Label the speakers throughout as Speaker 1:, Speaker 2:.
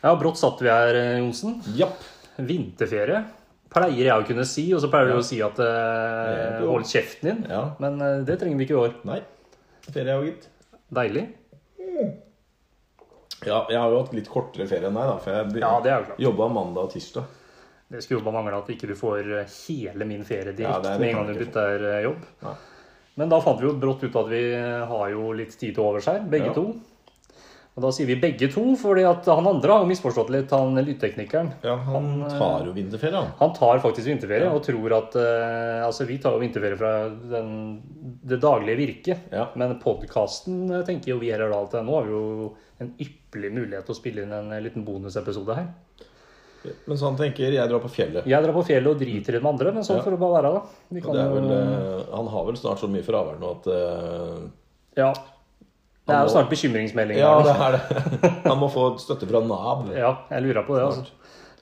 Speaker 1: Ja, brått satt vi her, eh, Johnsen.
Speaker 2: Japp.
Speaker 1: Vinterferie pleier jeg å kunne si, og så pleier du å si at eh,
Speaker 2: Eh, du-
Speaker 1: hold kjeften din.
Speaker 2: Ja.
Speaker 1: Men eh, det trenger vi ikke i år.
Speaker 2: Nei. Ferie òg, gitt.
Speaker 1: Deilig.
Speaker 2: Ja, jeg har jo hatt litt kortere ferie enn deg, da, for jeg
Speaker 1: Ja, det er jo klart.
Speaker 2: jobba mandag og tirsdag.
Speaker 1: Det skulle jo bare mangle at ikke du får eh, hele min ferie direkte
Speaker 2: Ja, det er- det
Speaker 1: med en
Speaker 2: kan
Speaker 1: gang du
Speaker 2: du ikke
Speaker 1: bytter eh, jobb.
Speaker 2: Nei.
Speaker 1: Men da fant vi jo brått ut at vi eh, har jo litt tid til overs her, begge
Speaker 2: Ja.
Speaker 1: to. Og da sier vi begge to, fordi at han andre har jo misforstått litt, han lydteknikeren.
Speaker 2: Ja, han eh, tar jo vinterferie, han.
Speaker 1: Han tar faktisk vinterferie og tror at eh, Altså, vi tar jo vinterferie fra den, det daglige virket.
Speaker 2: Ja.
Speaker 1: Men podkasten tenker jo vi heller da at nå har vi jo en ypperlig mulighet til å spille inn en eh, liten bonusepisode her.
Speaker 2: Mens han tenker 'jeg drar på fjellet'.
Speaker 1: Jeg drar på fjellet og driter i den andre, men sånn
Speaker 2: Ja.
Speaker 1: får det bare være, da. Vi
Speaker 2: Og det er
Speaker 1: jo-
Speaker 2: vel, eh, han har vel snart så mye fravær nå at eh,
Speaker 1: Ja. Det er
Speaker 2: Han
Speaker 1: jo
Speaker 2: må-
Speaker 1: snart bekymringsmeldinger.
Speaker 2: Ja,
Speaker 1: her nå.
Speaker 2: det er det. Han må få støtte fra Nav.
Speaker 1: Ja, jeg lurer på det.
Speaker 2: Smart.
Speaker 1: altså.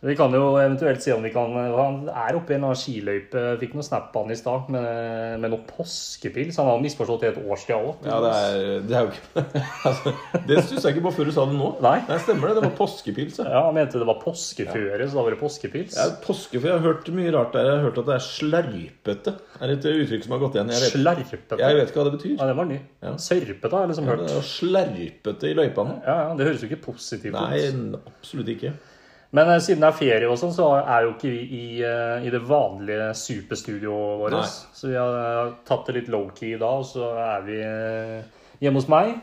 Speaker 1: Vi kan jo eventuelt se om vi kan eh, Han er oppe i en eller annen skiløype. Fikk noe snap på han i stad med, med noe påskepils. Han har misforstått i et årstid òg.
Speaker 2: Ja, det er, det er jo ikke altså, Det stussa jeg ikke på før du sa det nå.
Speaker 1: Nei.
Speaker 2: stemmer det. Det var påskepils. ja.
Speaker 1: Ja, Han mente det var påskeføre, så da var det påskepils.
Speaker 2: Jeg er påske, for jeg har hørt mye rart der. Jeg har hørt at det er slerpete. Det er et uttrykk som har gått igjen. Jeg vet,
Speaker 1: Slerpete.
Speaker 2: jeg
Speaker 1: Ja,
Speaker 2: vet ikke hva det betyr.
Speaker 1: den var ny. Sørpete har jeg liksom
Speaker 2: Det
Speaker 1: hørt.
Speaker 2: er jo slerpete i løypene.
Speaker 1: Ja, ja, Det høres jo ikke positivt
Speaker 2: Nei,
Speaker 1: ut.
Speaker 2: absolutt ikke.
Speaker 1: Men eh, siden det er ferie og sånn, så er jo ikke vi i, eh, i det vanlige superstudioet vårt.
Speaker 2: Nei.
Speaker 1: Så vi har eh, tatt det litt low-key i dag, og så er vi eh, hjemme hos meg.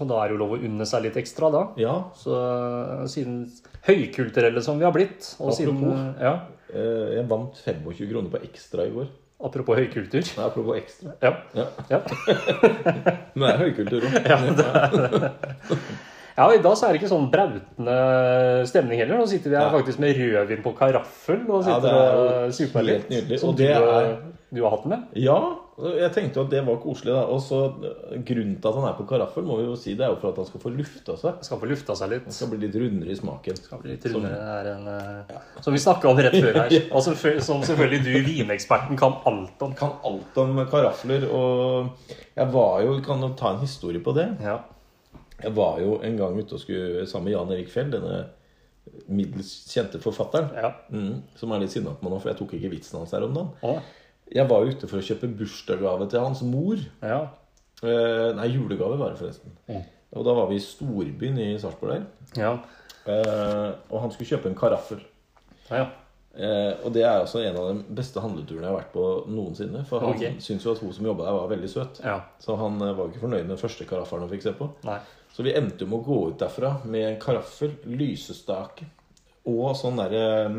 Speaker 1: Og da er det jo lov å unne seg litt ekstra, da.
Speaker 2: Ja,
Speaker 1: Så eh, siden høykulturelle som vi har blitt, og siden
Speaker 2: Apropos.
Speaker 1: eh, Ja,
Speaker 2: eh, jeg vant 25 kroner på ekstra i går.
Speaker 1: apropos høykultur.
Speaker 2: Nei, apropos ekstra.
Speaker 1: Ja.
Speaker 2: Ja.
Speaker 1: ja.
Speaker 2: Men det er høykultur òg.
Speaker 1: Ja, det er det. Ja, og I dag så er det ikke sånn brautende stemning heller. Nå sitter vi her
Speaker 2: Nei.
Speaker 1: faktisk med rødvin på karaffel og
Speaker 2: Ja, det
Speaker 1: sitter
Speaker 2: er jo
Speaker 1: og super
Speaker 2: helt
Speaker 1: litt.
Speaker 2: nydelig,
Speaker 1: Som
Speaker 2: og det
Speaker 1: du,
Speaker 2: er-
Speaker 1: du har hatt den med?
Speaker 2: Ja, jeg tenkte jo at det var koselig, da. Og så eh, grunnen til at han er på karaffel, må vi jo si, det er jo for at han skal få lufta seg.
Speaker 1: Jeg skal få lufta seg litt.
Speaker 2: Han skal bli litt rundere i smaken.
Speaker 1: Skal bli litt
Speaker 2: sånn.
Speaker 1: rundere. Det er en, eh, Som vi snakka om rett før her. Og selvfø- som selvfølgelig du, vineksperten, kan alt om.
Speaker 2: kan alt om karafler, og jeg var jo Kan jo ta en historie på det?
Speaker 1: Ja.
Speaker 2: Jeg var jo en gang ute og skulle sammen med Jan Erik Fjell, denne middels kjente forfatteren,
Speaker 1: ja.
Speaker 2: mm, som er litt sinna på meg nå, for jeg tok ikke vitsen hans her om dagen.
Speaker 1: Å,
Speaker 2: Jeg var ute for å kjøpe bursdagsgave til hans mor.
Speaker 1: ja.
Speaker 2: Eh, nei, julegave var det forresten.
Speaker 1: Mm.
Speaker 2: Og da var vi i storbyen i Sarpsborg der,
Speaker 1: ja.
Speaker 2: eh, og han skulle kjøpe en karaffel.
Speaker 1: Ja.
Speaker 2: Eh, og det er altså en av de beste handleturene jeg har vært på noensinne. For han
Speaker 1: Ok.
Speaker 2: syntes jo at hun som jobba der, var veldig søt.
Speaker 1: Ja.
Speaker 2: Så han eh, var jo ikke fornøyd med den første karaffelen han fikk se på.
Speaker 1: Nei.
Speaker 2: Så vi endte jo med å gå ut derfra med karaffel, lysestake og sånn derre eh,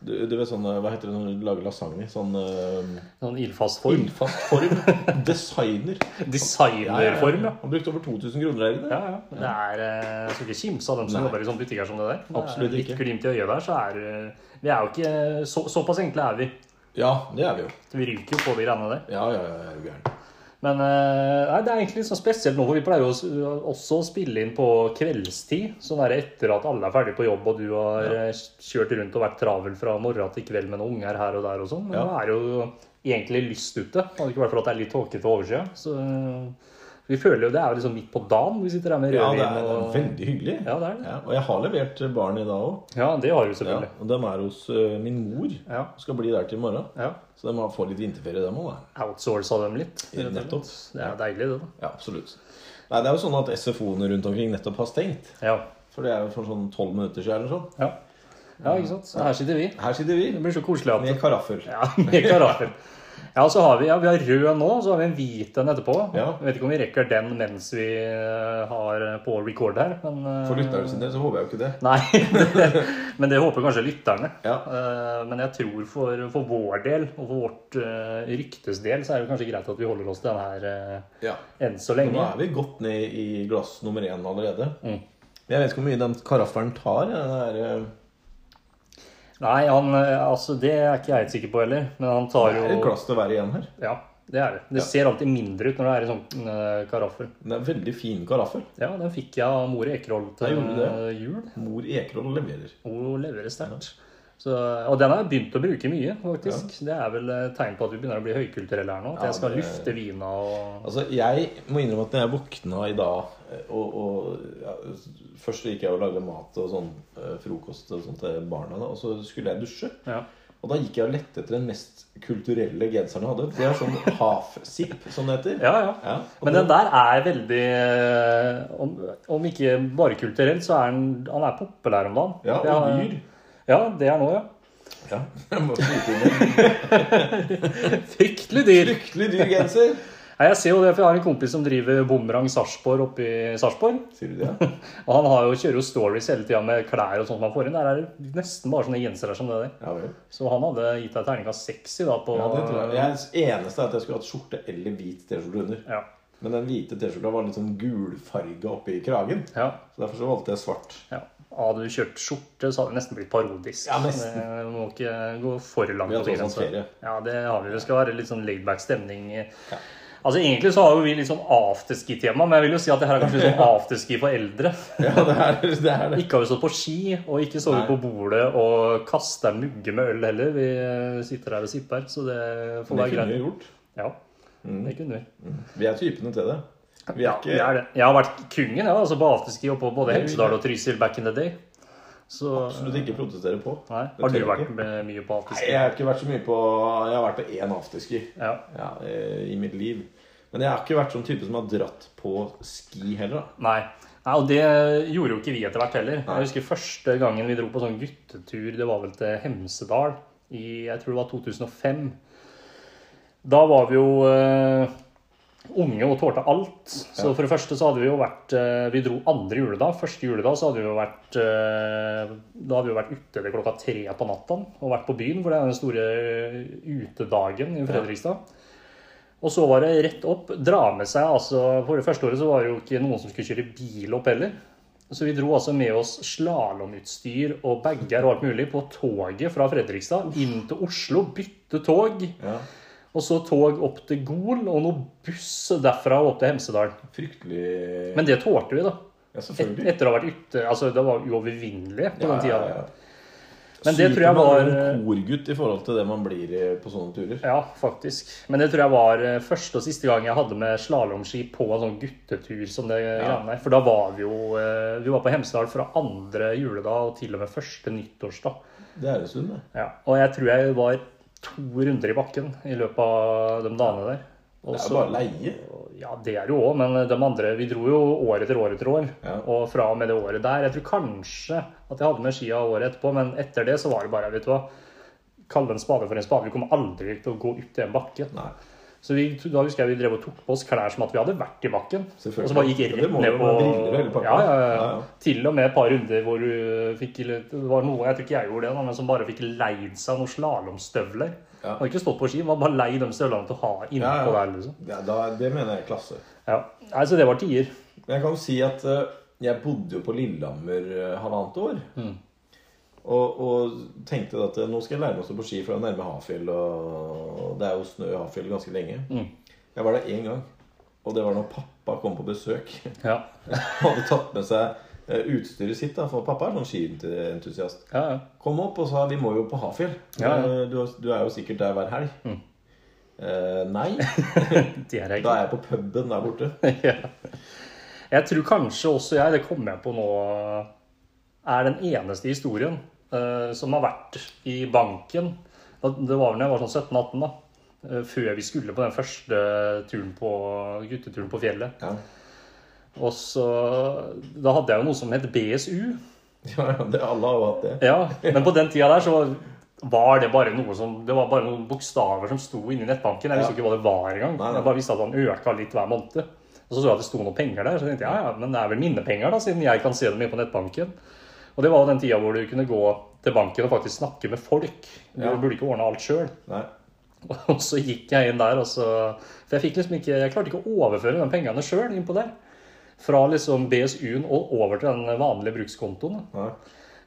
Speaker 2: du, du vet sånn eh, Hva heter det når du lager lasagne? Sånn eh,
Speaker 1: Sånn ildfast form.
Speaker 2: Bunnfast form. Designer.
Speaker 1: Designerform, ja.
Speaker 2: Han brukte over 2000 kroner der inne.
Speaker 1: Ja, ja. Men Det er, eh, jeg skal ikke kimse av dem som
Speaker 2: Nei.
Speaker 1: jobber i sånne butikker som det der. Det er
Speaker 2: Absolutt
Speaker 1: litt
Speaker 2: ikke.
Speaker 1: glimt i øyet der, så er eh, Vi er jo ikke så, Såpass enkle er vi.
Speaker 2: Ja, det er vi jo.
Speaker 1: Så Vi ryker jo på de greiene der.
Speaker 2: Ja, ja, ja, er du gæren.
Speaker 1: Men eh, nei, det er egentlig litt sånn spesielt nå, for vi pleier jo s- også å spille inn på kveldstid. Sånn der etter at alle er ferdig på jobb, og du har eh, kjørt rundt og vært travel fra morgen til kveld med noen unger her og der og sånn. Men
Speaker 2: Ja.
Speaker 1: nå er det jo egentlig lyst ute. Hadde ikke vært for at det er litt tåkete oversida. Så eh, vi føler jo det er jo liksom midt på dagen vi sitter her med
Speaker 2: Ja,
Speaker 1: rødvin.
Speaker 2: det er, det er
Speaker 1: og-
Speaker 2: veldig hyggelig.
Speaker 1: Ja, det er det.
Speaker 2: Ja, og jeg har levert barn i dag òg.
Speaker 1: Ja, det har du
Speaker 2: Ja,
Speaker 1: selvfølgelig.
Speaker 2: og de er hos eh, min mor.
Speaker 1: Ja.
Speaker 2: Skal bli der til i morgen.
Speaker 1: ja.
Speaker 2: Så de må få litt vinterferie, dem òg.
Speaker 1: Outsourca dem litt. rett og slett.
Speaker 2: Nettopp.
Speaker 1: Det er deilig, det, da.
Speaker 2: Ja, absolutt. Nei, det er jo sånn at SFO-ene rundt omkring nettopp har stengt.
Speaker 1: Ja.
Speaker 2: For det er jo for sånn tolv minutter siden eller sånn.
Speaker 1: ja. Ja, ikke sant. Så Her sitter vi.
Speaker 2: Her sitter vi
Speaker 1: Det blir så koselig at
Speaker 2: med karaffel.
Speaker 1: Ja, med karaffel. Ja, så har vi, ja, vi har rød nå, så har vi en hvit en etterpå.
Speaker 2: Ja.
Speaker 1: Jeg vet ikke om vi rekker den mens vi eh, har på record her, men eh,
Speaker 2: For lytterne sin del så håper jeg jo ikke det.
Speaker 1: Nei, men det håper kanskje lytterne.
Speaker 2: Ja.
Speaker 1: Eh, Men jeg tror for, for vår del, og for vårt eh, ryktes del, så er det kanskje greit at vi holder oss til den her eh,
Speaker 2: Ja.
Speaker 1: enn så
Speaker 2: Nå
Speaker 1: lenge.
Speaker 2: er vi godt ned i glass nummer én allerede.
Speaker 1: Mm.
Speaker 2: Jeg vet ikke hvor mye den karaffelen tar. Den der, eh,
Speaker 1: Nei, han, eh, altså det er ikke jeg helt sikker på heller, men han tar
Speaker 2: det
Speaker 1: jo
Speaker 2: er et glass til hver igjen her.
Speaker 1: Ja, det er det. Det ser alltid mindre ut når det er i sånn eh, karaffel.
Speaker 2: Det er en veldig fin karaffel.
Speaker 1: Ja, den fikk jeg av More Ekerhold til
Speaker 2: Ja, gjorde du det?
Speaker 1: eh, jul.
Speaker 2: Mor Ekerhold leverer.
Speaker 1: Hun leverer sterkt. Så- Og den har jeg begynt å bruke mye, faktisk. Det er vel et tegn på at vi begynner å bli høykulturelle her nå. At
Speaker 2: Ja,
Speaker 1: jeg skal
Speaker 2: det-
Speaker 1: lufte vina og
Speaker 2: Altså, Jeg må innrømme at når jeg våkna i dag Og, og ja, Først så gikk jeg og lagde mat og sånn eh, frokost og sånt til barna. da Og så skulle jeg dusje.
Speaker 1: Ja.
Speaker 2: Og da gikk jeg og lette etter den mest kulturelle genseren jeg hadde. Det er sånn half-zip, som det heter.
Speaker 1: Ja, ja.
Speaker 2: Ja, og
Speaker 1: Men den der er veldig eh, Om, om ikke bare kulturell, så er den, han er populær om dagen.
Speaker 2: Ja,
Speaker 1: Det
Speaker 2: og
Speaker 1: er-
Speaker 2: dyr.
Speaker 1: Ja, det er nå, ja.
Speaker 2: Ja, jeg må skyte inn en
Speaker 1: Fryktelig dyr.
Speaker 2: fryktelig dyr genser.
Speaker 1: Nei, jeg ser jo det, for jeg har en kompis som driver Bomrang Sarpsborg oppe i Sarpsborg.
Speaker 2: Sier du det?
Speaker 1: Og han har jo, kjører jo stories hele tida med klær og sånt man får inn. Der er det nesten bare sånne gensere som det der.
Speaker 2: Ja vel.
Speaker 1: Så han hadde gitt deg terningkast seks i dag på
Speaker 2: Ja, det tror jeg. jeg eneste er at jeg skulle hatt skjorte eller hvit T-skjorte under.
Speaker 1: Ja.
Speaker 2: Men den hvite T-skjorta var litt sånn gulfarga oppi kragen.
Speaker 1: ja.
Speaker 2: Så derfor så valgte jeg svart.
Speaker 1: ja. Hadde du kjørt skjorte, så hadde det nesten blitt parodisk.
Speaker 2: Ja, nesten.
Speaker 1: Det må ikke gå for langt.
Speaker 2: Vi har
Speaker 1: på
Speaker 2: tross alt
Speaker 1: grensa.
Speaker 2: ferie.
Speaker 1: Ja, det har vi. Det skal være litt sånn laidback stemning. Altså, Egentlig så har jo vi litt sånn afterski-tema, men jeg vil jo si at det her er kanskje litt sånn afterski for eldre.
Speaker 2: Ja, det er det. Er det.
Speaker 1: Ikke har vi stått på ski, og ikke sovet
Speaker 2: Nei.
Speaker 1: på bordet og kasta mugge med øl heller. Vi sitter her og sipper, så det får
Speaker 2: Men det
Speaker 1: være
Speaker 2: kunne
Speaker 1: greit.
Speaker 2: vi gjort.
Speaker 1: Ja, det kunne vi.
Speaker 2: Vi er typene til det. Vi
Speaker 1: Ja,
Speaker 2: er
Speaker 1: vi
Speaker 2: ikke
Speaker 1: er det. Jeg har vært kongen ja, altså på afterski og på både
Speaker 2: Det er vi.
Speaker 1: Hemsedal og Trysil back in the day. Så,
Speaker 2: absolutt ikke protestere på.
Speaker 1: nei.
Speaker 2: Det
Speaker 1: Har du
Speaker 2: tør jeg
Speaker 1: vært
Speaker 2: ikke.
Speaker 1: med mye på
Speaker 2: Nei,
Speaker 1: afterski?
Speaker 2: Jeg har ikke vært så mye på Jeg har vært på én afterski
Speaker 1: Ja.
Speaker 2: ja, eh, i mitt liv. Men jeg har ikke vært sånn type som har dratt på ski heller. da.
Speaker 1: Nei. Nei, og det gjorde jo ikke vi etter hvert heller. Jeg husker første gangen vi dro på sånn guttetur, det var vel til Hemsedal i jeg tror det var 2005. Da var vi jo eh, unge og tålte alt. Så for det første så hadde vi jo vært eh, Vi dro andre juledag. Første juledag så hadde vi jo vært eh, Da hadde vi jo vært ute til klokka tre på natta og vært på byen, for det er den store eh, utedagen i Fredrikstad. Og så var det rett opp. Dra med seg altså For det første året så var det jo ikke noen som skulle kjøre bil opp heller. Så vi dro altså med oss slalåmutstyr og bager og alt mulig på toget fra Fredrikstad inn til Oslo. Bytte tog.
Speaker 2: Ja.
Speaker 1: Og så tog opp til Gol og noe buss derfra og opp til Hemsedal.
Speaker 2: Fryktelig
Speaker 1: Men det tålte vi, da.
Speaker 2: Ja,
Speaker 1: Et,
Speaker 2: selvfølgelig.
Speaker 1: etter å ha vært ute Altså, det var uovervinnelig på den
Speaker 2: Ja,
Speaker 1: tida.
Speaker 2: ja, ja.
Speaker 1: Men det tror jeg
Speaker 2: Superman er
Speaker 1: var-
Speaker 2: en korgutt i forhold til det man blir eh, på sånne turer.
Speaker 1: Ja, faktisk. Men det tror jeg var eh, første og siste gang jeg hadde med slalåmski på en sånn guttetur som det greiene der. For da var vi jo eh, Vi var på Hemsedal fra andre juledag og til og med første nyttårsdag.
Speaker 2: Det er jo synd, det.
Speaker 1: Ja. Og jeg tror jeg var to runder i bakken i løpet av de dagene der. Og
Speaker 2: Det er
Speaker 1: så-
Speaker 2: jo bare leie.
Speaker 1: Ja, det er jo òg, men eh, de andre Vi dro jo år etter år etter år.
Speaker 2: Ja.
Speaker 1: Og fra og med det året der Jeg tror kanskje at jeg hadde med skia året etterpå, men etter det så var det bare Vet du hva, kalle en spade for en spade. Vi kommer aldri til å gå opp til en bakke.
Speaker 2: Nei.
Speaker 1: Så vi, da husker jeg vi drev og tok på oss klær som at vi hadde vært i bakken.
Speaker 2: Selvfølgelig.
Speaker 1: Og så bare gikk jeg
Speaker 2: Men det
Speaker 1: rett
Speaker 2: må
Speaker 1: ned
Speaker 2: jo
Speaker 1: på
Speaker 2: være briller og hele pakka.
Speaker 1: ja, ja, ja.
Speaker 2: Ja, ja.
Speaker 1: Til og med et par runder hvor du fikk litt- Det var noe, jeg tror ikke jeg gjorde det, da, men som bare fikk leid seg noen slalåmstøvler.
Speaker 2: Ja.
Speaker 1: Hadde ikke stått på ski, man bare leid de støvlene til å ha innpå
Speaker 2: Ja, ja.
Speaker 1: der, liksom.
Speaker 2: Ja, da, det mener jeg er klasse.
Speaker 1: Ja. Nei, så det var tider.
Speaker 2: Men jeg kan jo si at eh, jeg bodde jo på Lillehammer eh, halvannet år.
Speaker 1: Mm.
Speaker 2: Og, og tenkte at eh, nå skal jeg lære meg å stå på ski, for det er nærme Hafjell. Og det er jo snø i Hafjell ganske lenge.
Speaker 1: Mm.
Speaker 2: Jeg var der én gang. Og det var når pappa kom på besøk.
Speaker 1: Ja.
Speaker 2: Han hadde tatt med seg eh, utstyret sitt, da, for pappa er sånn skientusiast.
Speaker 1: Ja, ja.
Speaker 2: Kom opp og sa vi må jo på Hafjell.
Speaker 1: Ja, Mm. ja.
Speaker 2: Eh, Du, du er jo sikkert der hver helg. Eh, nei,
Speaker 1: Det er jeg
Speaker 2: da
Speaker 1: ikke.
Speaker 2: er jeg på puben der borte.
Speaker 1: ja. Jeg tror kanskje også jeg, det kommer jeg på nå, er den eneste historien eh, som har vært i banken. Da- Det var vel da jeg var sånn 17-18, da. eh, Før vi skulle på den første turen på, gutteturen på fjellet.
Speaker 2: Ja,
Speaker 1: Og så, Da hadde jeg jo noe som het BSU.
Speaker 2: ja ja, det, alle har jo hatt det.
Speaker 1: Ja, Men på den tida der så var det bare noe som, det var bare noen bokstaver som sto inni nettbanken. Jeg visste jo ikke hva det var engang.
Speaker 2: Nei, nei.
Speaker 1: Jeg bare visste at han øka litt hver måned. Og så så jeg at det sto noen penger der, så tenkte jeg ja, ja, men det er vel mine penger, da, siden jeg kan se dem inne på nettbanken. Og det var jo den tida hvor du kunne gå til banken og faktisk snakke med folk. Du
Speaker 2: Ja.
Speaker 1: burde ikke ordne alt sjøl.
Speaker 2: Nei.
Speaker 1: Og så gikk jeg inn der, og så For jeg fikk liksom ikke Jeg klarte ikke å overføre de pengene sjøl innpå der. Fra liksom BSU-en og over til den vanlige brukskontoen. da.
Speaker 2: nei.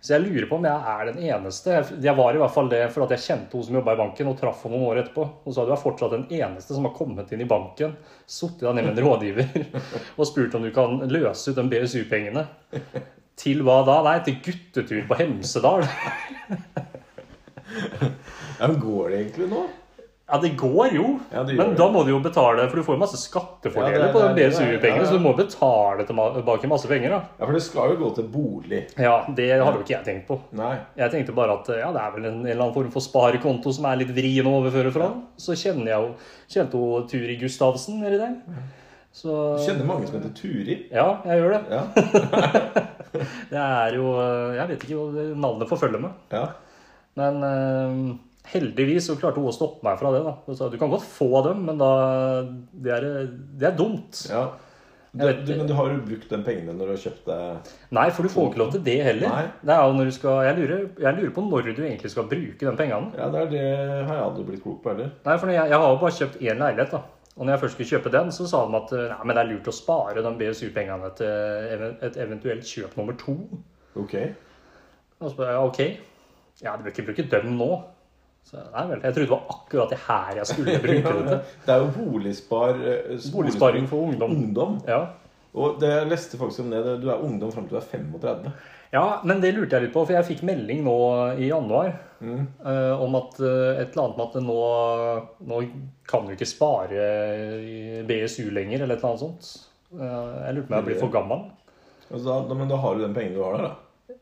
Speaker 1: Så jeg lurer på om jeg er den eneste. Jeg var i hvert fall det fordi at jeg kjente hun som jobba i banken, og traff henne noen år etterpå. Og så hadde jeg fortsatt den eneste som har kommet inn i banken, sittet der nede med en rådgiver og spurt om du kan løse ut de BSU-pengene. Til hva da? Nei, til guttetur på Hemsedal.
Speaker 2: Ja, men går det egentlig nå?
Speaker 1: Ja, det går jo,
Speaker 2: Ja, det gjør
Speaker 1: men
Speaker 2: det.
Speaker 1: da må du jo betale, for du får jo masse
Speaker 2: Ja,
Speaker 1: skattefordeler
Speaker 2: det-
Speaker 1: på
Speaker 2: det- det-
Speaker 1: BSU-pengene,
Speaker 2: ja, ja.
Speaker 1: så du må betale tilbake masse penger, da.
Speaker 2: Ja, for det skal jo gå til bolig.
Speaker 1: Ja, det hadde jo ikke jeg tenkt på.
Speaker 2: Nei.
Speaker 1: Jeg tenkte bare at ja, det er vel en, en eller annen form for sparekonto som er litt vrien å overføre fra. Så kjenner jeg jo Kjente jo Turi Gustavsen nedi der. Så
Speaker 2: Du kjenner mange som heter Turi.
Speaker 1: Ja, jeg gjør det.
Speaker 2: Ja.
Speaker 1: Det er jo Jeg vet ikke hva det- navnet forfølger meg.
Speaker 2: ja.
Speaker 1: Men eh, heldigvis så klarte hun å stoppe meg fra det. da. Hun sa du kan godt få av dem, men da Det er, det er dumt.
Speaker 2: ja. Du,
Speaker 1: Jeg vet-
Speaker 2: du, men du har jo brukt de pengene når du har kjøpt deg
Speaker 1: Nei, for du får ikke lov til det heller.
Speaker 2: Nei.
Speaker 1: Det er jo når du skal, jeg, lurer, jeg lurer på når du egentlig skal bruke de pengene.
Speaker 2: Ja, det er det har jeg aldri blitt klok på heller.
Speaker 1: Nei, for når jeg, jeg har jo bare kjøpt én leilighet, da. Og når jeg først skulle kjøpe den, så sa de at eh, nei, men det er lurt å spare de BSU-pengene til even- et eventuelt kjøp nummer to.
Speaker 2: Ok.
Speaker 1: Og så bare ja, OK. Ja, du bør ikke bruke dem nå. Så jeg, nei vel. Jeg trodde det var akkurat det her jeg skulle bruke det til.
Speaker 2: Det er jo boligspar... eh,
Speaker 1: Boligsparing for ungdom.
Speaker 2: ungdom.
Speaker 1: Ja.
Speaker 2: Og det jeg leste faktisk om det, det du er ungdom fram til du er 35.
Speaker 1: ja, men det lurte jeg litt på, for jeg fikk melding nå i januar eh, om at eh, et eller annet med at nå, nå kan du ikke spare i BSU lenger, eller et eller annet sånt. Eh, jeg lurte på om jeg blir for gammel.
Speaker 2: Altså, da, da, men da har du de pengene du har der, da.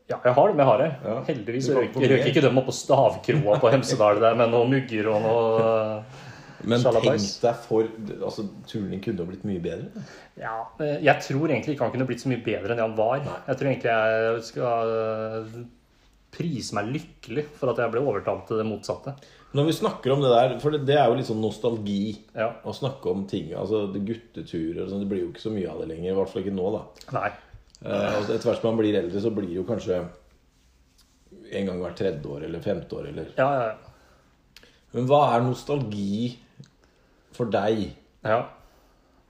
Speaker 1: Ja, jeg har dem. jeg har det.
Speaker 2: Ja.
Speaker 1: Heldigvis
Speaker 2: Du kan
Speaker 1: røyk
Speaker 2: få mer.
Speaker 1: røyk ikke dem opp på stavkroa på Hemsedal der med noen mugger og noe
Speaker 2: Men tenk
Speaker 1: Sjalabais.
Speaker 2: deg for Altså, turen din kunne jo blitt mye bedre.
Speaker 1: Ja, eh, jeg tror egentlig ikke han kunne blitt så mye bedre enn det han var. Jeg tror egentlig jeg skal eh, prise meg lykkelig for at jeg ble overtalt til det motsatte.
Speaker 2: Når vi snakker om det der, for det, det er jo litt sånn nostalgi
Speaker 1: Ja.
Speaker 2: å snakke om ting Altså det gutteturer og sånn, det blir jo ikke så mye av det lenger. I hvert fall ikke nå, da.
Speaker 1: Nei.
Speaker 2: Eh, altså, etter hvert som man blir eldre, så blir det jo kanskje en gang hvert tredje år eller femte år eller
Speaker 1: Ja, ja, ja.
Speaker 2: Men hva er nostalgi for deg?
Speaker 1: ja.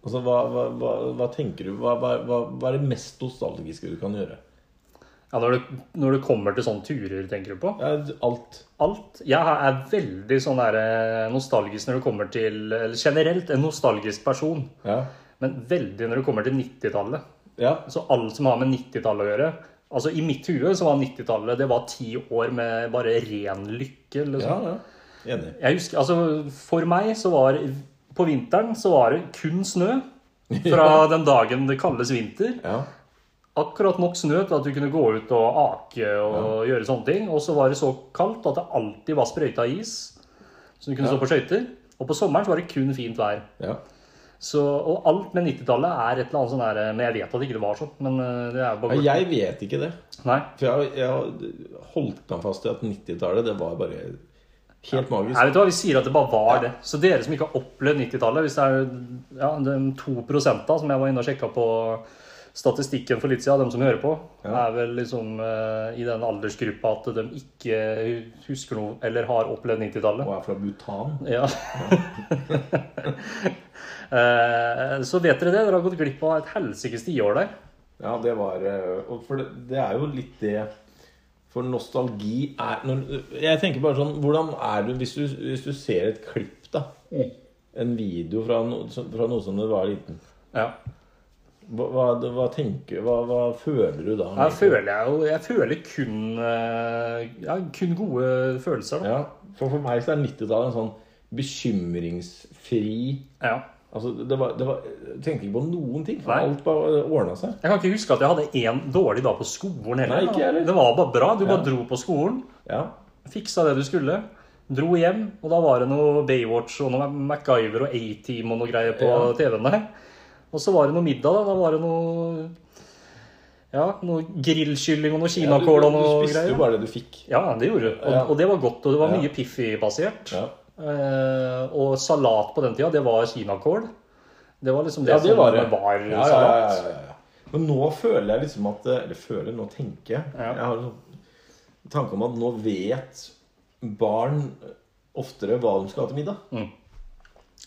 Speaker 2: Altså, hva, hva, hva, hva tenker du? Hva, hva, hva hva er det mest nostalgiske du kan gjøre?
Speaker 1: ja når, du, når du kommer til sånne turer, tenker du på?
Speaker 2: Ja, alt.
Speaker 1: Alt. Jeg er veldig sånn der eh, nostalgisk når det kommer til Eller generelt en nostalgisk person,
Speaker 2: Ja.
Speaker 1: men veldig når det kommer til 90-tallet.
Speaker 2: ja.
Speaker 1: Så alt som har med 90-tallet å gjøre Altså I mitt hue så var 90-tallet det var ti år med bare ren lykke.
Speaker 2: Ja,
Speaker 1: Liksom.
Speaker 2: ja. Enig.
Speaker 1: Jeg husker, altså For meg så var På vinteren så var det kun snø. Fra den dagen det kalles vinter.
Speaker 2: Ja.
Speaker 1: Akkurat nok snø til at du kunne gå ut og ake og gjøre sånne ting. Og så var det så kaldt at det alltid var sprøyta is. Så du kunne stå på skøyter. Og på sommeren så var det kun fint vær.
Speaker 2: ja.
Speaker 1: Så, og alt med 90-tallet er et eller annet sånn der Men jeg vet at ikke det var sånn. Men eh, det er jo
Speaker 2: ja
Speaker 1: bare
Speaker 2: jeg vet ikke det.
Speaker 1: Nei.
Speaker 2: For jeg, jeg holdt meg fast i at 90-tallet, det var bare helt magisk.
Speaker 1: Nei, vet du hva, Vi sier at det bare var det. Så dere som ikke har opplevd 90-tallet Hvis det er ja, de 2 prosenta som jeg var inne og sjekka på statistikken for litt siden, de som hører på,
Speaker 2: Ja.
Speaker 1: er vel liksom eh, i den aldersgruppa at de ikke husker noe eller har opplevd 90-tallet.
Speaker 2: Og er fra Bhutan.
Speaker 1: Ja. Eh, Så vet dere det. Dere har gått glipp av et helsikes tiår der.
Speaker 2: Ja, det var eh, og For det, det er jo litt det For nostalgi er når, Jeg tenker bare sånn Hvordan er du hvis du, hvis du ser et klipp, da? En video fra, no, fra noe som du var liten.
Speaker 1: Ja.
Speaker 2: Hva, hva, hva tenker hva, hva føler du da?
Speaker 1: Her føler jeg jo Jeg føler kun, eh, ja, kun gode følelser, da.
Speaker 2: Ja, for, for meg så er 90-tallet en sånn bekymringsfri
Speaker 1: Ja.
Speaker 2: Altså, det var, det var, jeg tenkte ikke på noen ting. For
Speaker 1: Nei.
Speaker 2: alt bare ordna seg.
Speaker 1: Jeg kan ikke huske at jeg hadde én dårlig dag på skolen heller.
Speaker 2: Nei, ikke jeg heller.
Speaker 1: Det var bare bra. Du bare
Speaker 2: Ja.
Speaker 1: dro på skolen,
Speaker 2: Ja.
Speaker 1: fiksa det du skulle, dro hjem, og da var det noe Baywatch og noe MacGyver og A-Team og noe greier på
Speaker 2: Ja.
Speaker 1: TV-en der. Og så var det noe middag, da. Da var det noe Ja, noe grillkylling og noe
Speaker 2: Ja, du, du,
Speaker 1: kinakål og noe
Speaker 2: spiste jo
Speaker 1: greier.
Speaker 2: bare det du fikk.
Speaker 1: Ja, det gjorde du. Og,
Speaker 2: Ja.
Speaker 1: og det var godt, og det var
Speaker 2: Ja.
Speaker 1: mye Piffi-basert.
Speaker 2: Ja.
Speaker 1: Eh, og salat på den tida, det var kinakål. Det var liksom det,
Speaker 2: Ja, det var det.
Speaker 1: som var
Speaker 2: Ja, ja,
Speaker 1: salat.
Speaker 2: ja, ja, ja, ja. Men nå føler jeg liksom at Eller føler, nå tenker jeg.
Speaker 1: Ja.
Speaker 2: Jeg har en sånn tanke om at nå vet barn oftere hva de skal ha til middag.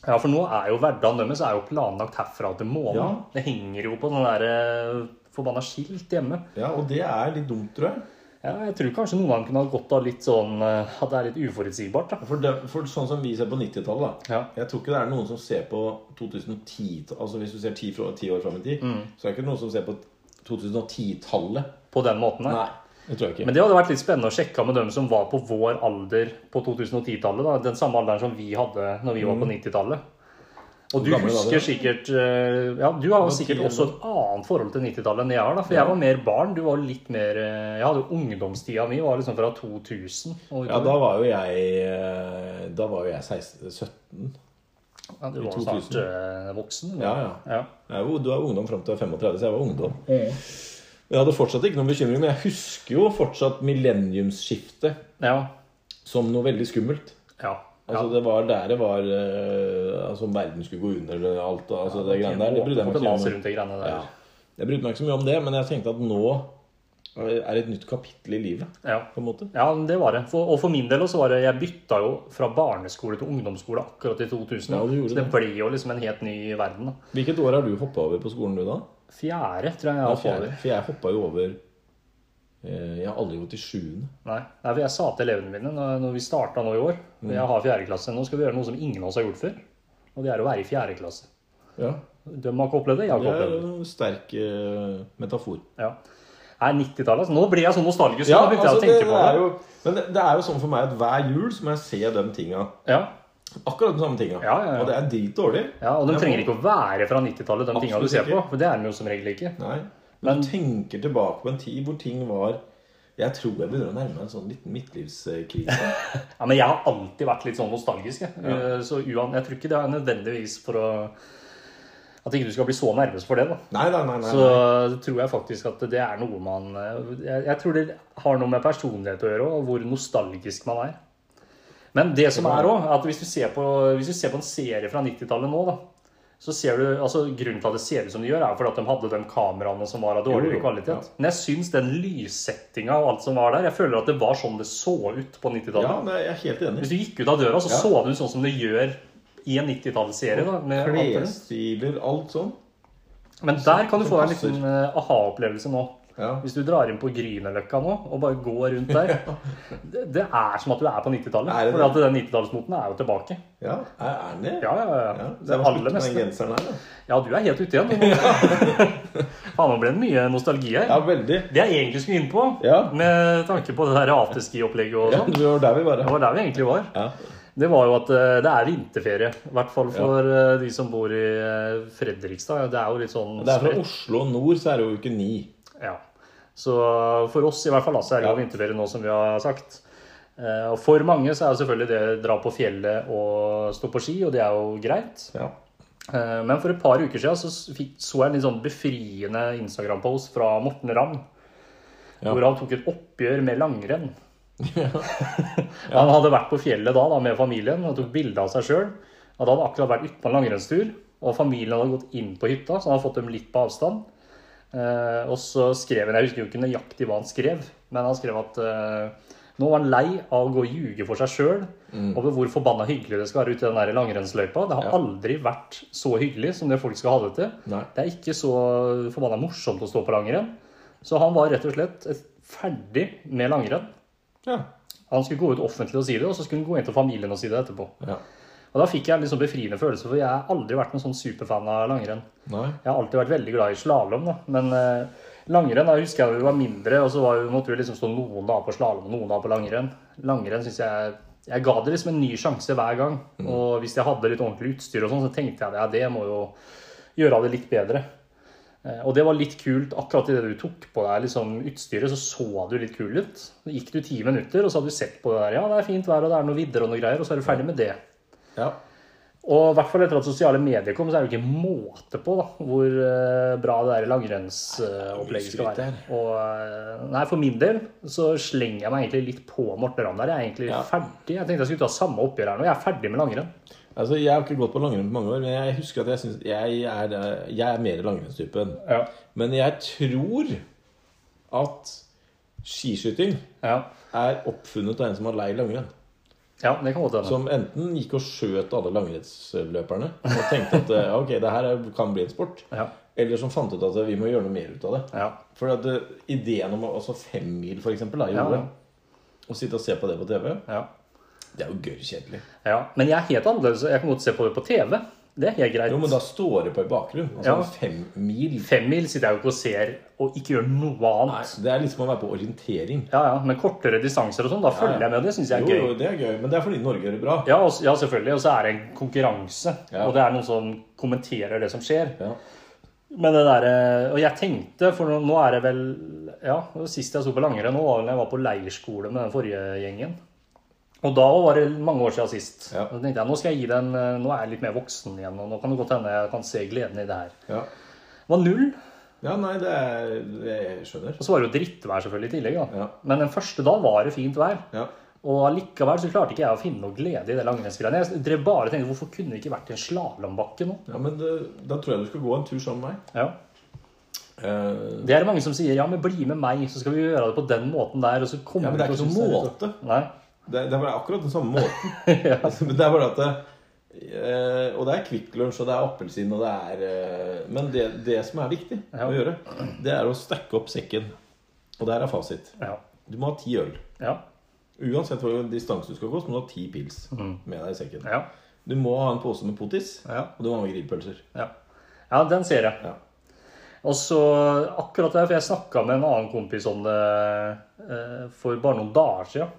Speaker 1: Ja, for nå er jo hverdagen deres er jo planlagt herfra til månen.
Speaker 2: Ja.
Speaker 1: Det henger jo på sånne der eh, forbanna skilt hjemme.
Speaker 2: Ja, Og det er litt dumt, tror jeg.
Speaker 1: Ja, jeg tror kanskje noen av dem kunne ha godt av litt sånn eh, at det er litt uforutsigbart. da.
Speaker 2: For, det, for sånn som vi ser på 90-tallet, da.
Speaker 1: Ja.
Speaker 2: Jeg tror ikke det er noen som ser på 2010 Altså hvis du ser
Speaker 1: Mm.
Speaker 2: ti fra- ti år fram i tid, så er det ikke noen som ser på 2010-tallet.
Speaker 1: På den måten her.
Speaker 2: Nei. Det tror jeg ikke.
Speaker 1: Men det hadde vært litt spennende å sjekke med dem som var på vår alder på 2010-tallet. da, Den samme alderen som vi hadde når vi var på 90-tallet. Og
Speaker 2: Mm. Hvor
Speaker 1: du
Speaker 2: gammel var
Speaker 1: husker
Speaker 2: du da?
Speaker 1: sikkert eh, Ja, du har
Speaker 2: var
Speaker 1: sikkert
Speaker 2: ti,
Speaker 1: også et annet forhold til 90-tallet enn jeg har. da, For
Speaker 2: Ja.
Speaker 1: jeg var mer barn. Du var litt mer eh, Jeg hadde jo ungdomstida mi var liksom fra 2000. og
Speaker 2: ja, da var jo jeg eh, Da var jo jeg 16, 17.
Speaker 1: Ja, du
Speaker 2: i
Speaker 1: var
Speaker 2: 2000.
Speaker 1: snart eh, voksen. du.
Speaker 2: Ja, ja.
Speaker 1: ja.
Speaker 2: Jeg er jo- Du er ungdom fram til 35, så jeg var ungdom. Men jeg hadde fortsatt ikke noen bekymring. Men jeg husker jo fortsatt millenniumsskiftet
Speaker 1: Ja.
Speaker 2: som noe veldig skummelt.
Speaker 1: ja.
Speaker 2: Altså Det var der det var eh, Altså om verden skulle gå under eller alt. Altså det greiene der, det brydde jeg meg ikke
Speaker 1: Måte
Speaker 2: så
Speaker 1: mas
Speaker 2: mye om.
Speaker 1: rundt de greiene
Speaker 2: Ja.
Speaker 1: der.
Speaker 2: Jeg brydde meg ikke så mye om det, men jeg tenkte at nå er et nytt kapittel i livet.
Speaker 1: Ja.
Speaker 2: På en måte
Speaker 1: Ja, men det var det. For, og for min del også var det Jeg bytta jo fra barneskole til ungdomsskole akkurat i 2000.
Speaker 2: Ja, du gjorde
Speaker 1: så det ble jo liksom en helt ny verden. da.
Speaker 2: Hvilket år har du hoppa over på skolen, du, da?
Speaker 1: Fjerde, tror jeg jeg var
Speaker 2: Ja,
Speaker 1: på over.
Speaker 2: fjerde. For jeg hoppa jo over eh, Jeg har aldri gått i sjuende.
Speaker 1: Nei, Nei, for jeg sa til elevene mine når, når vi starta nå i år
Speaker 2: Mm.
Speaker 1: Jeg har fjerde klasse, nå skal vi gjøre noe som ingen av oss har gjort før. Og det er å være i fjerde klasse.
Speaker 2: Ja.
Speaker 1: De har ikke opplevd det, jeg har
Speaker 2: Det
Speaker 1: ikke
Speaker 2: er
Speaker 1: opplevd det.
Speaker 2: en sterk eh, metafor.
Speaker 1: Ja. Nei, 90-tallet altså. Nå blir jeg så nostalgisk.
Speaker 2: Ja,
Speaker 1: nå begynte
Speaker 2: altså, det,
Speaker 1: jeg å tenke
Speaker 2: det
Speaker 1: på
Speaker 2: er
Speaker 1: det.
Speaker 2: jo Men det, det er jo sånn for meg at hver jul så må jeg se de tinga.
Speaker 1: Ja.
Speaker 2: Akkurat de samme tinga.
Speaker 1: Ja, ja, ja.
Speaker 2: Og det er dritdårlig.
Speaker 1: ja, Og de
Speaker 2: Jeg må-
Speaker 1: trenger ikke å være fra 90-tallet, de tinga du
Speaker 2: Absolutt
Speaker 1: ser på.
Speaker 2: ikke.
Speaker 1: For det er de jo som regel ikke.
Speaker 2: Nei. Men
Speaker 1: Men-
Speaker 2: du tenker tilbake på en tid hvor ting var Jeg tror jeg begynner å nærme meg en sånn liten midtlivskrise.
Speaker 1: Ja, men jeg har alltid vært litt sånn nostalgisk. Jeg. Eh, Så uan, jeg tror ikke det er nødvendigvis for å At ikke du skal bli så nervøs for det, da.
Speaker 2: Nei, nei, nei. nei,
Speaker 1: Så
Speaker 2: nei.
Speaker 1: tror jeg faktisk at det er noe man eh, Jeg, jeg tror det har noe med personlighet å gjøre, og hvor nostalgisk man er. Men det som er òg, at hvis du ser på, hvis du ser på en serie fra 90-tallet nå, da så ser du, altså Grunnen til at det ser ut som det gjør, er fordi at de hadde de kameraene som var av
Speaker 2: Jo,
Speaker 1: dårligere
Speaker 2: jo,
Speaker 1: kvalitet. Men jeg syns den lyssettinga og alt som var der, jeg føler at det var sånn det så ut på 90-tallet.
Speaker 2: Ja, det, jeg er helt enig.
Speaker 1: Hvis du gikk ut av døra, så
Speaker 2: Ja.
Speaker 1: så du sånn som det gjør i en 90-tallsserie. da, med alt det.
Speaker 2: Klesstiler, alt sånn.
Speaker 1: Men der kan du
Speaker 2: som
Speaker 1: få en
Speaker 2: passer.
Speaker 1: liten eh, aha-opplevelse nå.
Speaker 2: Ja.
Speaker 1: Hvis du drar inn på Grünerløkka nå og bare går rundt der det, det er som at du er på 90-tallet.
Speaker 2: Er det
Speaker 1: For at den 90-tallsmoten er jo tilbake.
Speaker 2: ja. Er er den det?
Speaker 1: Ja, ja, ja.
Speaker 2: Ja, så
Speaker 1: Det
Speaker 2: jeg må
Speaker 1: aller
Speaker 2: slutte med den
Speaker 1: meste.
Speaker 2: genseren her, da.
Speaker 1: Ja, du er helt ute igjen. du nå. Faen, nå ble det mye nostalgi her.
Speaker 2: Ja, veldig.
Speaker 1: Det jeg egentlig skulle inn på,
Speaker 2: Ja.
Speaker 1: med tanke på det der afterski-opplegget og
Speaker 2: Ja,
Speaker 1: sånn,
Speaker 2: det var der vi
Speaker 1: det
Speaker 2: bare
Speaker 1: var der vi egentlig var.
Speaker 2: ja.
Speaker 1: Det var jo at eh, det er vinterferie. I hvert fall for eh, de som bor i eh, Fredrikstad. Det er jo litt sånn
Speaker 2: Det er fra
Speaker 1: spredt.
Speaker 2: Oslo nord, så er det jo uke ni.
Speaker 1: Ja. Så for oss i hvert fall da, så er det jo
Speaker 2: Ja.
Speaker 1: vinterferie nå, som vi har sagt. Eh, Og for mange så er jo selvfølgelig det dra på fjellet og stå på ski, og det er jo greit.
Speaker 2: Ja.
Speaker 1: Eh, Men for et par uker siden så, s- fikk, så jeg en litt sånn befriende Instagram-post fra Morten Ramm.
Speaker 2: Ja.
Speaker 1: Hvor han tok et oppgjør med langrenn. Han hadde vært på fjellet da, da med familien og tok bilde av seg sjøl. Han hadde akkurat vært ute på en langrennstur, og familien hadde gått inn på hytta, så han hadde fått dem litt på avstand. Eh, og så skrev han, jeg husker jo ikke nøyaktig hva han skrev, men han skrev at eh, nå var han lei av å gå og ljuge for seg sjøl over hvor forbanna hyggelig det skal være ute i den der langrennsløypa. Det har
Speaker 2: Mm. Ja.
Speaker 1: aldri vært så hyggelig som det folk skal ha det til.
Speaker 2: Nei.
Speaker 1: Det er ikke så forbanna morsomt å stå på langrenn. Så han var rett og slett ferdig med langrenn.
Speaker 2: Ja.
Speaker 1: Han skulle gå ut offentlig og si det, og så skulle han gå inn til familien og si det etterpå.
Speaker 2: ja.
Speaker 1: Og Da fikk jeg en litt sånn befriende følelse, for jeg har aldri vært noen sånn superfan av langrenn.
Speaker 2: Nei.
Speaker 1: Jeg har alltid vært veldig glad i slalåm, men eh, langrenn da husker jeg da vi var mindre, og så var, måtte vi liksom stå noen dager på slalåm og noen dager på langrenn. Langrenn synes jeg Jeg ga det liksom en ny sjanse hver gang. Og hvis jeg hadde litt ordentlig utstyr, og sånn, så tenkte jeg at ja, det må jo gjøre det litt bedre. Eh, Og det var litt kult. Akkurat idet du tok på deg liksom, utstyret, så så du litt kul ut. Så gikk du ti minutter, og så hadde du sett på det der. Ja, det er fint vær, og det er noe vidder og noe greier, og så er du ferdig med det.
Speaker 2: Ja.
Speaker 1: Og i hvert fall etter at sosiale medier kom, så er det jo ikke måte på da, hvor eh, bra det der langrennsopplegget skal være. Og, eh, nei, for min del så slenger jeg meg egentlig litt på Morten Ramm der. Jeg er egentlig
Speaker 2: Ja.
Speaker 1: ferdig. Jeg tenkte jeg skulle ta samme oppgjør her nå. Jeg er ferdig med langrenn.
Speaker 2: Altså, Jeg har ikke gått på langrenn på mange år, men jeg husker at jeg syns jeg, er, eh, jeg er mer langrennstypen.
Speaker 1: Ja.
Speaker 2: Men jeg tror at skiskyting
Speaker 1: Ja,
Speaker 2: er oppfunnet av en som var lei langrenn.
Speaker 1: ja det kan godt hende.
Speaker 2: Som enten gikk og skjøt alle langrennsløperne og tenkte at eh, ok, det her er- kan bli en sport.
Speaker 1: Ja.
Speaker 2: Eller som fant ut at eh, vi må gjøre noe mer ut av det.
Speaker 1: Ja.
Speaker 2: For at eh, ideen om å- altså femmil, for eksempel, da, i
Speaker 1: Ja,
Speaker 2: OL,
Speaker 1: ja.
Speaker 2: å sitte og se på det på TV,
Speaker 1: Ja.
Speaker 2: det er jo gørr kjedelig.
Speaker 1: ja. Men jeg er helt annerledes. Jeg kan godt se på det på TV. Det er helt greit.
Speaker 2: Jo, men da står det på i bakgrunnen. Altså
Speaker 1: Ja.
Speaker 2: fem mil.
Speaker 1: Femmil sitter jeg jo ikke og ser og ikke gjør noe
Speaker 2: Nei,
Speaker 1: annet.
Speaker 2: det er liksom å være på orientering.
Speaker 1: Ja, ja, Men kortere distanser og sånn, da følger
Speaker 2: ja.
Speaker 1: jeg med. Det syns jeg
Speaker 2: Jo,
Speaker 1: er gøy.
Speaker 2: jo, det er gøy, men det er fordi Norge gjør det bra.
Speaker 1: Ja, og, ja, selvfølgelig. Og så er det en konkurranse.
Speaker 2: Ja.
Speaker 1: Og det er noen som kommenterer det som skjer.
Speaker 2: Ja.
Speaker 1: Men det der, eh, Og jeg tenkte, for nå, nå er det vel Ja, det sist jeg så på langrenn, nå var vel da jeg var på leirskole med den forrige gjengen. Og da var det mange år siden sist.
Speaker 2: Ja.
Speaker 1: Da tenkte jeg, Nå skal jeg gi den, eh, nå er jeg litt mer voksen igjen, og nå kan det godt hende jeg kan se gleden i det her.
Speaker 2: Ja.
Speaker 1: Det var null,
Speaker 2: ja, nei, det er Jeg skjønner.
Speaker 1: og så var det jo drittvær selvfølgelig i tillegg. da.
Speaker 2: Ja.
Speaker 1: Men den første da var det fint vær.
Speaker 2: Ja.
Speaker 1: Og allikevel så klarte ikke jeg å finne noe glede i det langrennsgreiene. Jeg drev bare og tenkte hvorfor kunne vi ikke vært i en slalåmbakke nå?
Speaker 2: ja, men det, da tror jeg du skal gå en tur sammen med meg.
Speaker 1: Ja.
Speaker 2: Eh,
Speaker 1: Det er det mange som sier ja, men bli med meg, så skal vi gjøre det på den måten der. Og så kommer
Speaker 2: Ja, men det er
Speaker 1: vi på
Speaker 2: ikke
Speaker 1: sånn
Speaker 2: måte.
Speaker 1: Nei.
Speaker 2: det, det er bare akkurat den samme måten. Altså, men det er bare at det, eh, Og det er Kvikk Lunsj, og det er appelsin, og det er eh, Men det, det som er viktig
Speaker 1: Ja.
Speaker 2: å gjøre, det er å stakke opp sekken. Og der er fasit.
Speaker 1: Ja.
Speaker 2: Du må ha ti øl.
Speaker 1: Ja.
Speaker 2: Uansett hvor distanse du skal gå, så må du ha ti pils med deg i sekken.
Speaker 1: Ja.
Speaker 2: Du må ha en pose med potis,
Speaker 1: Ja.
Speaker 2: og du må ha med grillpølser.
Speaker 1: ja. ja den ser jeg.
Speaker 2: Ja.
Speaker 1: Og så akkurat der, for jeg snakka med en annen kompis om det eh, for bare noen dager siden.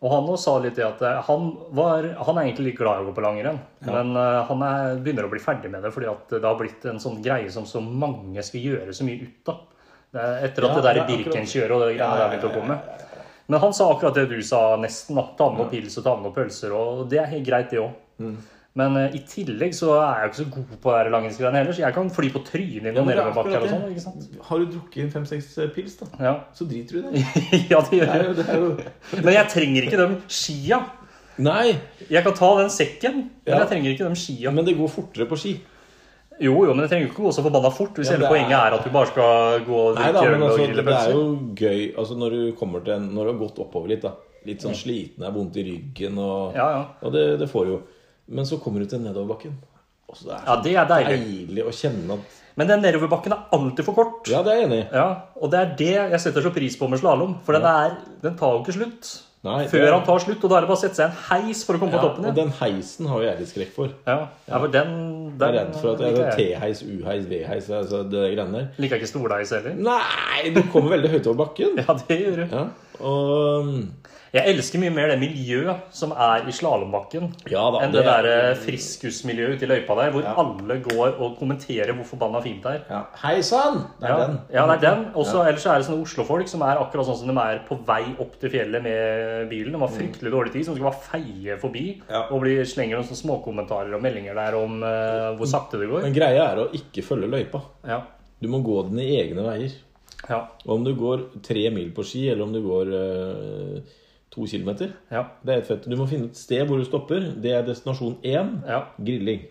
Speaker 1: Og han også sa litt det at eh, han, var, han er egentlig litt glad i å gå på langrenn. Men eh, han er, begynner å bli ferdig med det, fordi at det har blitt en sånn greie som så mange skal gjøre så mye ut av. Det er Etter at
Speaker 2: Ja,
Speaker 1: det der
Speaker 2: det er akkurat-
Speaker 1: Birken-kjøret og det greiene
Speaker 2: Ja,
Speaker 1: der
Speaker 2: ja,
Speaker 1: har begynt å
Speaker 2: ja, ja,
Speaker 1: komme. Men han sa akkurat det du sa nesten, da. Ta med noen pils og ta med noen pølser. Og det er helt greit, det òg.
Speaker 2: Mm.
Speaker 1: Men eh, i tillegg så er jeg jo ikke så god på det her langrennsgreiene heller, så jeg kan fly på trynet i
Speaker 2: Ja,
Speaker 1: noen
Speaker 2: men det er
Speaker 1: nedoverbakker og
Speaker 2: akkurat
Speaker 1: sånn.
Speaker 2: det.
Speaker 1: ikke sant?
Speaker 2: Har du drukket en fem-seks eh, pils, da,
Speaker 1: Ja.
Speaker 2: så driter du i det.
Speaker 1: ja, det gjør
Speaker 2: Det er
Speaker 1: jeg.
Speaker 2: jo, det er jo...
Speaker 1: Men jeg trenger ikke de skia.
Speaker 2: Nei,
Speaker 1: Jeg kan ta den sekken, men
Speaker 2: Ja.
Speaker 1: jeg trenger ikke de skia.
Speaker 2: men det går fortere på ski.
Speaker 1: Jo, jo, men jeg trenger ikke gå så forbanna fort hvis
Speaker 2: Ja,
Speaker 1: hele
Speaker 2: det er-
Speaker 1: poenget er at du bare skal gå og
Speaker 2: Nei
Speaker 1: drikke øl
Speaker 2: da, men
Speaker 1: og
Speaker 2: altså,
Speaker 1: grille
Speaker 2: det er
Speaker 1: pølser.
Speaker 2: jo gøy altså, når du kommer til en, Når du har gått oppover litt, da. Litt sånn sliten, er vondt i ryggen og
Speaker 1: Ja, ja.
Speaker 2: Og det, det får du jo. Men så kommer du til nedoverbakken. Og så det er
Speaker 1: Ja, det er
Speaker 2: så
Speaker 1: deilig.
Speaker 2: deilig å kjenne at
Speaker 1: Men den nedoverbakken er alltid for kort.
Speaker 2: Ja, det er jeg enig i.
Speaker 1: Ja, Og det er det jeg setter så pris på med slalåm, for den, er, den tar jo ikke slutt.
Speaker 2: Nei, det
Speaker 1: Før
Speaker 2: er-
Speaker 1: han tar slutt, og da er det bare å sette seg i en heis for å komme
Speaker 2: Ja,
Speaker 1: på toppen
Speaker 2: og
Speaker 1: igjen.
Speaker 2: den heisen har jo jeg litt skrekk for.
Speaker 1: Ja, ja, for den, den
Speaker 2: Jeg er redd for at jeg
Speaker 1: liker jeg.
Speaker 2: T-heis, U-heis, V-heis, altså det der greiene der.
Speaker 1: Liker jeg ikke stolheis heller.
Speaker 2: Nei, du kommer veldig høyt over bakken.
Speaker 1: Ja, det gjør du.
Speaker 2: Ja, og
Speaker 1: Jeg elsker mye mer det miljøet som er i slalåmbakken,
Speaker 2: Ja da.
Speaker 1: enn det, der eh, friskusmiljøet ute i løypa der, hvor alle går og kommenterer hvor forbanna fint det er.
Speaker 2: ja. Hei sann! Det er
Speaker 1: Ja,
Speaker 2: den.
Speaker 1: ja, det er den. Også, Ellers er det sånne Oslo-folk som er akkurat sånn som de er på vei opp til fjellet med bilen. De har fryktelig dårlig tid, som skal bare feie forbi
Speaker 2: Mm. Ja.
Speaker 1: og bli, slenger noen sånne småkommentarer og meldinger der om eh, hvor sakte det går.
Speaker 2: Men greia er å ikke følge løypa.
Speaker 1: Ja.
Speaker 2: Du må gå dine egne veier.
Speaker 1: Ja.
Speaker 2: Og om du går tre mil på ski, eller om du går eh, to kilometer
Speaker 1: Ja.
Speaker 2: Det er helt fett. Du må finne et sted hvor du stopper. Det er destinasjon én.
Speaker 1: ja.
Speaker 2: Grilling.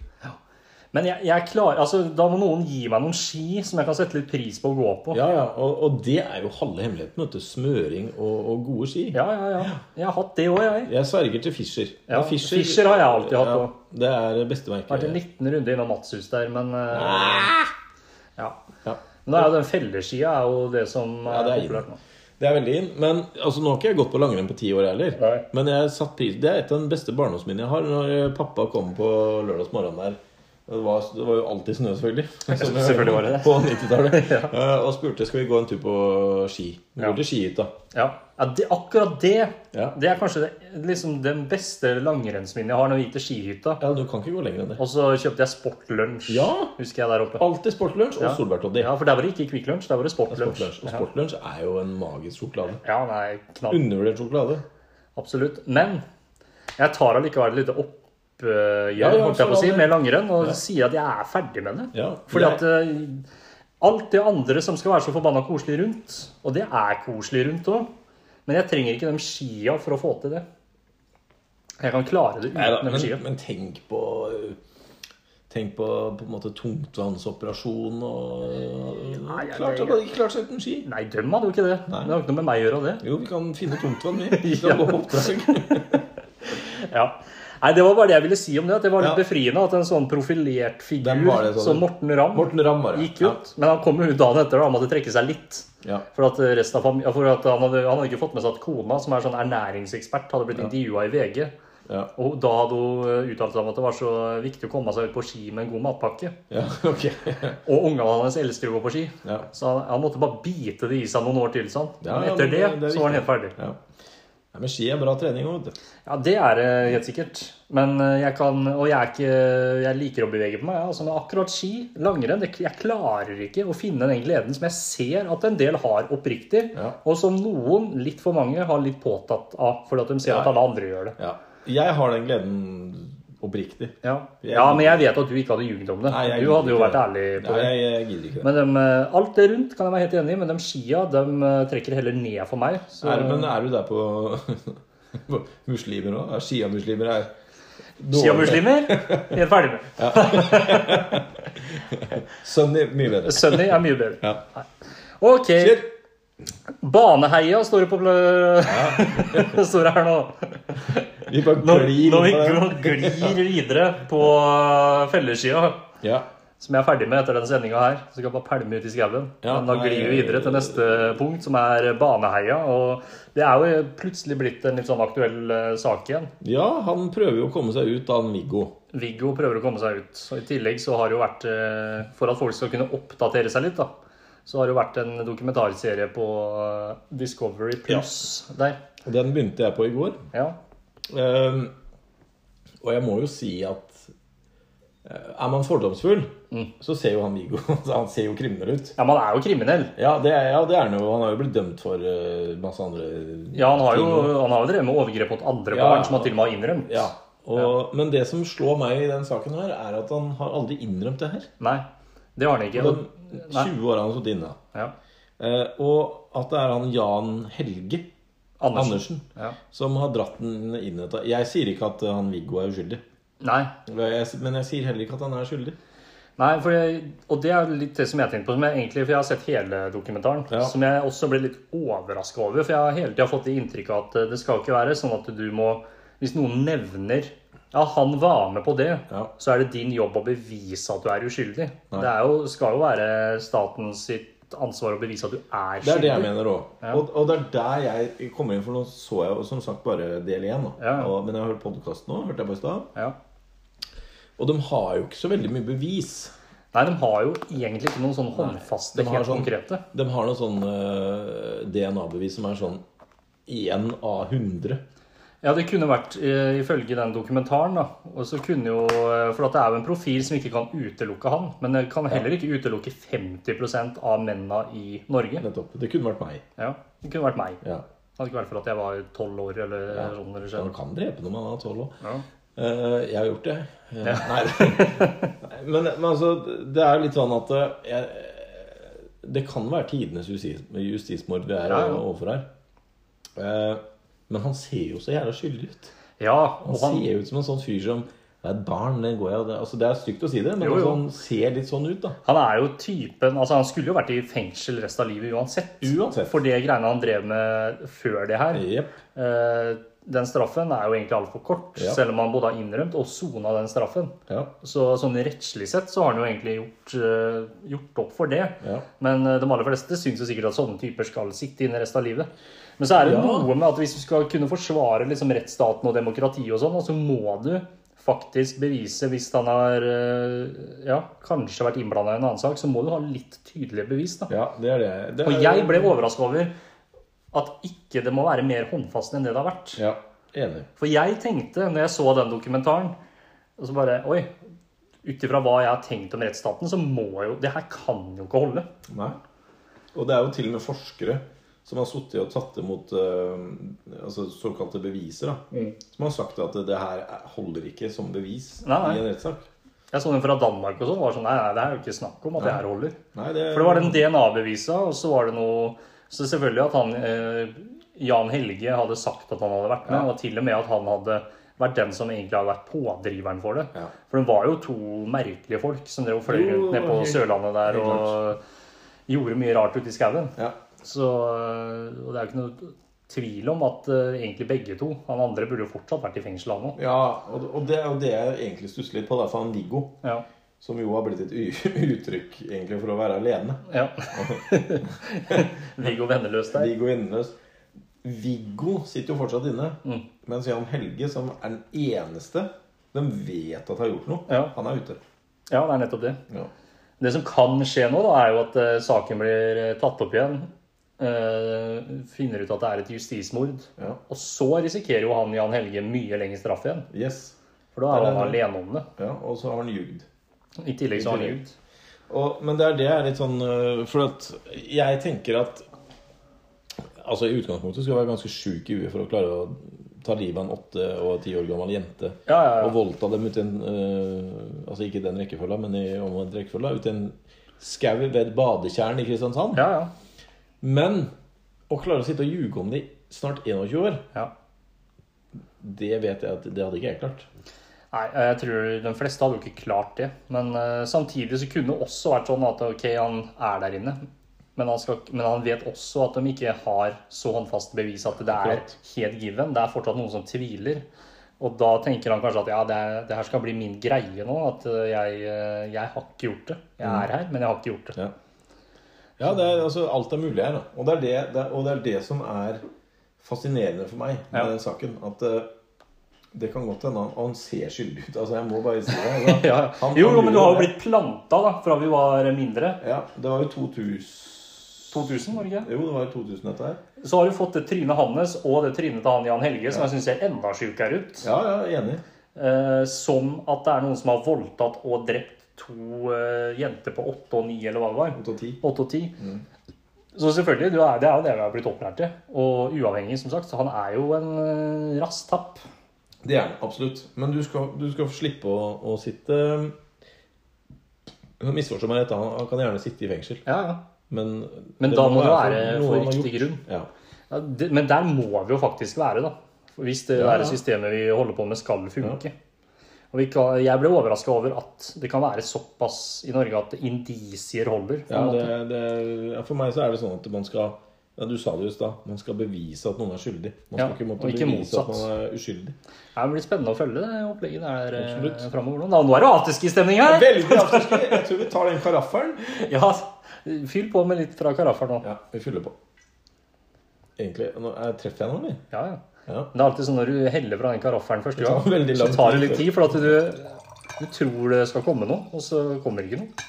Speaker 1: Men jeg, jeg klarer, altså, da må noen gi meg noen ski som jeg kan sette litt pris på å gå på.
Speaker 2: Ja, ja. Og, og det er jo halve hemmeligheten. vet du. Smøring og, og gode ski.
Speaker 1: Ja, ja, ja. Jeg har hatt det òg, jeg.
Speaker 2: Jeg sverger til Fischer.
Speaker 1: Ja,
Speaker 2: Det er
Speaker 1: Fischer har jeg alltid hatt
Speaker 2: Ja,
Speaker 1: også.
Speaker 2: det er beste
Speaker 1: Vært en
Speaker 2: merket.
Speaker 1: liten runde innom Matshus der, men eh,
Speaker 2: Ah!
Speaker 1: ja.
Speaker 2: Ja.
Speaker 1: Men da er jo den felleskia er jo det som
Speaker 2: Ja,
Speaker 1: er
Speaker 2: det er
Speaker 1: populært nå.
Speaker 2: Det er veldig inn. Men altså, nå har ikke jeg gått på langrenn på ti år heller.
Speaker 1: Nei.
Speaker 2: Men jeg satt pris Det er et av de beste barndomsminnene jeg har. Når eh, pappa kom på lørdagsmorgenen der. Det var, det var jo alltid snø, selvfølgelig. Som jeg-
Speaker 1: selvfølgelig var det det.
Speaker 2: På 90-tallet. Eh, Og spurte skal vi gå en tur på ski. Vi går
Speaker 1: Ja.
Speaker 2: til skihytta.
Speaker 1: Ja, ja det, akkurat det.
Speaker 2: Ja.
Speaker 1: Det er kanskje det, liksom den beste langrennsminnet jeg har når vi gikk til skihytta.
Speaker 2: Ja, du kan ikke gå lenger enn det.
Speaker 1: Og så kjøpte jeg Sportlunsj,
Speaker 2: Ja.
Speaker 1: husker jeg der oppe.
Speaker 2: Alltid Sportlunsj og Solbærtoddy.
Speaker 1: Ja, For der var det ikke Kvikk Lunsj, der var det Sportlunsj.
Speaker 2: Sportlunsj. Og Sportlunsj er jo en magisk sjokolade.
Speaker 1: Ja, nei, knall.
Speaker 2: Undervurdert sjokolade.
Speaker 1: Absolutt. Men jeg tar allikevel et lite oppgjør
Speaker 2: Ja, ja,
Speaker 1: holdt jeg på å si,
Speaker 2: absolutt.
Speaker 1: med langrenn og sier at jeg er ferdig med det.
Speaker 2: Ja,
Speaker 1: Fordi
Speaker 2: det-
Speaker 1: at eh, alt det andre som skal være så forbanna koselig rundt, og det er koselig rundt òg, men jeg trenger ikke de skia for å få til det. Jeg kan klare det
Speaker 2: Neida,
Speaker 1: uten de skia.
Speaker 2: men, men tenk på Tenk på på en måte tungtvannsoperasjon og
Speaker 1: Nei, jeg-
Speaker 2: Klart at man ikke klarte seg uten ski.
Speaker 1: Nei, dem hadde jo ikke det. Det har ikke noe med meg å gjøre, det.
Speaker 2: Jo, vi kan finne tungtvann, vi. Vi kan
Speaker 1: Ja.
Speaker 2: gå på oppdrag.
Speaker 1: Ja. Nei, Det var bare det jeg ville si om det. At det var litt
Speaker 2: Ja.
Speaker 1: befriende at en sånn profilert
Speaker 2: Hvem var
Speaker 1: figur
Speaker 2: det, sa du?
Speaker 1: som Morten Ramm
Speaker 2: Morten Ramm var det.
Speaker 1: gikk ut. Men han kom jo ut dagen etter, da. Han måtte trekke seg litt.
Speaker 2: Ja.
Speaker 1: For at resten av fam- ja, for at han, hadde, han hadde ikke fått med seg at kona, som er sånn ernæringsekspert, hadde blitt intervjua i VG.
Speaker 2: Ja.
Speaker 1: Og da hadde hun eh, uttalt seg om at det var så viktig å komme seg ut på ski med en god matpakke.
Speaker 2: Ja, ok.
Speaker 1: Og ungene hans elsker å gå på ski.
Speaker 2: Ja.
Speaker 1: Så han, han måtte bare bite det i seg noen år til. sant?
Speaker 2: Ja,
Speaker 1: men
Speaker 2: ja,
Speaker 1: etter
Speaker 2: men
Speaker 1: det,
Speaker 2: det- det er
Speaker 1: så var han helt ferdig.
Speaker 2: ja. Nei, men ski er bra trening òg, vet du.
Speaker 1: Ja, det er det helt sikkert. Men eh, jeg kan Og jeg, er ikke, jeg liker å bevege på meg. ja. Altså, men akkurat ski, langrenn, det, jeg klarer ikke å finne den gleden som jeg ser at en del har oppriktig,
Speaker 2: Ja.
Speaker 1: og som noen, litt for mange, har litt påtatt av fordi at de ser
Speaker 2: Ja.
Speaker 1: at alle andre gjør det.
Speaker 2: Ja. Jeg har den gleden oppriktig.
Speaker 1: Ja.
Speaker 2: Jeg-
Speaker 1: ja, men jeg vet at du ikke hadde ljugd om det.
Speaker 2: Nei, jeg
Speaker 1: du hadde jo
Speaker 2: liker
Speaker 1: vært
Speaker 2: det.
Speaker 1: ærlig på
Speaker 2: Nei,
Speaker 1: det.
Speaker 2: jeg, jeg gidder ikke det.
Speaker 1: Men dem, eh, alt det rundt kan jeg være helt enig i, men de skia de eh, trekker heller ned for meg. Så,
Speaker 2: er, men er du der på, på muslimer òg? Sjiamuslimer er
Speaker 1: eh, Skia-muslimer, helt ferdig med.
Speaker 2: Sunny, mye bedre.
Speaker 1: Sunny er mye bedre.
Speaker 2: Ja.
Speaker 1: Ok,
Speaker 2: Kjør!
Speaker 1: Baneheia står det på pl- står det her nå.
Speaker 2: Vi bare
Speaker 1: Når,
Speaker 2: glir
Speaker 1: når vi
Speaker 2: på det.
Speaker 1: gl- glir videre på fellesskia,
Speaker 2: Ja.
Speaker 1: som jeg er ferdig med etter denne sendinga her, så skal jeg bare pælme ut i skauen.
Speaker 2: Ja,
Speaker 1: Men da
Speaker 2: nei,
Speaker 1: glir vi videre til neste punkt, som er Baneheia. Og det er jo plutselig blitt en litt sånn aktuell eh, sak igjen.
Speaker 2: ja, han prøver jo å komme seg ut, da, han Viggo.
Speaker 1: Viggo prøver å komme seg ut. Og I tillegg så har det jo vært, eh, for at folk skal kunne oppdatere seg litt, da, så har det jo vært en dokumentarserie på eh, Discovery Plus der.
Speaker 2: Og Den begynte jeg på i går.
Speaker 1: Ja.
Speaker 2: Ehm, og jeg må jo si at eh, er man fordomsfull,
Speaker 1: Mm.
Speaker 2: så ser jo han Viggo Han ser jo kriminell ut.
Speaker 1: ja, man er jo kriminell.
Speaker 2: Ja, det er, ja, det er han jo. Han har jo blitt dømt for eh, masse andre
Speaker 1: Ja, han har jo
Speaker 2: ting.
Speaker 1: han har jo drevet med overgrep mot andre
Speaker 2: Ja.
Speaker 1: barn, som han til og med har innrømt.
Speaker 2: Ja. Og, Men det som slår meg i den saken her, er at han har aldri innrømt det her.
Speaker 1: Nei, det har han ikke.
Speaker 2: De
Speaker 1: Og-
Speaker 2: 20 åra han har sittet inne.
Speaker 1: Ja.
Speaker 2: Eh, og at det er han Jan Helge
Speaker 1: Andersen.
Speaker 2: Andersen
Speaker 1: Ja.
Speaker 2: som har dratt den inn etter Jeg sier ikke at eh, han Viggo er uskyldig,
Speaker 1: Nei.
Speaker 2: Jeg- men jeg sier heller ikke at han er skyldig.
Speaker 1: Nei, for jeg, og det er litt det som jeg tenkte på, som jeg egentlig, for jeg har sett hele dokumentaren,
Speaker 2: Ja.
Speaker 1: som jeg også ble litt overraska over. For jeg har hele tida fått det inntrykket at eh, det skal ikke være sånn at du må Hvis noen nevner ja, han var med på det,
Speaker 2: Ja.
Speaker 1: så er det din jobb å bevise at du er uskyldig. Det er jo, skal jo være staten sitt ansvar å bevise at du er
Speaker 2: Det er det jeg
Speaker 1: skyldig.
Speaker 2: mener òg. Og, og det er der jeg kommer inn, for nå så jeg jo som sagt bare del én. da.
Speaker 1: Ja.
Speaker 2: Og- Men jeg har hørt podkasten òg, hørte jeg på i stad.
Speaker 1: Ja.
Speaker 2: Og de har jo ikke så veldig mye bevis.
Speaker 1: Nei, de har jo egentlig ikke noen sånn håndfaste,
Speaker 2: de har
Speaker 1: helt
Speaker 2: sånn-
Speaker 1: konkrete.
Speaker 2: De har noe sånn eh, DNA-bevis som er sånn 1 av 100.
Speaker 1: Ja, det kunne vært eh, ifølge den dokumentaren, da. Og så kunne jo eh, For at det er jo en profil som ikke kan utelukke han. Men det kan heller ikke utelukke 50 av mennene i Norge.
Speaker 2: Nettopp. Det kunne vært meg.
Speaker 1: Ja, Det kunne vært meg. Det
Speaker 2: Ja.
Speaker 1: hadde ikke vært for at jeg var tolv år eller sånn. eller
Speaker 2: Man
Speaker 1: sånn.
Speaker 2: kan drepe når man er tolv òg.
Speaker 1: Ja.
Speaker 2: Eh, jeg har gjort det. Eh, Nei. men, men altså, det er jo litt sånn at eh, jeg, Det kan være tidenes justis, justismord vi er
Speaker 1: Ja, ja.
Speaker 2: overfor her. Eh, men han ser jo så jævla skyldig ut.
Speaker 1: ja,
Speaker 2: Han,
Speaker 1: og han
Speaker 2: ser ut som en sånn fyr som Det er et barn, det går jeg og det Altså, det er stygt å si det, men
Speaker 1: Jo, jo.
Speaker 2: altså, han ser litt sånn ut, da.
Speaker 1: Han er jo typen altså Han skulle jo vært i fengsel resten av livet uansett.
Speaker 2: Uansett.
Speaker 1: For det greiene han drev med før det her.
Speaker 2: Jep.
Speaker 1: Eh, den straffen er jo egentlig altfor kort,
Speaker 2: Ja.
Speaker 1: selv om han både har innrømt og sona den straffen.
Speaker 2: Ja.
Speaker 1: Så sånn rettslig sett så har han jo egentlig gjort, eh, gjort opp for det.
Speaker 2: Ja.
Speaker 1: Men eh, de aller fleste syns jo sikkert at sånne typer skal sitte inne resten av livet. Men så er det
Speaker 2: Ja.
Speaker 1: noe med at hvis du skal kunne forsvare liksom, rettsstaten og demokratiet og sånn, så må du faktisk bevise hvis han har eh, ja, kanskje vært innblanda i en annen sak, så må du ha litt tydelige bevis. da.
Speaker 2: ja, det er det. det er,
Speaker 1: Og jeg ble overraska over at ikke det må være mer håndfast enn det det har vært.
Speaker 2: Ja, enig.
Speaker 1: For jeg tenkte, når jeg så den dokumentaren, og så bare Oi. Ut ifra hva jeg har tenkt om rettsstaten, så må jo Det her kan jo ikke holde.
Speaker 2: Nei. Og det er jo til og med forskere som har sittet og tatt imot eh, altså såkalte beviser, da.
Speaker 1: Mm.
Speaker 2: Som har sagt at det her er- holder ikke som bevis
Speaker 1: Nei, nei.
Speaker 2: i en rettssak.
Speaker 1: Jeg så den fra Danmark og sånn. var sånn, Nei, nei, det er jo ikke snakk om at det her holder.
Speaker 2: Nei, det,
Speaker 1: For det var den DNA-bevisa, og så var det noe Så selvfølgelig at han eh, Jan Helge hadde sagt at han hadde vært med,
Speaker 2: Ja.
Speaker 1: og til og med at han hadde vært den som egentlig hadde vært pådriveren for det.
Speaker 2: Ja.
Speaker 1: For det var jo to merkelige folk som drev og fløy
Speaker 2: Jo,
Speaker 1: rundt ned på
Speaker 2: helt-
Speaker 1: Sørlandet der
Speaker 2: helt
Speaker 1: og gjorde mye rart ute i skauen.
Speaker 2: Ja.
Speaker 1: Så øh, og det er jo ikke noe tvil om at øh, egentlig begge to Han andre burde jo fortsatt vært i fengsel, han òg.
Speaker 2: ja og, og det er jo det jeg egentlig stusser litt på. Derfor han Viggo,
Speaker 1: Ja.
Speaker 2: som jo har blitt et u- uttrykk egentlig for å være alene.
Speaker 1: ja. Viggo Venneløs der.
Speaker 2: Viggo Inneløs. Viggo sitter jo fortsatt inne.
Speaker 1: Mm.
Speaker 2: Mens Jan Helge, som er den eneste de vet at har gjort noe,
Speaker 1: Ja.
Speaker 2: han er ute.
Speaker 1: Ja, det er nettopp det.
Speaker 2: Ja.
Speaker 1: Det som kan skje nå, da, er jo at eh, saken blir eh, tatt opp igjen. eh, finner ut at det er et justismord.
Speaker 2: ja.
Speaker 1: Og så risikerer jo han Jan Helge mye lengre straff igjen.
Speaker 2: Yes.
Speaker 1: For da er
Speaker 2: Det er
Speaker 1: han
Speaker 2: det.
Speaker 1: alene om det.
Speaker 2: Ja, og så har han ljugd.
Speaker 1: I tillegg så har han
Speaker 2: tillegg.
Speaker 1: ljugd.
Speaker 2: Og, men det er det jeg er litt sånn øh, For at jeg tenker at Altså I utgangspunktet skal du være ganske sjuk i huet for å klare å ta livet av en åtte og ti år gammel jente.
Speaker 1: Ja, ja, ja.
Speaker 2: Og voldta dem ut i en øh, Altså ikke i den rekkefølga, men i omvendt rekkefølge. Ut i en skau ved et badetjern i Kristiansand.
Speaker 1: Ja, ja.
Speaker 2: Men å klare å sitte og ljuge om det i snart 21 år,
Speaker 1: ja.
Speaker 2: det vet jeg at det hadde ikke jeg klart.
Speaker 1: Nei, eh, jeg tror de fleste hadde jo ikke klart det. Men eh, samtidig så kunne det også vært sånn at ok, han er der inne. Men han, skal, men han vet også at de ikke har så håndfaste bevis at det er
Speaker 2: Akkurat.
Speaker 1: helt given. Det er fortsatt noen som tviler. Og da tenker han kanskje at ja, det, er- det her skal bli min greie nå. At eh, jeg, eh, jeg har ikke gjort det. Jeg er her, men jeg har ikke gjort det.
Speaker 2: Ja, ja det er, altså, alt er mulig her. Da. Og, det er det, det, er- og det er det som er fascinerende for meg med
Speaker 1: Ja.
Speaker 2: den saken. At eh, det kan godt hende han, han ser skyldig ut. Altså, jeg må bare si det. Altså.
Speaker 1: Ja.
Speaker 2: Han-
Speaker 1: Jo,
Speaker 2: han
Speaker 1: jo, men du
Speaker 2: lurer
Speaker 1: har jo
Speaker 2: meg.
Speaker 1: blitt planta da, fra vi var mindre.
Speaker 2: Ja, det var jo 2000
Speaker 1: 2000, var det ikke?
Speaker 2: Jo, det var jo 2000, dette her.
Speaker 1: Så har du fått det trynet hans og det trynet til han Jan Helge, som jeg syns ser enda sjukere ut.
Speaker 2: Ja, ja, enig.
Speaker 1: Eh, som at det er noen som har voldtatt og drept to eh, jenter på åtte og ni, eller hva det var.
Speaker 2: 8 av 10.
Speaker 1: Åtte og ti.
Speaker 2: Mm.
Speaker 1: Så selvfølgelig, du er, det er jo det vi har blitt opplært til. Og uavhengig, som sagt. Så han er jo en eh, rasstapp.
Speaker 2: Det er det, absolutt. Men du skal, du skal slippe å, å sitte eh, Misforstå meg rett, han, han kan gjerne sitte i fengsel,
Speaker 1: Ja, ja.
Speaker 2: men
Speaker 1: Men
Speaker 2: det
Speaker 1: da må det
Speaker 2: for
Speaker 1: være
Speaker 2: noe
Speaker 1: for
Speaker 2: han har
Speaker 1: riktig
Speaker 2: gjort.
Speaker 1: grunn.
Speaker 2: Ja.
Speaker 1: Ja, det, men der må vi jo faktisk være, da. For Hvis det
Speaker 2: Ja, ja.
Speaker 1: der systemet vi holder på med, skal funke. Og vi kan, jeg ble overraska over at det kan være såpass i Norge at indisier holder. på en
Speaker 2: Ja,
Speaker 1: måte.
Speaker 2: det, det, ja, for meg så er det sånn at man skal ja, Du sa det jo i stad. Man skal bevise at noen er skyldig. Man
Speaker 1: Ja,
Speaker 2: skal ikke måtte
Speaker 1: og ikke
Speaker 2: bevise
Speaker 1: motsatt.
Speaker 2: at man er uskyldig.
Speaker 1: Ja, Det blir spennende å følge det opplegget der eh,
Speaker 2: Absolutt.
Speaker 1: framover. Nå nå er det afterski-stemning her!
Speaker 2: Veldig afterski. Jeg tror vi tar den karaffelen.
Speaker 1: Ja, Fyll på med litt fra karaffer nå.
Speaker 2: Ja, vi fyller på. Egentlig nå, er- Treffer jeg noen, eller?
Speaker 1: Ja, ja.
Speaker 2: Ja.
Speaker 1: Men Det er alltid sånn når du heller fra den karaffeln første
Speaker 2: Det tar
Speaker 1: gang,
Speaker 2: veldig
Speaker 1: så
Speaker 2: lang
Speaker 1: tar det
Speaker 2: tid
Speaker 1: litt tid, for at du, du tror det skal komme noe, og så kommer det ikke noe.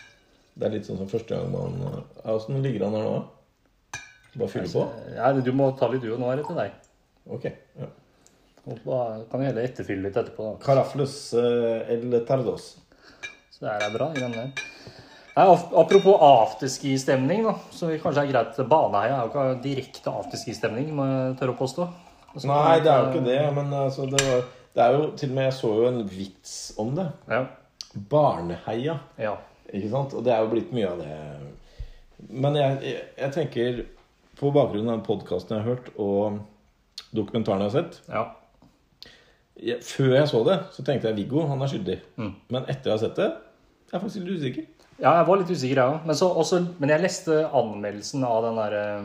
Speaker 2: Det er litt sånn som første gang man ja, Åssen ligger han her nå? Bare fylle på?
Speaker 1: Ja, du må ta litt du, og nå er det til deg.
Speaker 2: Ok. Ja.
Speaker 1: Og da kan vi heller etterfylle litt etterpå. da.
Speaker 2: Karafles eh, el tardos.
Speaker 1: Så det her er bra. i den der. Nei, af- apropos afterski-stemning, da, så vi kanskje er greit Baneheia er jo ikke direkte afterski-stemning, må jeg tørre å påstå. Altså,
Speaker 2: Nei, det er jo ikke det. Men altså, det, var, det er jo til og med Jeg så jo en vits om det.
Speaker 1: Ja.
Speaker 2: Barneheia.
Speaker 1: ja.
Speaker 2: Ikke sant? Og det er jo blitt mye av det. Men jeg, jeg, jeg tenker på bakgrunn av den podkasten jeg har hørt, og dokumentaren jeg har sett
Speaker 1: ja.
Speaker 2: jeg, Før jeg så det, så tenkte jeg Viggo, han er skyldig. Men etter jeg har sett det, jeg er faktisk litt usikker.
Speaker 1: Ja, jeg var litt usikker, jeg òg. Men, så- også- men jeg leste anmeldelsen av den der eh,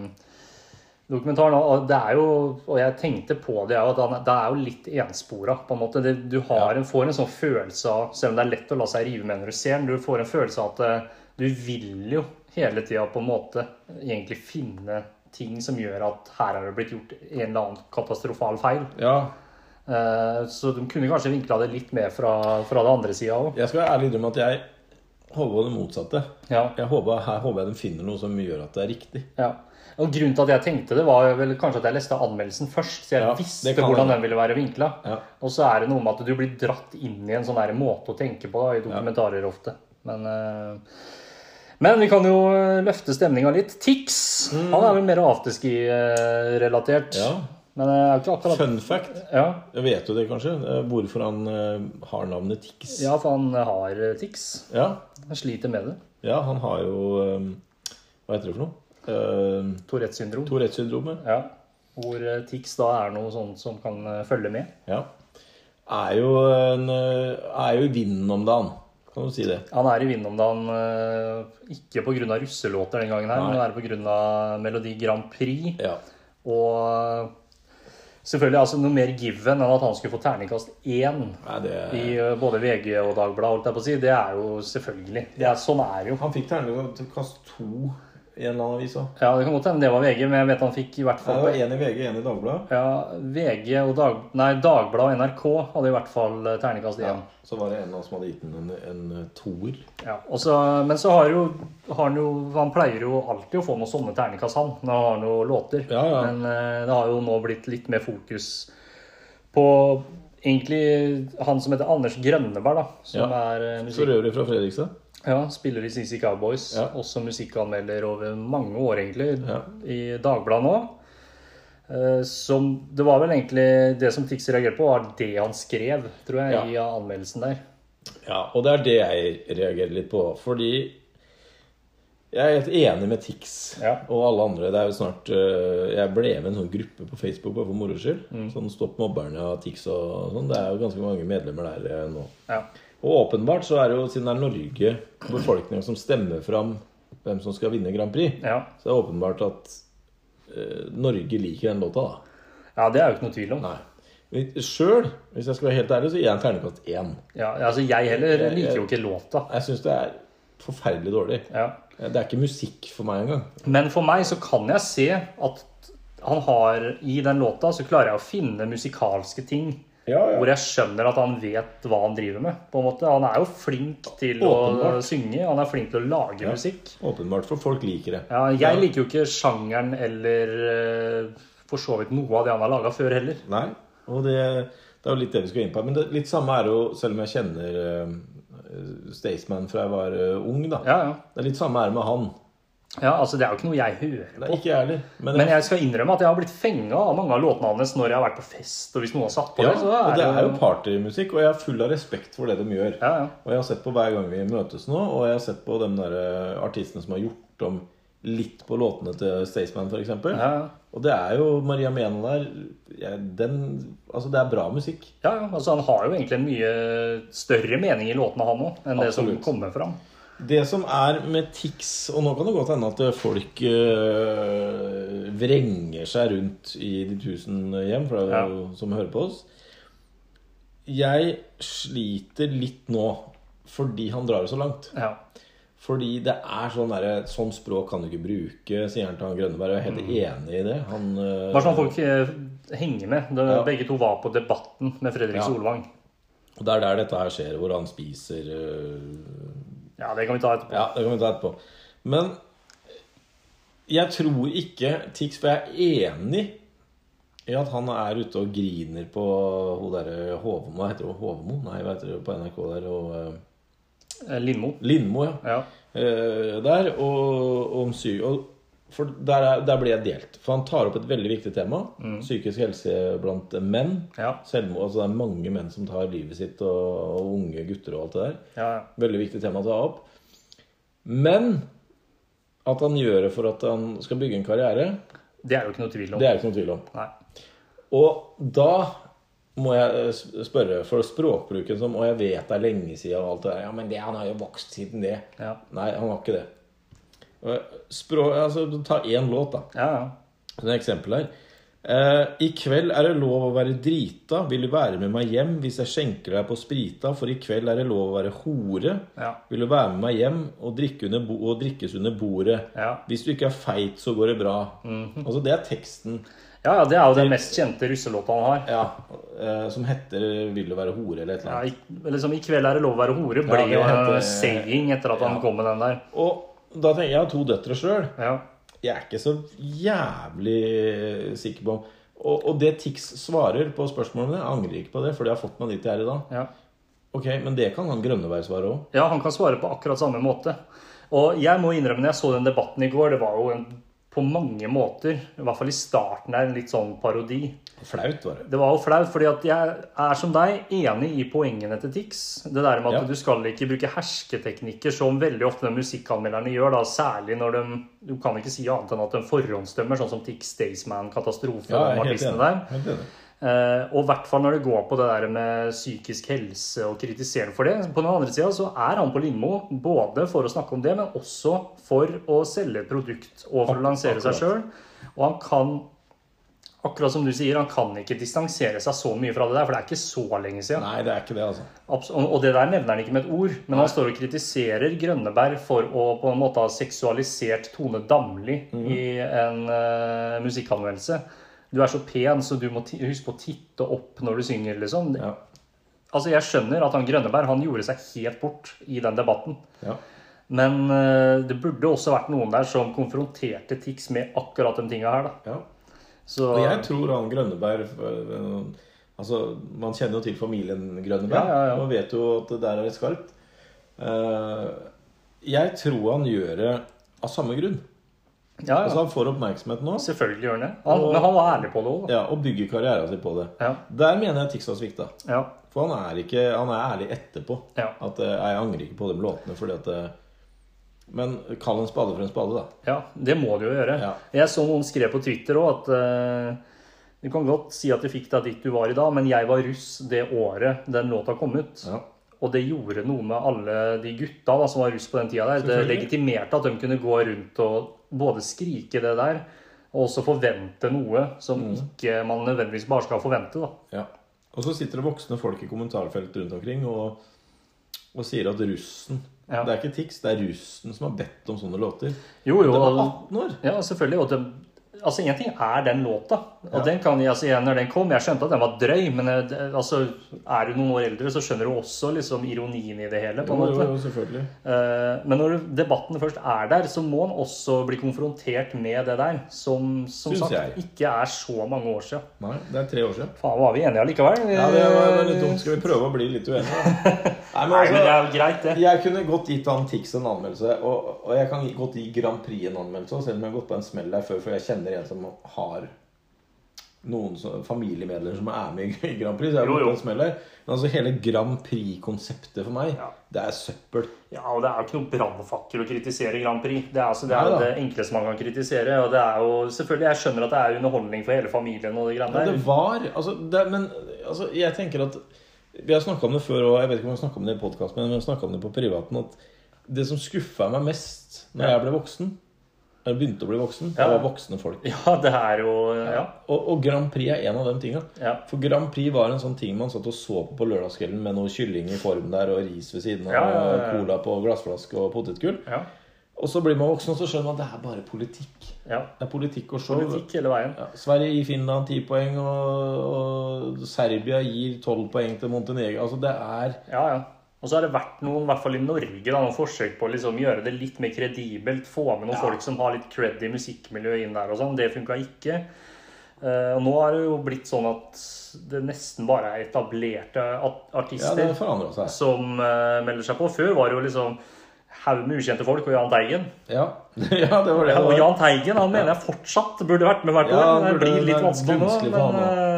Speaker 1: dokumentaren, og det er jo Og jeg tenkte på det, jeg òg, at han- det er jo litt enspora, på en måte. Det, du har en, får en sånn følelse av, selv om det er lett å la seg rive med når du ser den, du får en følelse av at eh, du vil jo hele tida på en måte egentlig finne ting som gjør at her er det blitt gjort en eller annen katastrofal feil.
Speaker 2: Ja,
Speaker 1: Eh, Så de kunne kanskje vinkla det litt mer fra, fra den andre sida òg.
Speaker 2: Jeg skal være ærlig innrømme at jeg håper på det motsatte.
Speaker 1: Ja.
Speaker 2: Jeg håper, her håper jeg de finner noe som gjør at det er riktig.
Speaker 1: Ja. Og Grunnen til at jeg tenkte det, var vel kanskje at jeg leste anmeldelsen først. Så jeg
Speaker 2: Ja,
Speaker 1: visste
Speaker 2: det kan
Speaker 1: hvordan den
Speaker 2: hende.
Speaker 1: ville være vinkla.
Speaker 2: Ja.
Speaker 1: Og så er det noe med at du blir dratt inn i en sånn der måte å tenke på da, i dokumentarer ofte. Men, eh, men vi kan jo eh, løfte stemninga litt. Tix han er vel mer afterski-relatert.
Speaker 2: Mm. Ja.
Speaker 1: Men jeg er ikke akkurat
Speaker 2: Fun fact.
Speaker 1: ja.
Speaker 2: Jeg vet jo det kanskje, eh, hvorfor han eh, har navnet Tix.
Speaker 1: ja, for han har tics.
Speaker 2: ja.
Speaker 1: Han sliter med det.
Speaker 2: Ja, han har jo eh, Hva heter det for noe? Eh,
Speaker 1: Tourettes syndrom.
Speaker 2: Tourettes syndromet.
Speaker 1: Ja. Hvor eh, tics da er noe sånt som kan eh, følge med.
Speaker 2: Ja. Er jo, en, eh, er jo i vinden om dagen, kan du si det.
Speaker 1: Han er i vinden om dagen, eh, ikke pga. russelåter den gangen, her, men det er pga. Melodi Grand Prix.
Speaker 2: Ja.
Speaker 1: Og eh, selvfølgelig altså noe mer given enn at han skulle få terningkast én
Speaker 2: Nei, det,
Speaker 1: i eh, både VG og Dagbladet, holdt jeg på å si. Det er jo selvfølgelig. Det er, sånn er det jo.
Speaker 2: han fikk terningkast to i en eller annen avis òg.
Speaker 1: Ja, det kan godt hende det var VG, men jeg vet han fikk i hvert
Speaker 2: Det
Speaker 1: fall
Speaker 2: var én i VG, én i Dagbladet.
Speaker 1: Ja, VG og Dag... Nei, Dagbladet og NRK hadde i hvert fall eh, terningkast
Speaker 2: Ja.
Speaker 1: igjen.
Speaker 2: Så var det en av oss som hadde gitt den en, en eh, toer.
Speaker 1: Ja. og så- men så har jo, har han jo Han pleier jo alltid å få noen sånne terningkast, han, når han har noen låter.
Speaker 2: Ja, ja.
Speaker 1: Men eh, det har jo nå blitt litt mer fokus på egentlig han som heter Anders Grønneberg, da. Som
Speaker 2: Ja.
Speaker 1: er eh, musikk...
Speaker 2: For øvrig fra Fredrikstad.
Speaker 1: Ja, spiller i CC Cowboys.
Speaker 2: Ja.
Speaker 1: Også musikkanmelder over mange år, egentlig,
Speaker 2: Ja.
Speaker 1: i Dagbladet nå. Eh, Som, det var vel egentlig det som Tix reagerte på, var det han skrev, tror jeg,
Speaker 2: Ja.
Speaker 1: i anmeldelsen der.
Speaker 2: Ja, og det er det jeg reagerer litt på. Fordi jeg er helt enig med Tix
Speaker 1: Ja.
Speaker 2: og alle andre. Det er jo snart øh, Jeg ble med i en sånn gruppe på Facebook bare for moro skyld. Sånn Stopp mobberne og Tix og sånn. Det er jo ganske mange medlemmer der øh, nå.
Speaker 1: Ja.
Speaker 2: Og åpenbart så er det jo, siden det er Norge, befolkninga som stemmer fram hvem som skal vinne Grand Prix,
Speaker 1: Ja.
Speaker 2: så er det åpenbart at øh, Norge liker den låta, da.
Speaker 1: ja, det er jo ikke noe tvil om.
Speaker 2: Nei. Sjøl, hvis jeg skal være helt ærlig, så gir jeg en terningkast én.
Speaker 1: Ja, altså, jeg heller
Speaker 2: Jeg-
Speaker 1: liker
Speaker 2: jeg-
Speaker 1: jo ikke låta.
Speaker 2: Jeg syns det er forferdelig dårlig.
Speaker 1: Ja.
Speaker 2: Det er ikke musikk for meg engang.
Speaker 1: Men for meg så kan jeg se at han har I den låta så klarer jeg å finne musikalske ting
Speaker 2: Ja,
Speaker 1: hvor jeg skjønner at han vet hva han driver med. på en måte. Han er jo flink til å
Speaker 2: Åpenbart.
Speaker 1: synge, han er flink til å lage
Speaker 2: Ja.
Speaker 1: musikk.
Speaker 2: Åpenbart, for folk liker det.
Speaker 1: Ja, jeg liker jo ikke sjangeren eller eh, for så vidt noe av det han har laga før heller.
Speaker 2: Nei, og det, det er jo litt det vi skal inn på. Men det, litt samme er det jo, selv om jeg kjenner eh, Staysman fra jeg var eh, ung, da.
Speaker 1: Ja, ja.
Speaker 2: Det er litt samme er det med han.
Speaker 1: ja, altså Det er jo ikke noe jeg hører.
Speaker 2: Det er ikke jeg heller. Men,
Speaker 1: Men jeg skal innrømme at jeg har blitt fenga av mange av låtene hans når jeg har vært på fest. Og hvis noen har satt på
Speaker 2: ja,
Speaker 1: det, så
Speaker 2: og
Speaker 1: er
Speaker 2: det er jo
Speaker 1: jo
Speaker 2: partymusikk, og jeg er full av respekt for det de gjør.
Speaker 1: ja, ja.
Speaker 2: Og jeg har sett på hver gang vi møtes nå, og jeg har sett på de der eh, artistene som har gjort om litt på låtene til Staysman, f.eks.
Speaker 1: Ja, ja.
Speaker 2: Og det er jo Maria Mena der jeg, den, Altså, det er bra musikk.
Speaker 1: Ja, ja, altså Han har jo egentlig en mye større mening i låtene, han òg, enn det som
Speaker 2: Absolutt.
Speaker 1: kommer fram.
Speaker 2: Det som er med Tix Og nå kan det godt hende at folk øh, vrenger seg rundt i de tusen hjem for det er jo som hører på oss. Jeg sliter litt nå fordi han drar det så langt.
Speaker 1: Ja.
Speaker 2: Fordi det er sånn derre Sånn språk kan du ikke bruke, sier han til han Grønneberg. Jeg er helt enig i det. Han, øh,
Speaker 1: Bare sånn at folk eh, henger med. Da
Speaker 2: Ja.
Speaker 1: Begge to var på Debatten med Fredrik
Speaker 2: Ja.
Speaker 1: Solvang.
Speaker 2: og det er der dette her skjer, hvor han spiser øh,
Speaker 1: Ja, det kan vi ta etterpå.
Speaker 2: Ja, det kan vi ta etterpå. Men jeg tror ikke Tix, for jeg er enig i at han er ute og griner på hun derre Hovmo Hva heter hun? Hovmo? Nei, hva heter det på NRK der? Og, eh,
Speaker 1: Eh, Lindmo.
Speaker 2: Lindmo, ja.
Speaker 1: Ja.
Speaker 2: Eh, der. Og, og om sy... Og, for der, er, der ble jeg delt. For han tar opp et veldig viktig tema. Psykisk helse blant menn.
Speaker 1: Ja.
Speaker 2: Selvmord. Altså det er mange menn som tar livet sitt, og, og unge gutter og alt det der.
Speaker 1: ja, ja.
Speaker 2: Veldig viktig tema å ta opp. Men at han gjør det for at han skal bygge en karriere,
Speaker 1: Det er jo ikke noe tvil om.
Speaker 2: det er det ikke noen tvil om.
Speaker 1: Nei.
Speaker 2: Og da må jeg eh, sp- spørre, for språkbruken som Og jeg vet det er lenge siden og alt det der. Ja, men det, han har jo vokst siden det.
Speaker 1: Ja.
Speaker 2: Nei, han har ikke det. Og Språk, altså, ta én låt, da.
Speaker 1: Ja, ja.
Speaker 2: Som et eksempel her. Eh, I kveld er det lov å være drita. Vil du være med meg hjem hvis jeg skjenker deg på sprita? For i kveld er det lov å være hore.
Speaker 1: Ja.
Speaker 2: Vil du være med meg hjem og, drikke under bo og drikkes under bordet?
Speaker 1: Ja.
Speaker 2: Hvis du ikke er feit, så går det bra. Altså, det er teksten
Speaker 1: ja, ja, det er jo den mest kjente russelåta han har.
Speaker 2: ja, eh, som heter 'Vil du være hore?' eller et eller
Speaker 1: Ja,
Speaker 2: annet.
Speaker 1: i, liksom, I kveld er det lov å være hore, ble
Speaker 2: det
Speaker 1: jo en
Speaker 2: heter-
Speaker 1: saying etter at han
Speaker 2: Ja.
Speaker 1: kom med den der.
Speaker 2: Og da tenker jeg, jeg har to døtre sjøl.
Speaker 1: Ja.
Speaker 2: Jeg er ikke så jævlig eh, sikker på om og, og det Tix svarer på spørsmålene, jeg angrer ikke på det, for det har fått meg dit jeg er i dag.
Speaker 1: Ja.
Speaker 2: Ok, Men det kan han Grønneberg svare òg.
Speaker 1: Ja, han kan svare på akkurat samme måte. Og jeg må innrømme, når jeg så den debatten i går, det var jo en, på mange måter, i hvert fall i starten her, en litt sånn parodi.
Speaker 2: Flaut, var det.
Speaker 1: Det var jo flaut, fordi at jeg er som deg enig i poengene til Tix. Det der med at
Speaker 2: Ja.
Speaker 1: du skal ikke bruke hersketeknikker som veldig ofte de musikkanmelderne gjør, da, særlig når de Du kan ikke si annet enn at de forhåndsdømmer, sånn som Tix Staysman, Katastrofe og
Speaker 2: Ja,
Speaker 1: de
Speaker 2: jeg er helt
Speaker 1: artistene der.
Speaker 2: enig. Helt enig.
Speaker 1: Eh, og i hvert fall når det går på det der med psykisk helse og kritisere for det. På den andre sida så er han på Lindmo både for å snakke om det, men også for å selge et produkt og for å lansere seg sjøl. Og han kan akkurat som du sier, han kan ikke distansere seg så mye fra det der, for det er ikke så lenge siden.
Speaker 2: Nei, det er ikke det, altså.
Speaker 1: Abs- og- og det der nevner han ikke med et ord, men han står og kritiserer Grønneberg for å på en måte ha seksualisert Tone Damli
Speaker 2: Mhm.
Speaker 1: i en eh, musikkanmeldelse. Du er så pen, så du må ti- huske på å titte opp når du synger, liksom.
Speaker 2: Ja.
Speaker 1: Altså, jeg skjønner at han Grønneberg han gjorde seg helt bort i den debatten.
Speaker 2: ja.
Speaker 1: Men eh, det burde også vært noen der som konfronterte Tix med akkurat de tinga her, da.
Speaker 2: ja.
Speaker 1: Så,
Speaker 2: Og jeg tror han Grønneberg øh, Altså, Man kjenner jo til familien Grønneberg
Speaker 1: Ja, ja, ja.
Speaker 2: og vet jo at det der er skarpt. Eh, jeg tror han gjør det av samme grunn.
Speaker 1: ja,
Speaker 2: Altså
Speaker 1: ja.
Speaker 2: Han får oppmerksomhet nå
Speaker 1: Selvfølgelig gjør han det. Han, men han var ærlig på det òg, da.
Speaker 2: ja, og bygger karrieren sin på det.
Speaker 1: Ja.
Speaker 2: Der mener jeg Tix har svikta.
Speaker 1: Ja.
Speaker 2: For han er, ikke, han er ærlig etterpå.
Speaker 1: Ja.
Speaker 2: At eh, Jeg angrer ikke på de låtene fordi at eh, Men kall en spade for en spade, da.
Speaker 1: ja, det må du jo gjøre.
Speaker 2: Ja.
Speaker 1: Jeg så noen skrev på Twitter òg at eh, du kan godt si at du fikk deg dit du var i dag, men jeg var russ det året den låta kom ut.
Speaker 2: Ja.
Speaker 1: Og det gjorde noe med alle de gutta da, som var russ på den tida der. Det
Speaker 2: Selvfølgelig.
Speaker 1: legitimerte at de kunne gå rundt og både skrike det der, og også forvente noe som ikke man nødvendigvis bare skal forvente. da.
Speaker 2: Ja. Og så sitter det voksne folk i kommentarfelt rundt omkring og, og sier at russen
Speaker 1: Ja.
Speaker 2: Det er ikke Tix, det er russen som har bedt om sånne låter.
Speaker 1: Jo, jo,
Speaker 2: De var
Speaker 1: og-
Speaker 2: 18 år.
Speaker 1: Ja, selvfølgelig. Og det, altså, en ting er den låta. Og
Speaker 2: Ja.
Speaker 1: den kan jeg, altså, jeg- når den kom, jeg skjønte at den var drøy, men eh, det- altså, er du noen år eldre, så skjønner du også liksom ironien i det hele. på en
Speaker 2: Jo,
Speaker 1: måte.
Speaker 2: jo, jo, selvfølgelig.
Speaker 1: Eh, Men når debatten først er der, så må man også bli konfrontert med det der, som som
Speaker 2: Syns
Speaker 1: sagt
Speaker 2: jeg.
Speaker 1: ikke er så mange år siden.
Speaker 2: Nei, det er tre år siden.
Speaker 1: Faen, var vi enige allikevel?
Speaker 2: Ja, det var, det var litt dumt. Skal vi prøve å bli litt uenige? da? Nei, men
Speaker 1: Nei, men det
Speaker 2: altså,
Speaker 1: er jo greit, det.
Speaker 2: jeg kunne godt gitt han Tix en anmeldelse, og, og jeg kan godt gi Grand Prix en anmeldelse, selv om jeg har gått på en smell der før, for jeg kjenner en som har noen som, familiemedlemmer som er med i Grand Prix. Så jeg har
Speaker 1: Jo,
Speaker 2: gått
Speaker 1: jo.
Speaker 2: på en smell der. Men altså, hele Grand Prix-konseptet for meg,
Speaker 1: Ja.
Speaker 2: det er søppel.
Speaker 1: Ja, og det er jo ikke noen brannfakkel å kritisere Grand Prix. Det er, altså, det, er
Speaker 2: Neida.
Speaker 1: jo det enkleste man kan kritisere. Og det er jo, selvfølgelig, jeg skjønner at det er underholdning for hele familien og de
Speaker 2: Ja,
Speaker 1: greiene der.
Speaker 2: det var altså, det, Men altså, jeg tenker at Vi har snakka om det før, og jeg vet ikke om vi har snakket om det i podkasten, men vi har snakket om det på privaten, at det som skuffa meg mest når jeg ble voksen Eller begynte å bli voksen, det
Speaker 1: Ja.
Speaker 2: var voksne folk.
Speaker 1: Ja, det er jo Ja.
Speaker 2: Og, og Grand Prix er en av de tinga.
Speaker 1: Ja.
Speaker 2: For Grand Prix var en sånn ting man satt og så på på lørdagskvelden med noe kylling i form der og ris ved siden av
Speaker 1: Ja, ja, ja, ja.
Speaker 2: og cola på glassflaske og potetgull.
Speaker 1: ja,
Speaker 2: Og så blir man voksen, og så skjønner man at det er bare politikk.
Speaker 1: ja.
Speaker 2: Det er politikk og show.
Speaker 1: Politikk hele veien.
Speaker 2: Ja, Sverige gir Finland 10 poeng, og, og Serbia gir 12 poeng til Montenegro. Altså, det er
Speaker 1: Ja, ja. Og så har det vært noen, i hvert fall i Norge, da, noen forsøk på å liksom gjøre det litt mer kredibelt. Få med noen folk som har litt cred i musikkmiljøet inn der og sånn. Det funka ikke. Eh, Og nå er det jo blitt sånn at det nesten bare er etablerte at-
Speaker 2: Ja,
Speaker 1: artister
Speaker 2: det forandra seg.
Speaker 1: som eh, melder seg på. Før var det jo liksom haug med ukjente folk og Jahn Teigen.
Speaker 2: Ja. ja, det var det.
Speaker 1: Ja, og Jahn Teigen han mener jeg fortsatt burde vært med hvert
Speaker 2: Ja,
Speaker 1: år.
Speaker 2: han
Speaker 1: men det
Speaker 2: burde-
Speaker 1: blir
Speaker 2: det
Speaker 1: litt
Speaker 2: er
Speaker 1: vanskelig nå.
Speaker 2: vanskelig for
Speaker 1: Men eh,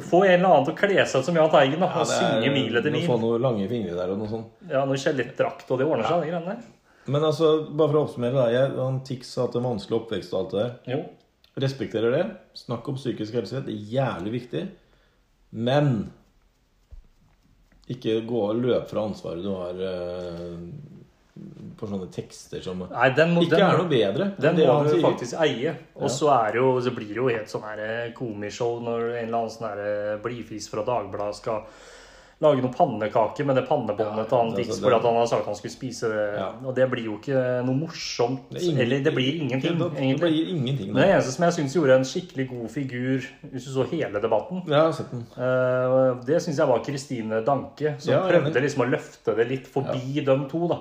Speaker 1: få en eller annen til å kle seg ut som Jahn Teigen da,
Speaker 2: Ja,
Speaker 1: og
Speaker 2: det er-
Speaker 1: synge mil etter
Speaker 2: må
Speaker 1: mil.
Speaker 2: Få noen lange fingre der og noe sånt.
Speaker 1: Ja, noe skjelettdrakt, og det ordner seg, de greiene der.
Speaker 2: Men altså, bare for å oppsummere, da. Jeg, han Tix har hatt en vanskelig oppvekst og alt det der.
Speaker 1: Jo.
Speaker 2: Respekterer det. Snakk om psykisk helse. Det er jævlig viktig. Men ikke gå og løp fra ansvaret du har eh, for sånne tekster som
Speaker 1: Nei, den må,
Speaker 2: ikke
Speaker 1: den,
Speaker 2: er noe bedre. enn
Speaker 1: den
Speaker 2: det
Speaker 1: må
Speaker 2: han
Speaker 1: du
Speaker 2: sier.
Speaker 1: faktisk eie. Og så er det jo, så blir det jo helt sånn her eh, komishow når en eller annen sånn her eh, blidfis fra Dagbladet skal lage noen pannekaker med det pannebåndet
Speaker 2: Ja,
Speaker 1: til han
Speaker 2: altså,
Speaker 1: Dix
Speaker 2: det-
Speaker 1: fordi at han har sagt han skulle spise det.
Speaker 2: Ja.
Speaker 1: Og det blir jo ikke noe morsomt.
Speaker 2: Det er ingen-
Speaker 1: Eller det blir ingenting,
Speaker 2: Det
Speaker 1: egentlig.
Speaker 2: blir ingenting.
Speaker 1: Men det eneste som jeg syns gjorde en skikkelig god figur, hvis du så hele debatten,
Speaker 2: Jeg har sett den.
Speaker 1: eh, det syns jeg var Kristine Danke, som
Speaker 2: Ja, jeg er enig.
Speaker 1: prøvde liksom å løfte det litt forbi dem to, da.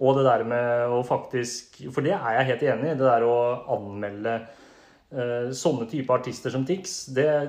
Speaker 1: Og det der med å faktisk For det er jeg helt enig i. Det der å anmelde eh, sånne type artister som Tix, det,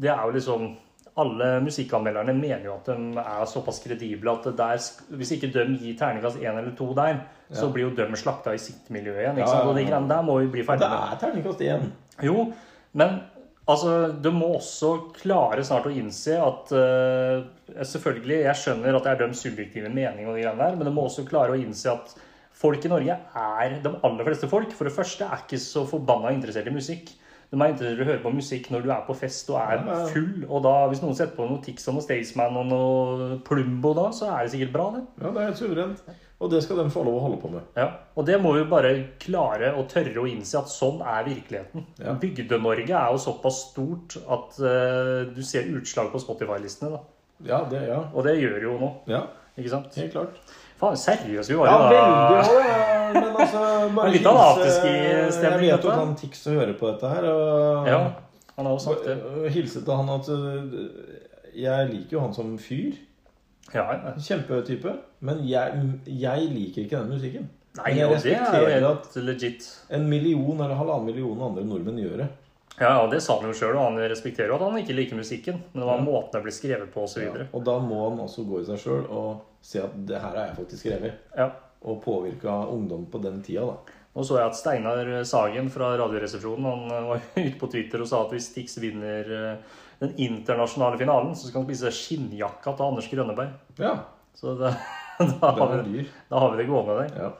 Speaker 1: det er jo liksom alle musikkanmelderne mener jo at de er såpass kredible at det der, sk- hvis ikke de gir terningkast én eller to der, så blir jo de slakta i sitt miljø igjen. Ikke
Speaker 2: Ja,
Speaker 1: sant?
Speaker 2: ja,
Speaker 1: Og de
Speaker 2: ja.
Speaker 1: greiene der må vi bli ferdig
Speaker 2: Det
Speaker 1: med.
Speaker 2: er terningkast én.
Speaker 1: Jo, men altså, du må også klare snart å innse at eh, Selvfølgelig, jeg skjønner at det er dømt subjektive mening og de greiene der, men du må også klare å innse at folk i Norge er de aller fleste folk. For det første er ikke så forbanna interessert i musikk. De er interessert i å høre på musikk når du er på fest og er
Speaker 2: Ja, ja.
Speaker 1: full. Og da, hvis noen setter på noe Tix og noe Staysman og noe Plumbo da, så er det sikkert bra, det.
Speaker 2: Ja, det er helt suverent. Og det skal de få lov å holde på med.
Speaker 1: Ja, og det må vi bare klare og tørre å innse at sånn er virkeligheten.
Speaker 2: Ja.
Speaker 1: Bygde-Norge er jo såpass stort at eh, du ser utslag på Spotify-listene. da.
Speaker 2: Ja, det, ja.
Speaker 1: Og det gjør jo nå,
Speaker 2: ja
Speaker 1: ikke sant?
Speaker 2: helt klart.
Speaker 1: Faen, seriøst, vi var
Speaker 2: Ja,
Speaker 1: jo
Speaker 2: veldig bra, ja. Men altså bare
Speaker 1: Men litt av
Speaker 2: hilse-
Speaker 1: afterski-stemning,
Speaker 2: Jeg vet jo
Speaker 1: dette.
Speaker 2: at han Tix hører på dette her. Og
Speaker 1: Ja, han har jo sagt det.
Speaker 2: og hilse til han at øh, jeg liker jo han som fyr.
Speaker 1: Ja, ja.
Speaker 2: Kjempetype. Men jeg, jeg liker ikke den musikken.
Speaker 1: Nei,
Speaker 2: Men jeg
Speaker 1: og det er jo
Speaker 2: respekterer
Speaker 1: helt legit.
Speaker 2: En million eller halvannen million andre nordmenn gjør det.
Speaker 1: Ja, og det sa han jo sjøl, og han respekterer jo at han ikke liker musikken. Men det var måten det ble skrevet på, osv.
Speaker 2: Ja. Og da må han også gå i seg sjøl og se at det her har jeg faktisk skrevet.
Speaker 1: Ja.
Speaker 2: Og påvirka ungdom på den tida, da.
Speaker 1: Nå så jeg at Steinar eh, Sagen fra Radioresepsjonen han eh, var ute på Twitter og sa at hvis Tix vinner eh, den internasjonale finalen, så skal han spise skinnjakka til Anders Grønneberg.
Speaker 2: Ja.
Speaker 1: Så det, da, har
Speaker 2: Den er
Speaker 1: vi,
Speaker 2: dyr.
Speaker 1: da har vi det gående der.
Speaker 2: Ja.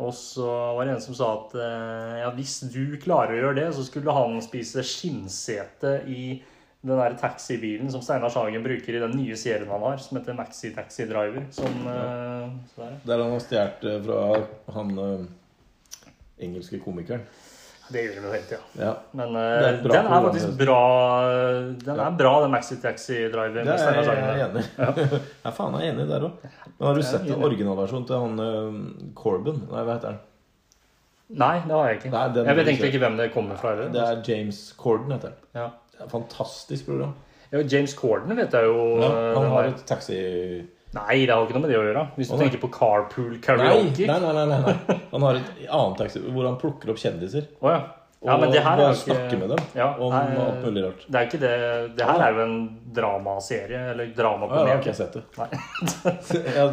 Speaker 2: Og
Speaker 1: Og så var det en som sa at eh, ja, hvis du klarer å gjøre det, så skulle han spise skinnsete i den der taxibilen som Steinar Sagen bruker i den nye serien han har, som heter Maxi Taxi Driver. Som, eh, så der.
Speaker 2: Der han har stjålet eh, fra han øh, engelske komikeren.
Speaker 1: Det gjør han jo hele tida.
Speaker 2: Ja.
Speaker 1: Men
Speaker 2: Det
Speaker 1: eh,
Speaker 2: er et bra
Speaker 1: den er
Speaker 2: program,
Speaker 1: faktisk
Speaker 2: det.
Speaker 1: bra, den er bra, den Maxi Taxi Driver.
Speaker 2: Det
Speaker 1: med
Speaker 2: er
Speaker 1: Steinar
Speaker 2: jeg,
Speaker 1: Sagen.
Speaker 2: enig i. Ja, faen, jeg er enig der òg. Men har du sett
Speaker 1: enig.
Speaker 2: originalversjonen til han øh, Corbin? Nei, hva heter han?
Speaker 1: Nei, det har jeg ikke.
Speaker 2: Nei, den
Speaker 1: jeg vet
Speaker 2: må du
Speaker 1: egentlig
Speaker 2: se.
Speaker 1: ikke hvem det kommer fra. Eller?
Speaker 2: Det er James Corden, heter han.
Speaker 1: Ja.
Speaker 2: Det er et Fantastisk program.
Speaker 1: Ja, James Corden vet jeg jo
Speaker 2: Ja,
Speaker 1: eh,
Speaker 2: han
Speaker 1: det
Speaker 2: har
Speaker 1: var-
Speaker 2: et taxi...
Speaker 1: Nei, det har ikke noe med det å gjøre. Hvis du
Speaker 2: Å, nei.
Speaker 1: tenker på Carpool
Speaker 2: Nei,
Speaker 1: Karaoke.
Speaker 2: nei, nei, nei, nei. Han har et annet taxi hvor han plukker opp kjendiser.
Speaker 1: Å ja. ja.
Speaker 2: Og
Speaker 1: Men det her er
Speaker 2: bare
Speaker 1: jo ikke
Speaker 2: snakker med dem
Speaker 1: ja,
Speaker 2: om
Speaker 1: nei,
Speaker 2: alt mulig rart.
Speaker 1: Det er ikke det. Det her er jo en dramaserie, eller drama
Speaker 2: Ja,
Speaker 1: på
Speaker 2: jeg
Speaker 1: mer.
Speaker 2: har ikke sett det. Ja,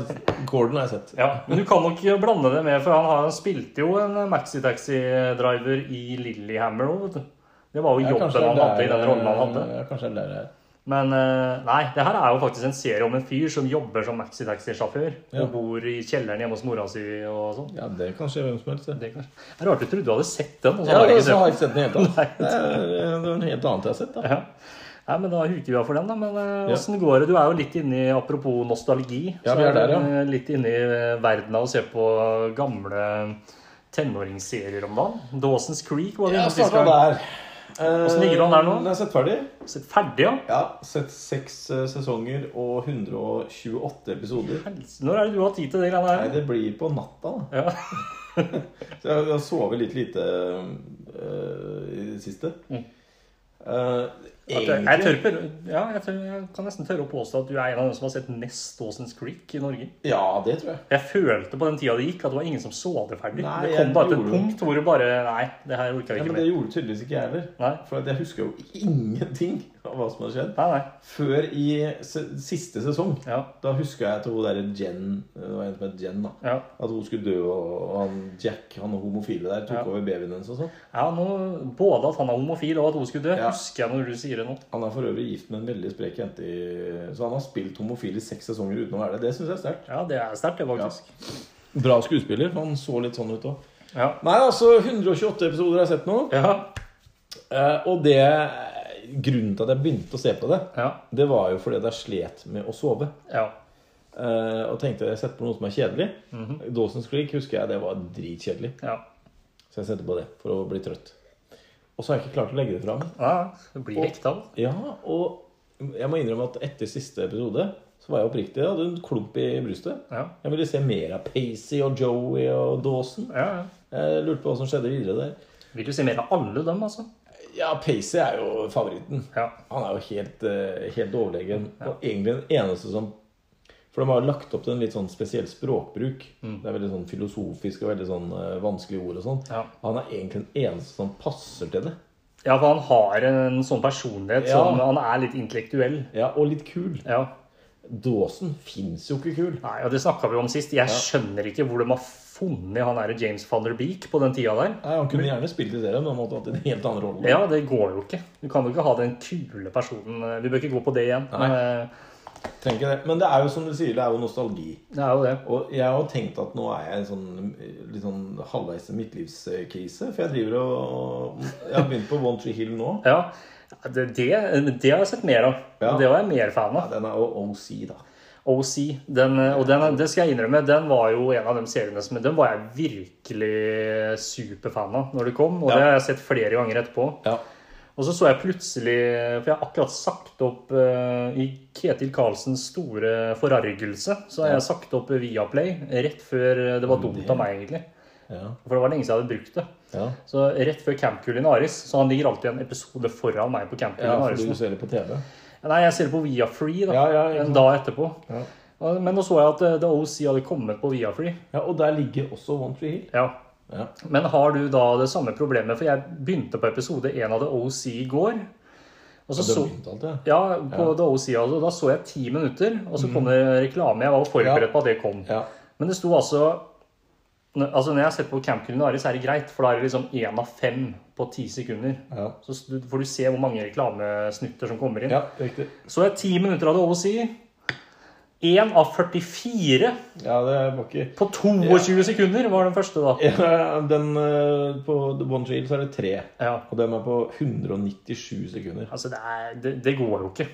Speaker 2: Gordon har jeg sett.
Speaker 1: Ja, men du kan nok blande det med, for han, har, han spilte jo en Maxi Taxi Driver i Lillehammer òg, vet du. Det var jo
Speaker 2: Ja,
Speaker 1: jobben
Speaker 2: kanskje det er eh,
Speaker 1: han hadde i
Speaker 2: der-
Speaker 1: den rollen han hadde.
Speaker 2: Ja, kanskje det er der jeg er.
Speaker 1: Men eh, nei, det her er jo faktisk en serie om en fyr som jobber som Maxi Taxi-sjåfør.
Speaker 2: Ja.
Speaker 1: Og bor i kjelleren hjemme hos mora si og sånn.
Speaker 2: Ja, det kan skje hvem som helst. Det.
Speaker 1: Det er kanskje- det er rart du trodde du hadde sett den. Og så
Speaker 2: Ja,
Speaker 1: har du
Speaker 2: det,
Speaker 1: ikke
Speaker 2: så
Speaker 1: sett
Speaker 2: har
Speaker 1: den.
Speaker 2: jeg ikke sett den i det hele tatt. Det er det er en helt annen jeg har sett. da.
Speaker 1: Ja. Nei, men da huker vi av for den, da. Men eh, åssen går det? Du er jo litt inni, apropos nostalgi,
Speaker 2: Ja, vi er der, ja.
Speaker 1: eh, litt inni eh, verden av å se på gamle tenåringsserier om dagen. Dawson's Creek var det
Speaker 2: Jeg
Speaker 1: innom sist
Speaker 2: starta
Speaker 1: gang.
Speaker 2: der.
Speaker 1: Åssen ligger han der nå?
Speaker 2: Eh, Jeg har sett ferdig.
Speaker 1: Sett ferdig, ja.
Speaker 2: Ja, Sett seks eh, sesonger og 128 episoder.
Speaker 1: Helse- Når er det du har tid til det greiene
Speaker 2: Nei,
Speaker 1: her?
Speaker 2: det blir på natta, da.
Speaker 1: Ja.
Speaker 2: Så jeg har sovet litt lite eh, i det siste. Eh,
Speaker 1: At Mm. Jeg, jeg, tør, på- ja, jeg, tør, jeg kan nesten tørre å påstå at du er en av dem som har sett mest Dawson's Creek i Norge.
Speaker 2: Ja, det tror jeg.
Speaker 1: Jeg følte på den tida det gikk, at det var ingen som så det ferdig.
Speaker 2: Nei,
Speaker 1: det
Speaker 2: jeg
Speaker 1: kom bare til et
Speaker 2: gjorde-
Speaker 1: punkt hvor du bare Nei, det her orker
Speaker 2: Ja,
Speaker 1: jeg
Speaker 2: men
Speaker 1: ikke
Speaker 2: det
Speaker 1: mer.
Speaker 2: gjorde tydeligvis ikke jeg heller.
Speaker 1: Nei.
Speaker 2: For at jeg husker jo ingenting av hva som har skjedd.
Speaker 1: Nei, nei.
Speaker 2: Før i se siste sesong.
Speaker 1: Ja.
Speaker 2: Da husker jeg at hun derre Jen Det var en som het Jen, da.
Speaker 1: ja.
Speaker 2: At hun skulle dø, og og han Jack, han homofile der, tok
Speaker 1: Ja.
Speaker 2: over babyen hennes og sånn.
Speaker 1: Ja, nå, Både at han er homofil og at hun skulle dø,
Speaker 2: Ja.
Speaker 1: husker jeg når du sier det nå.
Speaker 2: Han er for øvrig gift med en veldig sprek jente i Så han har spilt homofil i seks sesonger uten å være det. Det syns jeg er sterkt.
Speaker 1: Ja, det er sterkt, det, faktisk.
Speaker 2: Bra skuespiller. for Han så litt sånn ut òg.
Speaker 1: Ja.
Speaker 2: Nei, altså 128 episoder har jeg sett nå.
Speaker 1: Ja.
Speaker 2: Eh, Og det Grunnen til at jeg begynte å se på det,
Speaker 1: Ja.
Speaker 2: det var jo fordi at jeg slet med å sove.
Speaker 1: ja.
Speaker 2: Eh, Og tenkte at jeg setter på noe som er kjedelig. Dawson's Creek husker jeg det var dritkjedelig.
Speaker 1: ja.
Speaker 2: Så jeg setter på det for å bli trøtt. Og så har jeg ikke klart å legge det fra meg.
Speaker 1: ja. Det blir altså. hekta. da.
Speaker 2: Ja, og jeg må innrømme at etter siste episode så var jeg oppriktig. Jeg hadde en klump i brystet.
Speaker 1: Ja.
Speaker 2: Jeg ville se mer av Pacey og Joey og Dawson.
Speaker 1: ja. ja.
Speaker 2: Jeg lurte på hva som skjedde videre der.
Speaker 1: Vil du se mer av alle dem, altså?
Speaker 2: Ja, Pacey er jo favoritten.
Speaker 1: Ja.
Speaker 2: Han er jo helt, eh, helt overlegen. Og egentlig den eneste som For de har lagt opp til en litt sånn spesiell språkbruk. Det er veldig sånn filosofisk og veldig sånn eh, vanskelige ord og sånn.
Speaker 1: Ja.
Speaker 2: Han er egentlig den eneste som passer til det.
Speaker 1: Ja, for han har en sånn personlighet
Speaker 2: Ja.
Speaker 1: som Han er litt intellektuell.
Speaker 2: Ja, Og litt kul.
Speaker 1: Ja.
Speaker 2: Dåsen fins jo ikke kul.
Speaker 1: Nei, og Det snakka vi om sist. Jeg skjønner ikke hvor de har funnet han der James van der Beek på den tida der.
Speaker 2: Nei, Han kunne gjerne spilt i serien, men han måtte hatt en helt annen rolle.
Speaker 1: Ja, det går jo ikke. Du kan jo ikke ha den kule personen Vi bør ikke gå på det igjen.
Speaker 2: Nei.
Speaker 1: Men eh,
Speaker 2: Trenger ikke det. Men det er jo som du sier, det er jo nostalgi.
Speaker 1: det er jo det.
Speaker 2: Og jeg har tenkt at nå er jeg i en sånn, litt sånn halvveis midtlivskrise. For jeg driver og Jeg har begynt på One Tree Hill nå.
Speaker 1: Ja, det, det, det har jeg sett mer av.
Speaker 2: Ja.
Speaker 1: Og det var jeg mer fan
Speaker 2: Ja,
Speaker 1: av.
Speaker 2: Den er jo OC, da.
Speaker 1: OC. Den, og den, det skal jeg innrømme, den var jo en av de seriene som Den var jeg virkelig superfan av når det kom, og
Speaker 2: Ja.
Speaker 1: det har jeg sett flere ganger etterpå.
Speaker 2: Ja.
Speaker 1: Og så så jeg plutselig, for jeg har akkurat sagt opp eh, i Ketil Karlsens store forargelse, så har jeg sagt opp Viaplay rett før Det var dumt av meg, egentlig.
Speaker 2: Ja.
Speaker 1: For det var lenge siden jeg hadde brukt det.
Speaker 2: Ja.
Speaker 1: Så rett før Camp Culinaris, så han ligger alltid en episode foran meg på Camp
Speaker 2: ja, for
Speaker 1: Culinaris.
Speaker 2: du ser det på TV.
Speaker 1: Nei, jeg ser det på Viafree da,
Speaker 2: Ja, ja, ikke
Speaker 1: en dag etterpå.
Speaker 2: Ja.
Speaker 1: Og- Men nå så jeg at eh, The OC hadde kommet på Viafree.
Speaker 2: Ja, Og der ligger også One Tree Hill.
Speaker 1: Ja.
Speaker 2: Ja.
Speaker 1: Men har du da det samme problemet? For jeg begynte på episode 1 av The OC i går. Og så
Speaker 2: Det
Speaker 1: så,
Speaker 2: har begynt alt, ja. Mm.
Speaker 1: ja, på The OC altså, da så jeg ti minutter, og så kom det reklame. Jeg var jo
Speaker 2: Ja.
Speaker 1: forberedt på at det kom.
Speaker 2: Ja.
Speaker 1: Men det sto altså Altså Når jeg har sett på Camp Culinaris, er det greit, for da er det liksom én av fem på ti sekunder.
Speaker 2: Ja.
Speaker 1: Så s- du- får du se hvor mange reklamesnutter som kommer inn.
Speaker 2: ja, riktig.
Speaker 1: Så jeg ti minutter av det OC. Én av 44
Speaker 2: Ja, det var ikke
Speaker 1: på 22 sekunder var den første, da.
Speaker 2: ja, den, eh, På One Tree Hill så er det tre.
Speaker 1: Ja.
Speaker 2: Og dem er på 197 sekunder.
Speaker 1: Altså, det, er, det, det går jo ikke.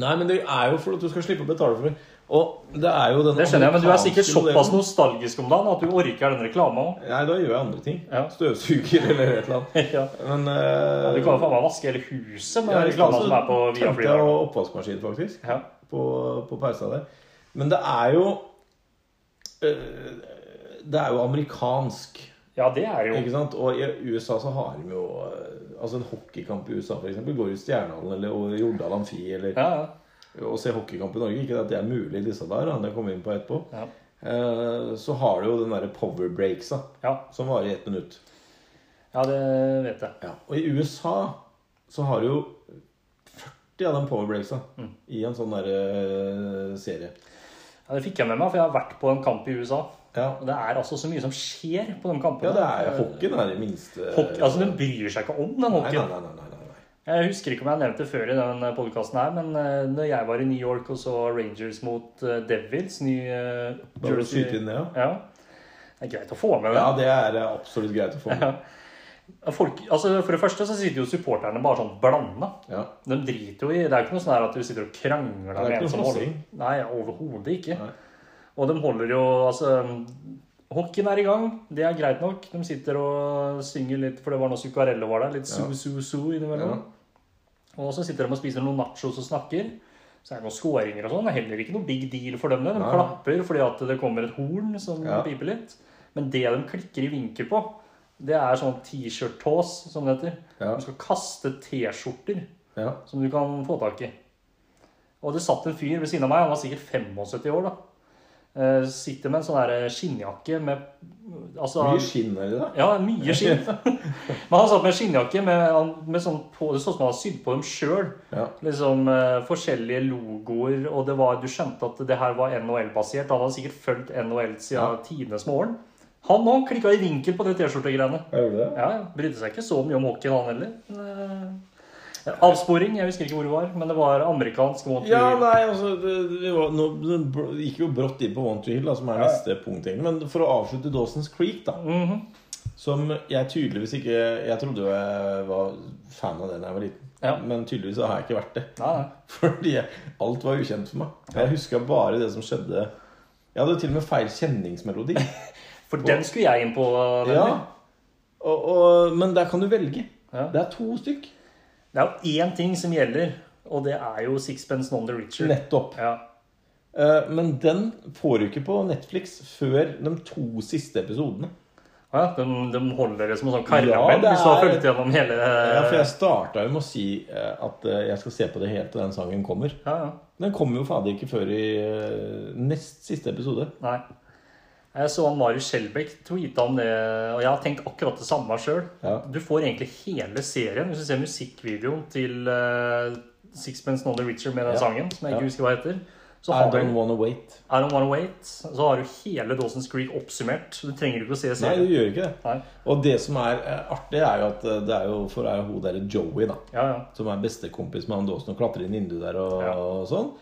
Speaker 2: Nei, men det er jo for at du skal slippe å betale for det. Og det er jo den
Speaker 1: Det skjønner jeg, men du er sikkert
Speaker 2: amerikanske
Speaker 1: såpass
Speaker 2: modellen.
Speaker 1: nostalgisk om dagen at du orker den reklama òg.
Speaker 2: Nei, da gjør jeg andre ting.
Speaker 1: Ja.
Speaker 2: Støvsuger eller et eller annet.
Speaker 1: Ja.
Speaker 2: Men eh,
Speaker 1: Du kan jo faen meg vaske hele huset med reklama som er på
Speaker 2: Tømte jeg
Speaker 1: Viafree.
Speaker 2: oppvaskmaskin, faktisk.
Speaker 1: Ja.
Speaker 2: på, på pausa der. Men det er jo eh, Det er jo amerikansk,
Speaker 1: ja, det er jo
Speaker 2: ikke sant? Og i USA så har de jo eh, Altså en hockeykamp i USA, for eksempel, går i Stjernehallen eller over Jordal Amfi eller
Speaker 1: Ja, ja.
Speaker 2: Å se hockeykamp i Norge, ikke at det er mulig i disse der, han jeg kommer inn på etterpå.
Speaker 1: Ja.
Speaker 2: Eh, Så har du jo den derre power breaksa
Speaker 1: ja.
Speaker 2: som varer i ett minutt.
Speaker 1: ja, det vet jeg.
Speaker 2: Ja. Og i USA så har du jo 40 av den power breaksa
Speaker 1: Mm.
Speaker 2: i en sånn derre eh, serie.
Speaker 1: Ja, det fikk jeg med meg, for jeg har vært på en kamp i USA.
Speaker 2: Ja,
Speaker 1: Og det er altså så mye som skjer på de kampene.
Speaker 2: Ja, det er hockeyen er det minste
Speaker 1: Hockey, altså, Den bryr seg ikke om den
Speaker 2: Nei,
Speaker 1: hockeyen.
Speaker 2: nei, nei, nei, nei, nei.
Speaker 1: Jeg husker ikke om jeg har nevnt det før i den podkasten her, men eh, når jeg var i New York og så Rangers mot eh, Devils ny eh,
Speaker 2: Bare å skyte inn det, ja.
Speaker 1: Ja. Det er greit å få med det.
Speaker 2: Ja, det er eh, absolutt greit å få med.
Speaker 1: Folk, altså, for det første så sitter jo supporterne bare sånn blanda.
Speaker 2: Ja.
Speaker 1: De driter jo i Det er jo ikke noe sånn her at du sitter og krangler
Speaker 2: er
Speaker 1: med
Speaker 2: ikke
Speaker 1: en
Speaker 2: noe
Speaker 1: som holder
Speaker 2: slåssing.
Speaker 1: Nei, overhodet ikke.
Speaker 2: Nei.
Speaker 1: Og de holder jo Altså, hockeyen er i gang. Det er greit nok. De sitter og synger litt, for det var når Zuccarello var der. Litt
Speaker 2: Ja.
Speaker 1: su-su-su innimellom.
Speaker 2: Ja.
Speaker 1: Og så sitter de og spiser noen nachos og snakker. Så er det noen skåringer og sånn. Det er heller ikke noe big deal for dem. det. De
Speaker 2: Nei.
Speaker 1: klapper fordi at det kommer et horn som
Speaker 2: Ja.
Speaker 1: piper litt. Men det de klikker i vinkel på, det er sånn T-shirt-tås, som det heter.
Speaker 2: Ja.
Speaker 1: De skal kaste T-skjorter
Speaker 2: Ja.
Speaker 1: som du kan få tak i. Og det satt en fyr ved siden av meg, han var sikkert 75 år, da. Eh, Sitter med en sånn her skinnjakke med altså,
Speaker 2: Mye skinn her i dag.
Speaker 1: ja, mye skinn. Men han satt med en skinnjakke med, han- med sånn på, det så ut som han hadde sydd på dem sjøl.
Speaker 2: Ja.
Speaker 1: Liksom eh, forskjellige logoer, og det var, du skjønte at det her var NHL-basert. Han hadde sikkert fulgt NHL siden tidenes morgen. Han òg klikka i vinkel på det T-skjortegreiene.
Speaker 2: Jeg gjorde det.
Speaker 1: Ja, ja. Brydde seg ikke så mye om hockeyen, han heller. Men, eh, Avsporing, jeg husker ikke hvor det var, men det var amerikansk. mot-
Speaker 2: Ja, nei, altså det, det var, Nå det br- gikk jo brått inn på One Tree Hill, da, som er neste punkt. egentlig. Men for å avslutte Dawson's Creek, da.
Speaker 1: Mhm.
Speaker 2: Som jeg tydeligvis ikke Jeg trodde jo jeg var fan av det da jeg var liten.
Speaker 1: Ja.
Speaker 2: Men tydeligvis så har jeg ikke vært det.
Speaker 1: Nei, nei.
Speaker 2: Fordi alt var ukjent for meg. Jeg huska bare det som skjedde. Jeg hadde til og med feil kjenningsmelodi.
Speaker 1: For den skulle jeg inn på. eh,
Speaker 2: Ja.
Speaker 1: nemlig.
Speaker 2: Og, og, men der kan du velge.
Speaker 1: Ja.
Speaker 2: Det er to stykk.
Speaker 1: Det er jo én ting som gjelder, og det er jo sixpence non the richer.
Speaker 2: Nettopp.
Speaker 1: Ja.
Speaker 2: Eh, Men den får du ikke på Netflix før de to siste episodene.
Speaker 1: Ja, de, de holder det som en sånn karamell
Speaker 2: Ja, det
Speaker 1: hvis du har
Speaker 2: er-
Speaker 1: fulgt gjennom hele
Speaker 2: Ja, for
Speaker 1: ja,
Speaker 2: jeg starta jo med å si eh, at eh, jeg skal se på det helt til den sangen kommer.
Speaker 1: ja.
Speaker 2: Den kommer jo fader ikke før i eh, nest siste episode.
Speaker 1: Nei. Jeg så han Marius Skjelbæk tweeta om det, og jeg har tenkt akkurat det samme sjøl.
Speaker 2: Ja.
Speaker 1: Du får egentlig hele serien hvis du ser musikkvideoen til eh, Sixpence Non The Richer med den
Speaker 2: Ja.
Speaker 1: sangen, som jeg
Speaker 2: Ja.
Speaker 1: ikke husker hva heter. Så
Speaker 2: I
Speaker 1: har
Speaker 2: don't
Speaker 1: du
Speaker 2: wanna wait.
Speaker 1: I don't wanna wait. Så har du hele Dawson's Creek oppsummert. Du trenger ikke å se
Speaker 2: Nei,
Speaker 1: serien.
Speaker 2: du gjør ikke det.
Speaker 1: Nei.
Speaker 2: Og det som er eh, artig, er jo at eh, det er jo for det er jo hun derre Joey, da.
Speaker 1: Ja, ja.
Speaker 2: Som er bestekompis med han Dawson og klatrer inn i vinduet der og,
Speaker 1: Ja.
Speaker 2: og sånn.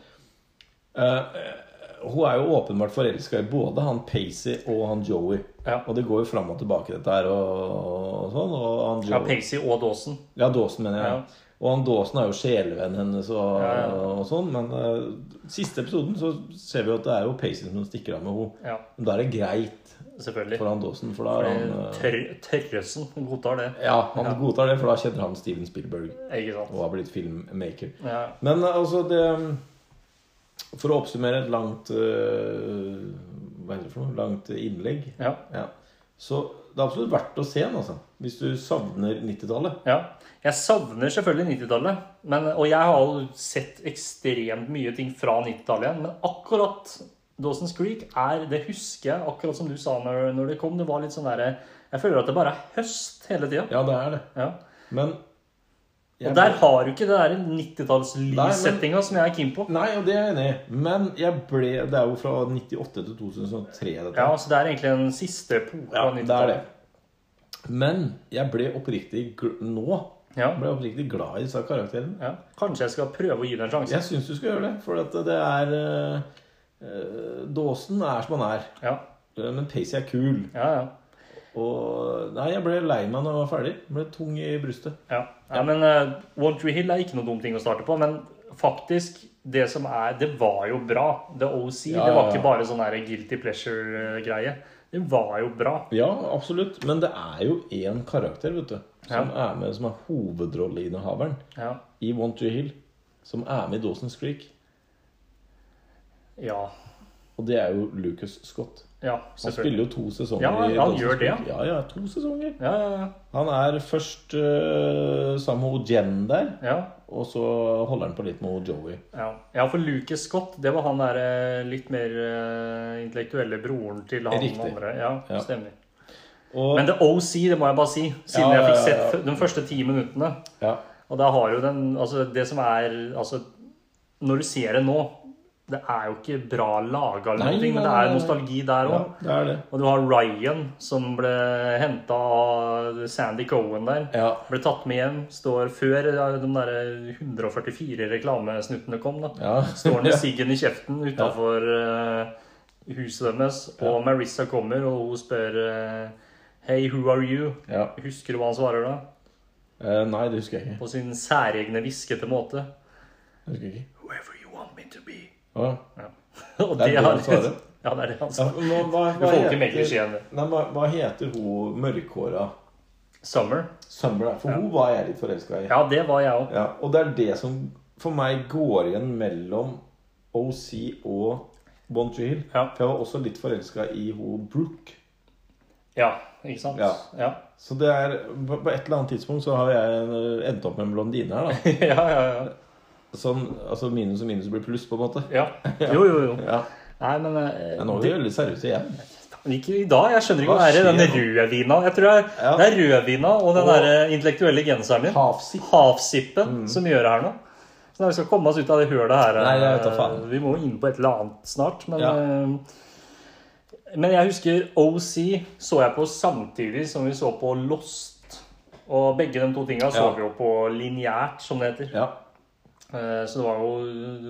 Speaker 2: Eh, eh, hun er jo åpenbart forelska i både han Pacey og han Joey.
Speaker 1: Ja.
Speaker 2: Og det går jo fram og tilbake, dette her og, og sånn. Og han
Speaker 1: ja
Speaker 2: Joey Ja,
Speaker 1: Pacey og Dawson.
Speaker 2: Dawson, mener jeg. Og han Daasen er jo sjelevennen hennes og,
Speaker 1: Ja, ja.
Speaker 2: og sånn. Men eh, siste episoden så ser vi jo at det er jo Pacey som stikker av med henne.
Speaker 1: Ja,
Speaker 2: Men da er det greit
Speaker 1: selvfølgelig.
Speaker 2: for han Daasen, for da er han eh,
Speaker 1: Tør, tørresen godtar det.
Speaker 2: Ja, han
Speaker 1: Ja.
Speaker 2: godtar det, for da kjenner han Steven Spielberg
Speaker 1: Ikke sant?
Speaker 2: og har blitt filmmaker.
Speaker 1: Ja.
Speaker 2: Men eh, altså det For å oppsummere et langt eh, Hva heter det for noe? Langt innlegg.
Speaker 1: ja.
Speaker 2: Ja. Så det er absolutt verdt å se den, altså. Hvis du savner 90-tallet.
Speaker 1: Ja. Jeg savner selvfølgelig 90-tallet. men- Og jeg har jo sett ekstremt mye ting fra 90-tallet igjen. Men akkurat Dawson's Creek er Det husker jeg, akkurat som du sa når, når det kom. Det var litt sånn derre Jeg føler at det bare er høst hele tida.
Speaker 2: Ja, det er det.
Speaker 1: Ja.
Speaker 2: Men
Speaker 1: Og der har du ikke det der 90-tallslyssettinga som jeg er keen på.
Speaker 2: Nei, og det er jeg enig i. Men jeg ble Det er jo fra 98 til 2003, dette.
Speaker 1: Ja, så det er egentlig den siste epoken
Speaker 2: Ja,
Speaker 1: av
Speaker 2: det er det.
Speaker 1: 90-tallet.
Speaker 2: Men jeg ble oppriktig gl Nå
Speaker 1: Ja.
Speaker 2: ble jeg oppriktig glad i disse karakterene.
Speaker 1: ja. Kanskje jeg skal prøve å gi det en sjanse.
Speaker 2: Jeg syns du skal gjøre det, for at det er eh, eh, Dåsen er som han er.
Speaker 1: Ja,
Speaker 2: Eh, Men Pacey er kul.
Speaker 1: ja, ja.
Speaker 2: Og Nei, jeg ble lei meg når jeg var ferdig. Jeg ble tung i brystet.
Speaker 1: Ja, Nei, men eh, One Tree Hill er ikke noen dum ting å starte på, men faktisk det som er, det var jo bra. The OC,
Speaker 2: Ja,
Speaker 1: det
Speaker 2: ja,
Speaker 1: var
Speaker 2: ja.
Speaker 1: ikke bare sånn her guilty pleasure-greie. Det var jo bra.
Speaker 2: Ja, absolutt. Men det er jo én karakter, vet du, som er med som er hovedrolleinnehaveren
Speaker 1: Ja.
Speaker 2: i One Tree Hill. Som er med i Dawson's Creek.
Speaker 1: Ja,
Speaker 2: Og det er jo Lucas Scott.
Speaker 1: ja
Speaker 2: Han
Speaker 1: selvfølgelig.
Speaker 2: spiller jo to sesonger.
Speaker 1: Ja,
Speaker 2: i
Speaker 1: ja, han
Speaker 2: Dawson's
Speaker 1: gjør det,
Speaker 2: Creek. Ja, ja, to sesonger.
Speaker 1: Ja, ja,
Speaker 2: Han er først eh, sammen med Jen der,
Speaker 1: ja.
Speaker 2: og så holder han på litt med Joey.
Speaker 1: Ja. ja, for Lucas Scott, det var han der eh, litt mer eh, intellektuelle broren til han
Speaker 2: Riktig.
Speaker 1: andre. Ja,
Speaker 2: Ja.
Speaker 1: stemmer.
Speaker 2: Og,
Speaker 1: Men The OC, det må jeg bare si, siden
Speaker 2: Ja,
Speaker 1: jeg fikk
Speaker 2: ja, ja, ja.
Speaker 1: sett de første ti minuttene.
Speaker 2: ja,
Speaker 1: Og da har jo den Altså, det som er Altså, når du ser det nå Det er jo ikke bra laga eller
Speaker 2: Nei,
Speaker 1: noe, men det
Speaker 2: nei,
Speaker 1: er
Speaker 2: nei.
Speaker 1: nostalgi der
Speaker 2: ja,
Speaker 1: òg.
Speaker 2: det er det.
Speaker 1: Og du har Ryan, som ble henta av Sandy Cohen der.
Speaker 2: Ja,
Speaker 1: Ble tatt med hjem. Står før ja, de der 144 reklamesnuttene kom, da.
Speaker 2: ja.
Speaker 1: Står han med siggen i kjeften utafor huset deres, og Marissa kommer, og hun spør eh, Hey, who are you?
Speaker 2: ja.
Speaker 1: Husker du hva han svarer da?
Speaker 2: Eh, nei, det husker jeg ikke.
Speaker 1: På sin særegne hviskete måte.
Speaker 2: Det husker jeg ikke.
Speaker 1: Whoever you want me to be.
Speaker 2: Å, ja.
Speaker 1: Og
Speaker 2: Det er det
Speaker 1: har-
Speaker 2: han svarer.
Speaker 1: Ja, det er det han
Speaker 2: Ja,
Speaker 1: svarer.
Speaker 2: men hva, hva,
Speaker 1: Du
Speaker 2: hva,
Speaker 1: får ikke Meglish
Speaker 2: heter,
Speaker 1: igjen. det.
Speaker 2: nei, hva, hva heter hun mørkhåra
Speaker 1: Summer.
Speaker 2: Summer? da? For hun var jeg litt forelska i.
Speaker 1: Ja, det var jeg òg.
Speaker 2: Ja, og det er det som for meg går igjen mellom OC og One Tree Hill.
Speaker 1: Ja.
Speaker 2: For jeg var også litt forelska i hun Brooke.
Speaker 1: Ja, ikke sant?
Speaker 2: Ja.
Speaker 1: Ja.
Speaker 2: Så det er, på på et eller annet tidspunkt så har jeg eh, endt opp med en blondine her, da.
Speaker 1: ja, ja, ja.
Speaker 2: Sånn, altså minus og minus blir pluss, på en måte.
Speaker 1: ja. Jo, jo, jo.
Speaker 2: Ja.
Speaker 1: Nei, men eh,
Speaker 2: Ja, nå er vi veldig seriøse igjen.
Speaker 1: det- Ikke i dag. Jeg skjønner ikke
Speaker 2: Hva
Speaker 1: hva det er i den
Speaker 2: skjer
Speaker 1: rødvina. Jeg tror det er,
Speaker 2: Ja.
Speaker 1: det er rødvina og den
Speaker 2: Og-
Speaker 1: derre intellektuelle genseren din.
Speaker 2: Havsipp.
Speaker 1: Havsippen som gjør det her nå. Så når vi skal komme oss ut av det hølet her
Speaker 2: Mm. Nei, jeg vet da
Speaker 1: eh,
Speaker 2: faen.
Speaker 1: Vi må jo inn på et eller annet snart, men
Speaker 2: Ja.
Speaker 1: eh, Men jeg husker OC så jeg på samtidig som vi så på Lost. Og begge de to tinga så
Speaker 2: Ja.
Speaker 1: vi jo på lineært, som det heter.
Speaker 2: Ja.
Speaker 1: Eh, Så det var jo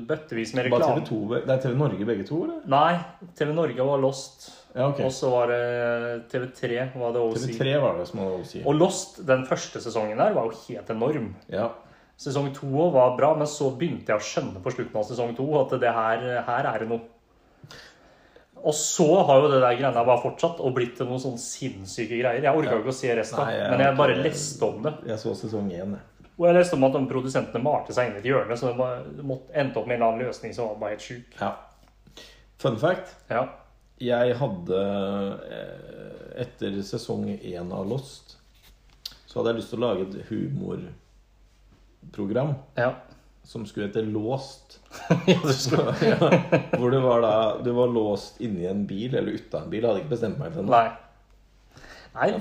Speaker 1: bøttevis med
Speaker 2: Var
Speaker 1: reklame.
Speaker 2: TV 2 be- Det er TV Norge begge to, eller?
Speaker 1: Nei, TV Norge var Lost.
Speaker 2: Ja, ok.
Speaker 1: Og så var det TV3 var det OC.
Speaker 2: TV 3 var det som hadde OC.
Speaker 1: Og Lost, den første sesongen der, var jo helt enorm.
Speaker 2: Ja.
Speaker 1: Sesong to også var bra, men så begynte jeg å skjønne på slutten av sesong to at det her, her er det noe. Og så har jo det der greia bare fortsatt og blitt til noen sånn sinnssyke greier. Jeg orka ikke å se resten,
Speaker 2: Nei, jeg
Speaker 1: men jeg bare
Speaker 2: orker-
Speaker 1: leste om det.
Speaker 2: Jeg så sesong 1, jeg.
Speaker 1: Og jeg leste om at de produsentene malte seg inn i et hjørne, så de var- måtte, endte opp med en eller annen løsning som var bare helt sjuk.
Speaker 2: Ja. Fun fact.
Speaker 1: Ja.
Speaker 2: Jeg hadde eh, Etter sesong 1 av Lost så hadde jeg lyst til å lage et humorprogram
Speaker 1: Ja.
Speaker 2: som skulle hete Låst.
Speaker 1: ja, du skulle...
Speaker 2: Hvor du var da Du var låst inni en bil, eller uta en bil. Jeg hadde ikke bestemt meg for det.
Speaker 1: Nei. Nei,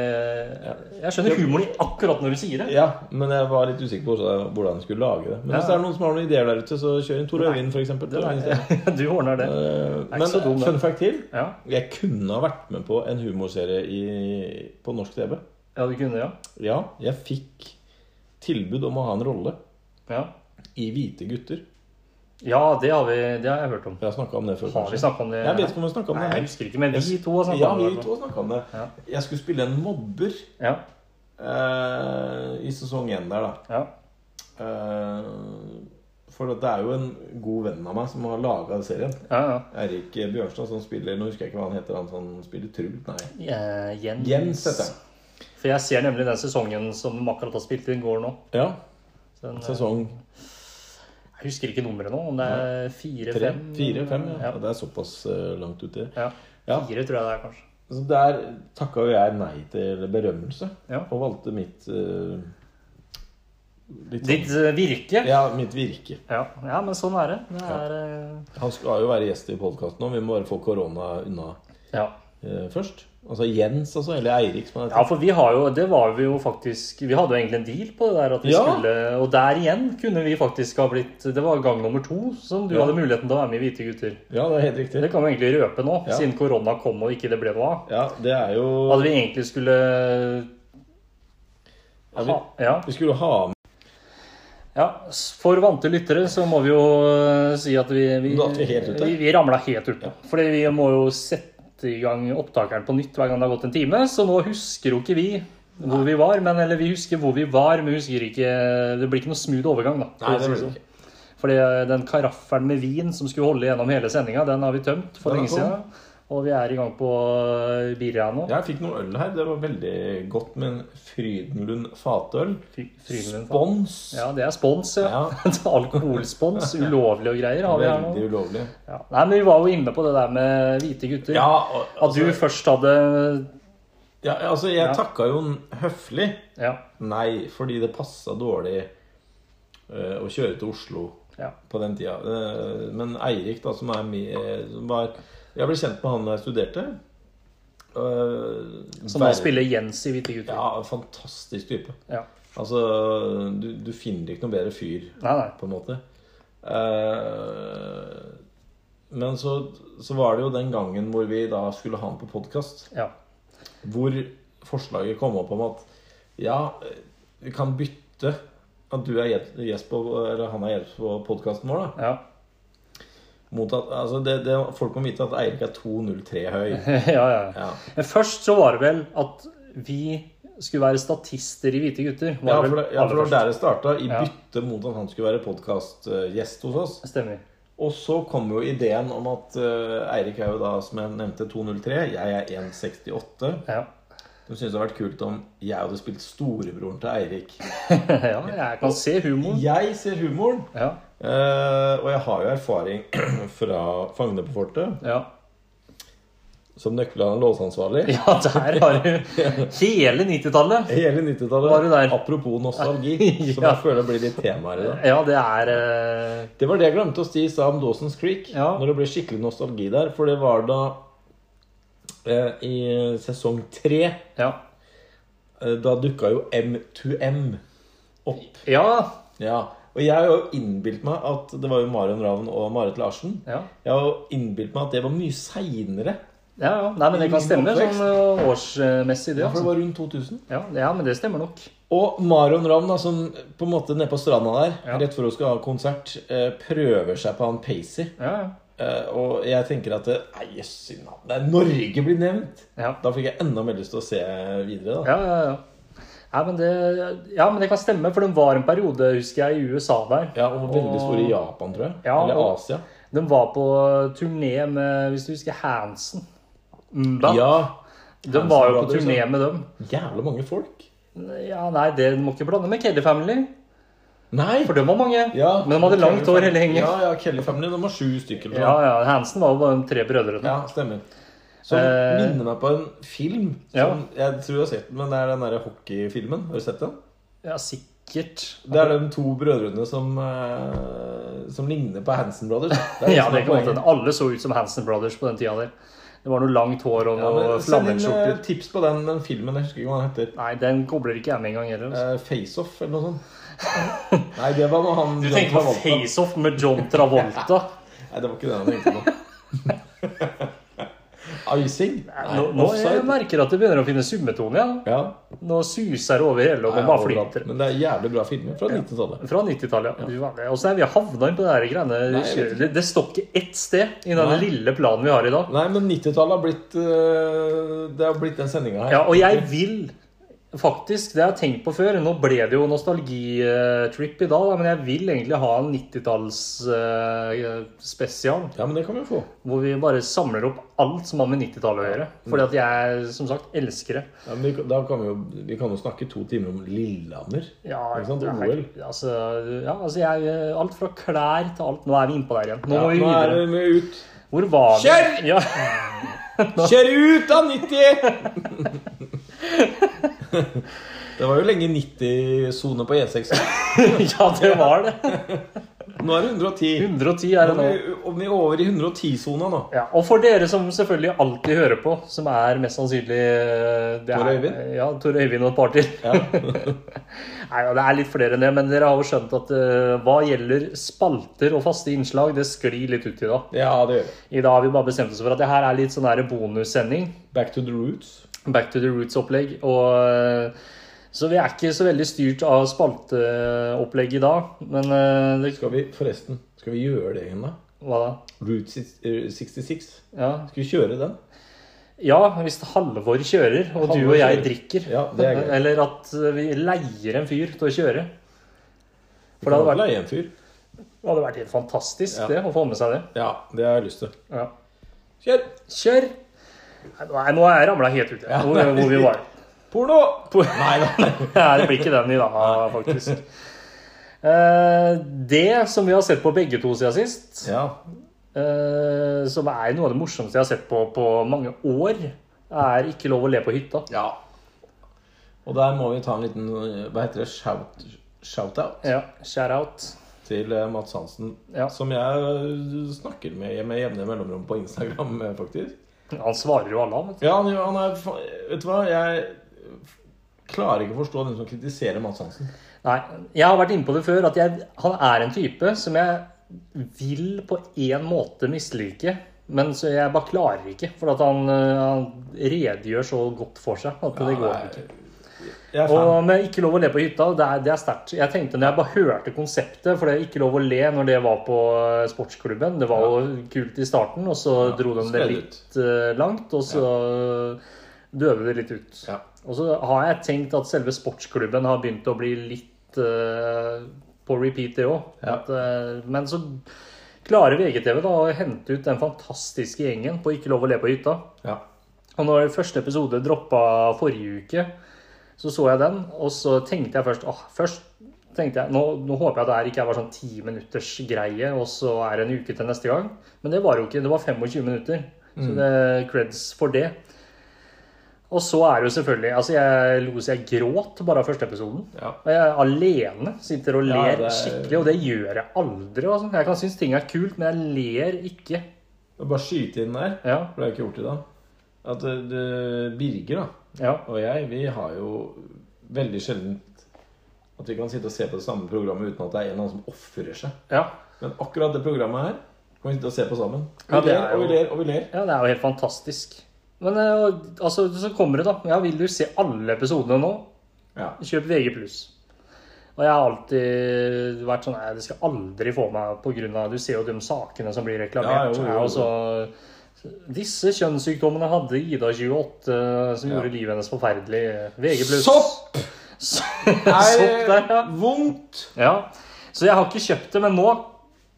Speaker 1: det Jeg skjønner humoren i akkurat når du sier det.
Speaker 2: Ja, men jeg var litt usikker på hvordan- hvordan jeg skulle lage det. Men hvis
Speaker 1: Ja.
Speaker 2: det er noen som har noen ideer der ute, så kjør inn Tor Øyvind, f.eks.
Speaker 1: Du ordner det. er ikke
Speaker 2: Eh, Men
Speaker 1: så dum, det.
Speaker 2: fun fact til.
Speaker 1: Ja,
Speaker 2: Jeg kunne ha vært med på en humorserie i, på norsk TV.
Speaker 1: ja du kunne, ja.
Speaker 2: Ja, jeg fikk tilbud om å ha en rolle
Speaker 1: ja.
Speaker 2: i Hvite gutter.
Speaker 1: Ja, det har, vi, det har jeg hørt om.
Speaker 2: Jeg har snakka om det før.
Speaker 1: Har vi
Speaker 2: kanskje.
Speaker 1: snakket om det?
Speaker 2: Jeg vet ikke om vi snakka om
Speaker 1: Nei,
Speaker 2: det.
Speaker 1: jeg
Speaker 2: her.
Speaker 1: husker ikke, men vi to har snakket
Speaker 2: Ja,
Speaker 1: om det.
Speaker 2: vi to har snakket om det.
Speaker 1: Ja.
Speaker 2: Jeg skulle spille en mobber
Speaker 1: Ja,
Speaker 2: eh, i sesong én der, da.
Speaker 1: ja.
Speaker 2: Eh, For det er jo en god venn av meg som har laga serien.
Speaker 1: Ja, ja.
Speaker 2: Eirik Bjørnstad som spiller Nå husker jeg ikke hva han heter, han som spiller Truls. Nei.
Speaker 1: Eh, Jens.
Speaker 2: Jens heter han.
Speaker 1: For jeg ser nemlig den sesongen som de akkurat har spilt inn, går nå.
Speaker 2: Ja.
Speaker 1: Så den, eh,
Speaker 2: Sesong
Speaker 1: jeg husker ikke nummeret nå, om det er fire,
Speaker 2: tre.
Speaker 1: fem
Speaker 2: Fire-fem, ja.
Speaker 1: Ja.
Speaker 2: ja. Det er såpass eh, langt uti.
Speaker 1: Ja.
Speaker 2: Ja.
Speaker 1: Fire tror jeg det er, kanskje.
Speaker 2: Så der takka jo jeg nei til berømmelse,
Speaker 1: Ja.
Speaker 2: og valgte mitt eh, litt sånn-
Speaker 1: Ditt eh, virke? Ja.
Speaker 2: Ja, mitt virke.
Speaker 1: Ja. men sånn er det. Det
Speaker 2: Ja.
Speaker 1: er eh,
Speaker 2: Han skal jo være gjest i podkasten nå, vi må bare få korona unna
Speaker 1: ja.
Speaker 2: eh, først. Altså Jens, altså. Eller Eirik, som han
Speaker 1: ja,
Speaker 2: heter.
Speaker 1: for vi har jo Det var vi jo faktisk Vi hadde jo egentlig en deal på det der at vi
Speaker 2: Ja.
Speaker 1: skulle Og der igjen kunne vi faktisk ha blitt Det var gang nummer to som du
Speaker 2: Ja.
Speaker 1: hadde muligheten til å være med i Hvite gutter.
Speaker 2: Ja, det er helt riktig.
Speaker 1: Det kan vi egentlig røpe nå,
Speaker 2: Ja.
Speaker 1: siden korona kom og ikke det ble noe av.
Speaker 2: Ja, det er jo
Speaker 1: Hadde vi egentlig skulle
Speaker 2: Ja,
Speaker 1: ha, ja.
Speaker 2: Vi skulle jo ha med
Speaker 1: ja. For vante lyttere så må vi jo eh, si at vi Vi,
Speaker 2: Da er vi helt ute.
Speaker 1: vi, vi ramla helt ute. Fordi vi må jo sette i gang opptakeren på nytt hver gang det har gått en time. Så nå husker jo ikke vi hvor vi var, men eller vi husker hvor vi var, men vi husker ikke Det blir ikke noe smooth overgang, da. for å si
Speaker 2: blir
Speaker 1: sånn.
Speaker 2: det ikke.
Speaker 1: Fordi eh, den karaffelen med vin som skulle holde gjennom hele sendinga, den har vi tømt for
Speaker 2: Den er
Speaker 1: lenge siden. Og vi er i gang på eh, birra nå.
Speaker 2: Jeg fikk noe øl her. Det var veldig godt med en Frydenlund fatøl.
Speaker 1: Fy- Frydenlund, faen.
Speaker 2: Spons.
Speaker 1: Ja, det er spons, ja. Alkoholspons, ulovlig og greier har vi her
Speaker 2: Veldig
Speaker 1: nå.
Speaker 2: ulovlig.
Speaker 1: Ja. Nei, men vi var jo inne på det der med hvite gutter.
Speaker 2: Ja, altså- og,
Speaker 1: At du først hadde
Speaker 2: ja, altså, jeg takka jo n- høflig.
Speaker 1: Ja.
Speaker 2: Nei, fordi det passa dårlig eh, å kjøre til Oslo
Speaker 1: ja.
Speaker 2: på den tida. Eh, men Eirik, da, som er med som var, Jeg ble kjent med han da jeg studerte. Eh,
Speaker 1: Som nå
Speaker 2: verd-
Speaker 1: spiller Jens i Hvite gutter.
Speaker 2: Ja, fantastisk type.
Speaker 1: Ja.
Speaker 2: Altså, du, du finner ikke noen bedre fyr,
Speaker 1: Nei, nei.
Speaker 2: på en måte. Eh, men så, så var det jo den gangen hvor vi da skulle ha han på podkast.
Speaker 1: Ja.
Speaker 2: Hvor forslaget kom opp om at ja, vi kan bytte at du er gjest- gjest på, eller han er gjest på podkasten vår, da.
Speaker 1: Ja.
Speaker 2: Mot at, altså det, det, folk må vite at Eirik er 2,03 høy.
Speaker 1: ja, ja. ja.
Speaker 2: Ja.
Speaker 1: Men først så var det vel at vi skulle være statister i Hvite gutter.
Speaker 2: Ja,
Speaker 1: Var
Speaker 2: for det, ja, for det var der det starta, i
Speaker 1: Ja.
Speaker 2: bytte mot at han skulle være podkastgjest hos oss.
Speaker 1: Stemmer.
Speaker 2: Og så kom jo ideen om at eh, Eirik er jo da, som jeg nevnte, 2,03. Jeg er 1,68.
Speaker 1: Ja.
Speaker 2: De syntes det hadde vært kult om jeg hadde spilt storebroren til Eirik.
Speaker 1: ja, jeg kan se humoren.
Speaker 2: Jeg ser humoren.
Speaker 1: Ja.
Speaker 2: Eh, og jeg har jo erfaring fra Fangene på fortet
Speaker 1: ja.
Speaker 2: som nøkla låsansvarlig.
Speaker 1: Ja, der har du hele 90-tallet.
Speaker 2: Hele
Speaker 1: Var du
Speaker 2: 90-tallet.
Speaker 1: der?
Speaker 2: Apropos nostalgi,
Speaker 1: Ja.
Speaker 2: som jeg føler blir litt tema her i dag.
Speaker 1: Ja, det er eh,
Speaker 2: Det var det jeg glemte å si i stad om Dawson's Creek.
Speaker 1: Ja.
Speaker 2: Når det ble skikkelig nostalgi der. For det var da eh, i sesong tre
Speaker 1: Ja.
Speaker 2: eh, Da dukka jo M2M opp.
Speaker 1: Ja.
Speaker 2: Ja. Og jeg har jo innbilt meg at det var jo Marion Ravn og Marit Larsen.
Speaker 1: Ja.
Speaker 2: Jeg har jo innbilt meg at det var mye seinere.
Speaker 1: Ja, ja. Nei, men det kan stemme
Speaker 2: Oppvekst.
Speaker 1: sånn eh, årsmessig, det.
Speaker 2: Ja, for det
Speaker 1: Altså.
Speaker 2: var rundt 2000.
Speaker 1: Ja, ja, men det stemmer nok.
Speaker 2: Og Marion Ravn, da, som på en måte nede på stranda der,
Speaker 1: Ja.
Speaker 2: rett før hun skal ha konsert, eh, prøver seg på han Pacey.
Speaker 1: Ja, ja.
Speaker 2: Eh, Og jeg tenker at eh, Nei, jøss i navn, det er Norge blir nevnt!
Speaker 1: Ja,
Speaker 2: Da fikk jeg enda mer lyst til å se videre. da.
Speaker 1: ja, ja. ja. Nei, men det, ja, men det kan stemme, for den var en periode, husker jeg, i USA der.
Speaker 2: Ja, Og veldig stor i Japan, tror jeg.
Speaker 1: Ja,
Speaker 2: Eller
Speaker 1: og-
Speaker 2: Asia.
Speaker 1: Den var på turné med, hvis du husker, Hansen. Mba.
Speaker 2: Mm, Ja,
Speaker 1: de var jo på
Speaker 2: Hansen liksom.
Speaker 1: turné med dem.
Speaker 2: Jævla mange folk.
Speaker 1: Ja, nei, det må ikke blande med Kelly Family.
Speaker 2: Nei!
Speaker 1: For dem var mange.
Speaker 2: Ja,
Speaker 1: men de hadde langt
Speaker 2: Kelly
Speaker 1: hår hele gjengen.
Speaker 2: Ja, ja, Kelly Family. De var sju stykker. eller noe.
Speaker 1: Ja, ja. Hansen var jo bare de tre brødrene.
Speaker 2: ja stemmer. Som
Speaker 1: Eh,
Speaker 2: minner meg på en film som jeg tror jeg har sett den, men det er den der hockeyfilmen. Har du sett den?
Speaker 1: Ja, sikkert.
Speaker 2: Det er de to brødrene som, eh, som ligner på Hansen Brothers. Det er liksom
Speaker 1: Ja,
Speaker 2: som
Speaker 1: det kan
Speaker 2: er
Speaker 1: godt
Speaker 2: poenget.
Speaker 1: hende. Alle så ut som Hansen Brothers på den tida der. Det var noe langt hår og
Speaker 2: Ja,
Speaker 1: noe
Speaker 2: men Send inn eh,
Speaker 1: flammeskjorter.
Speaker 2: tips på den, den filmen. Jeg husker ikke hva den heter.
Speaker 1: Nei, den kobler ikke jeg med engang heller. altså.
Speaker 2: Eh, Face Off eller noe sånt. Nei, det var med han
Speaker 1: Du
Speaker 2: John
Speaker 1: tenker på
Speaker 2: Travolta.
Speaker 1: FaceOff med John Travolta.
Speaker 2: Nei, det var ikke det han tenkte på. Icing? Nei,
Speaker 1: Nå, nå jeg
Speaker 2: offside.
Speaker 1: merker at det begynner å finne summetone igjen.
Speaker 2: Ja.
Speaker 1: Nå suser det over hele, og
Speaker 2: Nei,
Speaker 1: man bare
Speaker 2: overalt.
Speaker 1: flyter.
Speaker 2: Men det er jævlig bra filmer fra 90-tallet.
Speaker 1: Fra 90-tallet. ja. Du var det. Åssen er vi havna inn på det her greiene?
Speaker 2: Nei, jeg vet ikke.
Speaker 1: Det, det står ikke ett sted i den
Speaker 2: Nei.
Speaker 1: lille planen vi har i dag.
Speaker 2: Nei, men 90-tallet har blitt eh, Det har blitt den sendinga her.
Speaker 1: Ja, og jeg vil Faktisk, det har jeg tenkt på før. Nå ble det jo nostalgitrip i dag, da, men jeg vil egentlig ha en eh, 90-talls-spesial.
Speaker 2: Ja, men det kan vi jo få.
Speaker 1: hvor vi bare samler opp alt som har med 90-tallet å gjøre. Fordi at jeg, som sagt, elsker det.
Speaker 2: Ja, men vi, kan- da kan vi, jo, vi kan jo snakke to timer om Lillehammer.
Speaker 1: Ja,
Speaker 2: Ikke sant?
Speaker 1: det er-
Speaker 2: OL.
Speaker 1: Altså, ja, altså jeg, alt fra klær til alt. Nå er vi inne på der igjen. Nå
Speaker 2: Ja,
Speaker 1: må vi
Speaker 2: nå er
Speaker 1: videre.
Speaker 2: vi med ut.
Speaker 1: Hvor var vi?
Speaker 2: Kjør!
Speaker 1: Ja.
Speaker 2: Kjør ut av 90! det var jo lenge 90-sone på E6.
Speaker 1: ja, det var det.
Speaker 2: Nå er det 110.
Speaker 1: 110 er
Speaker 2: Nå
Speaker 1: det
Speaker 2: er
Speaker 1: nå.
Speaker 2: vi, vi er over i 110-sona nå.
Speaker 1: Ja, og for dere som selvfølgelig alltid hører på, som er mest sannsynlig eh, det er-
Speaker 2: Tore Øyvind?
Speaker 1: Ja, Tore Øyvind og et par til. Nei, ja, det er litt flere enn det, men dere har jo skjønt at eh, hva gjelder spalter og faste innslag, det sklir litt ut i dag.
Speaker 2: Ja, det gjør vi.
Speaker 1: I dag har vi bare bestemt oss for at det her er litt sånn her bonussending.
Speaker 2: Back to the roots.
Speaker 1: Back to the roots-opplegg. Og eh, Så vi er ikke så veldig styrt av spalteopplegg i dag, men eh, det,
Speaker 2: Skal vi, forresten, skal vi gjøre det igjen, da?
Speaker 1: Hva da?
Speaker 2: Route 66.
Speaker 1: Ja,
Speaker 2: Skal vi kjøre den?
Speaker 1: ja hvis Halvor kjører, og du og
Speaker 2: Halvor
Speaker 1: jeg
Speaker 2: kjører.
Speaker 1: drikker.
Speaker 2: Ja, det er gøy.
Speaker 1: Eller at vi leier en fyr til å kjøre. For det
Speaker 2: For da
Speaker 1: hadde vært,
Speaker 2: leie en fyr.
Speaker 1: det hadde vært helt fantastisk
Speaker 2: Ja.
Speaker 1: det, å få med seg det.
Speaker 2: Ja, det har jeg lyst til.
Speaker 1: Ja.
Speaker 2: Kjør!
Speaker 1: Kjør! Nei, nå har jeg ramla helt ut, jeg.
Speaker 2: Ja,
Speaker 1: hvor,
Speaker 2: nei.
Speaker 1: hvor vi var.
Speaker 2: Porno! Nei da.
Speaker 1: Nei, det blir ikke den i dag, faktisk. Eh, Det som vi har sett på begge to siden sist,
Speaker 2: Ja.
Speaker 1: eh, som er noe av det morsomste jeg har sett på på mange år, er 'Ikke lov å le på hytta'.
Speaker 2: ja. Og der må vi ta en liten eh, Hva heter det? Shout, shout-out
Speaker 1: Ja, Shout out.
Speaker 2: til eh, Mats Hansen.
Speaker 1: Ja.
Speaker 2: Som jeg eh, snakker med med jevne mellomrom på Instagram, eh, faktisk.
Speaker 1: Han svarer jo alle, han. vet
Speaker 2: Ja, han, han er fa- Vet du hva? Jeg klarer ikke å forstå den som kritiserer Mats Hansen.
Speaker 1: du. Nei, jeg har vært inne på det før at jeg, han er en type som jeg vil på én måte mislike. Men så jeg bare klarer ikke, for at han, eh, han redegjør så godt for seg at det går ikke.
Speaker 2: Jeg er fan.
Speaker 1: Og med Ikke lov å le på hytta, det er, det er sterkt. Jeg tenkte når jeg bare hørte konseptet, for det er ikke lov å le når det var på eh, sportsklubben. Det var jo kult i starten, og så dro de det
Speaker 2: spred
Speaker 1: litt eh, langt, og så døde det litt ut.
Speaker 2: Ja.
Speaker 1: Og så har jeg tenkt at selve sportsklubben har begynt å bli litt eh, på repeat, det òg.
Speaker 2: Ja.
Speaker 1: men så klarer E VGTV da å hente ut den fantastiske gjengen på Ikke lov å le på hytta.
Speaker 2: ja.
Speaker 1: Og når første episode droppa forrige uke, så så jeg den, og så tenkte jeg først åh, først tenkte jeg, nå, nå håper jeg det her ikke er bare sånn ti minutters greie, og så er det en uke til neste gang. Men det var jo ikke. Det var 25 minutter.
Speaker 2: Mm.
Speaker 1: Så det creds for det. Og så er det jo selvfølgelig Altså, jeg lo så jeg gråt bare av første episoden.
Speaker 2: Ja.
Speaker 1: Og jeg er alene sitter og
Speaker 2: Ja,
Speaker 1: ler
Speaker 2: det er-
Speaker 1: skikkelig, og det gjør jeg aldri. Altså. Jeg kan synes ting er kult, men jeg ler ikke.
Speaker 2: Bare skyte inn der.
Speaker 1: Ja,
Speaker 2: For det har jeg ikke gjort i dag. At eh, det- Birger da,
Speaker 1: ja.
Speaker 2: og jeg, vi har jo veldig sjelden at vi kan sitte og se på det samme programmet uten at det er en eller annen som ofrer seg.
Speaker 1: ja.
Speaker 2: Men akkurat det programmet her kan vi sitte og se på sammen. Vi
Speaker 1: Ja, det
Speaker 2: ler
Speaker 1: er
Speaker 2: og vi
Speaker 1: jo-
Speaker 2: ler og vi ler.
Speaker 1: Ja, det er jo helt fantastisk. Men eh, og- altså, så kommer det, da. Ja, vil du se alle episodene nå?
Speaker 2: Ja.
Speaker 1: Kjøp VG+. Og jeg har alltid vært sånn Nei, det skal aldri få meg pga. Du ser jo de sakene som blir reklamert.
Speaker 2: Ja, jo, jo,
Speaker 1: Ja, disse kjønnssykdommene hadde Ida 28, som
Speaker 2: Ja.
Speaker 1: gjorde livet hennes forferdelig. VG+.
Speaker 2: Sopp!
Speaker 1: Sopp,
Speaker 2: Er
Speaker 1: der, ja.
Speaker 2: vondt!
Speaker 1: Ja, så jeg har ikke kjøpt det, men nå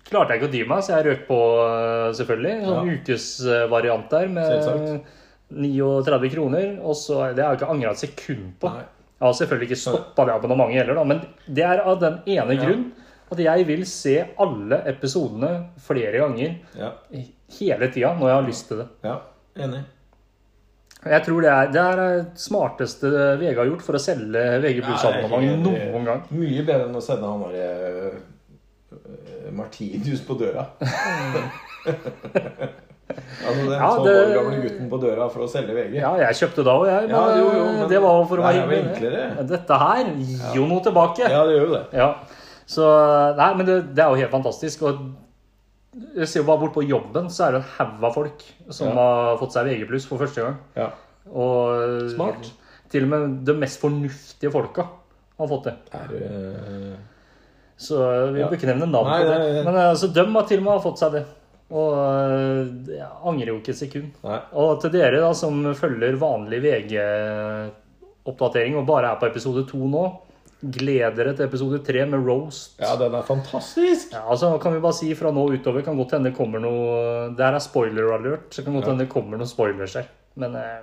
Speaker 1: klarte jeg ikke å dy meg, så jeg røk på øh, selvfølgelig. En sånn
Speaker 2: Ja.
Speaker 1: ukesvariant der med
Speaker 2: Selvsagt.
Speaker 1: 39 kroner. Og så, det har jeg ikke angra et sekund på.
Speaker 2: Nei.
Speaker 1: Jeg har selvfølgelig ikke stoppa det abonnementet heller, da, men det er av den ene grunn at jeg vil se alle episodene flere ganger
Speaker 2: Ja.
Speaker 1: hele tida når jeg har lyst til det.
Speaker 2: ja. Enig.
Speaker 1: Jeg tror Det er det er det smarteste VG har gjort for å selge VG
Speaker 2: Ja,
Speaker 1: Pluss-abonnement
Speaker 2: det er helt
Speaker 1: noen gang.
Speaker 2: Mye bedre enn å sende han derre eh, Martinius på døra. altså den
Speaker 1: Ja,
Speaker 2: tolv
Speaker 1: det-
Speaker 2: år gamle gutten på døra for å selge VG.
Speaker 1: Ja, jeg kjøpte da òg, jeg. Men, eh,
Speaker 2: Ja, jo, jo, men
Speaker 1: det var jo for å
Speaker 2: det
Speaker 1: være
Speaker 2: er jo
Speaker 1: hyggelig.
Speaker 2: enklere.
Speaker 1: Dette her gir jo noe tilbake. Ja.
Speaker 2: Ja, det gjør jo det.
Speaker 1: Så Nei, men det, det er jo helt fantastisk. Og jeg ser jo bare bort på jobben, så er det en haug av folk som
Speaker 2: Ja.
Speaker 1: har fått seg VG pluss for første gang.
Speaker 2: Ja.
Speaker 1: Og
Speaker 2: Smart.
Speaker 1: til og med de mest fornuftige folka har fått det.
Speaker 2: Er, eh,
Speaker 1: Så vi
Speaker 2: Ja.
Speaker 1: bør ikke nevne navn
Speaker 2: Nei,
Speaker 1: på det.
Speaker 2: nei, nei.
Speaker 1: Men altså, de har til og med fått seg det. Og eh, jeg angrer jo ikke et sekund.
Speaker 2: nei.
Speaker 1: Og til dere da, som følger vanlig VG oppdatering og bare er på episode to nå. Gled dere til episode tre med roast.
Speaker 2: Ja, den er fantastisk!
Speaker 1: Ja, altså kan vi bare si fra nå utover kan godt hende det kommer noe Der er spoiler alert. Så kan godt hende det kommer noen spoilers her. Men eh,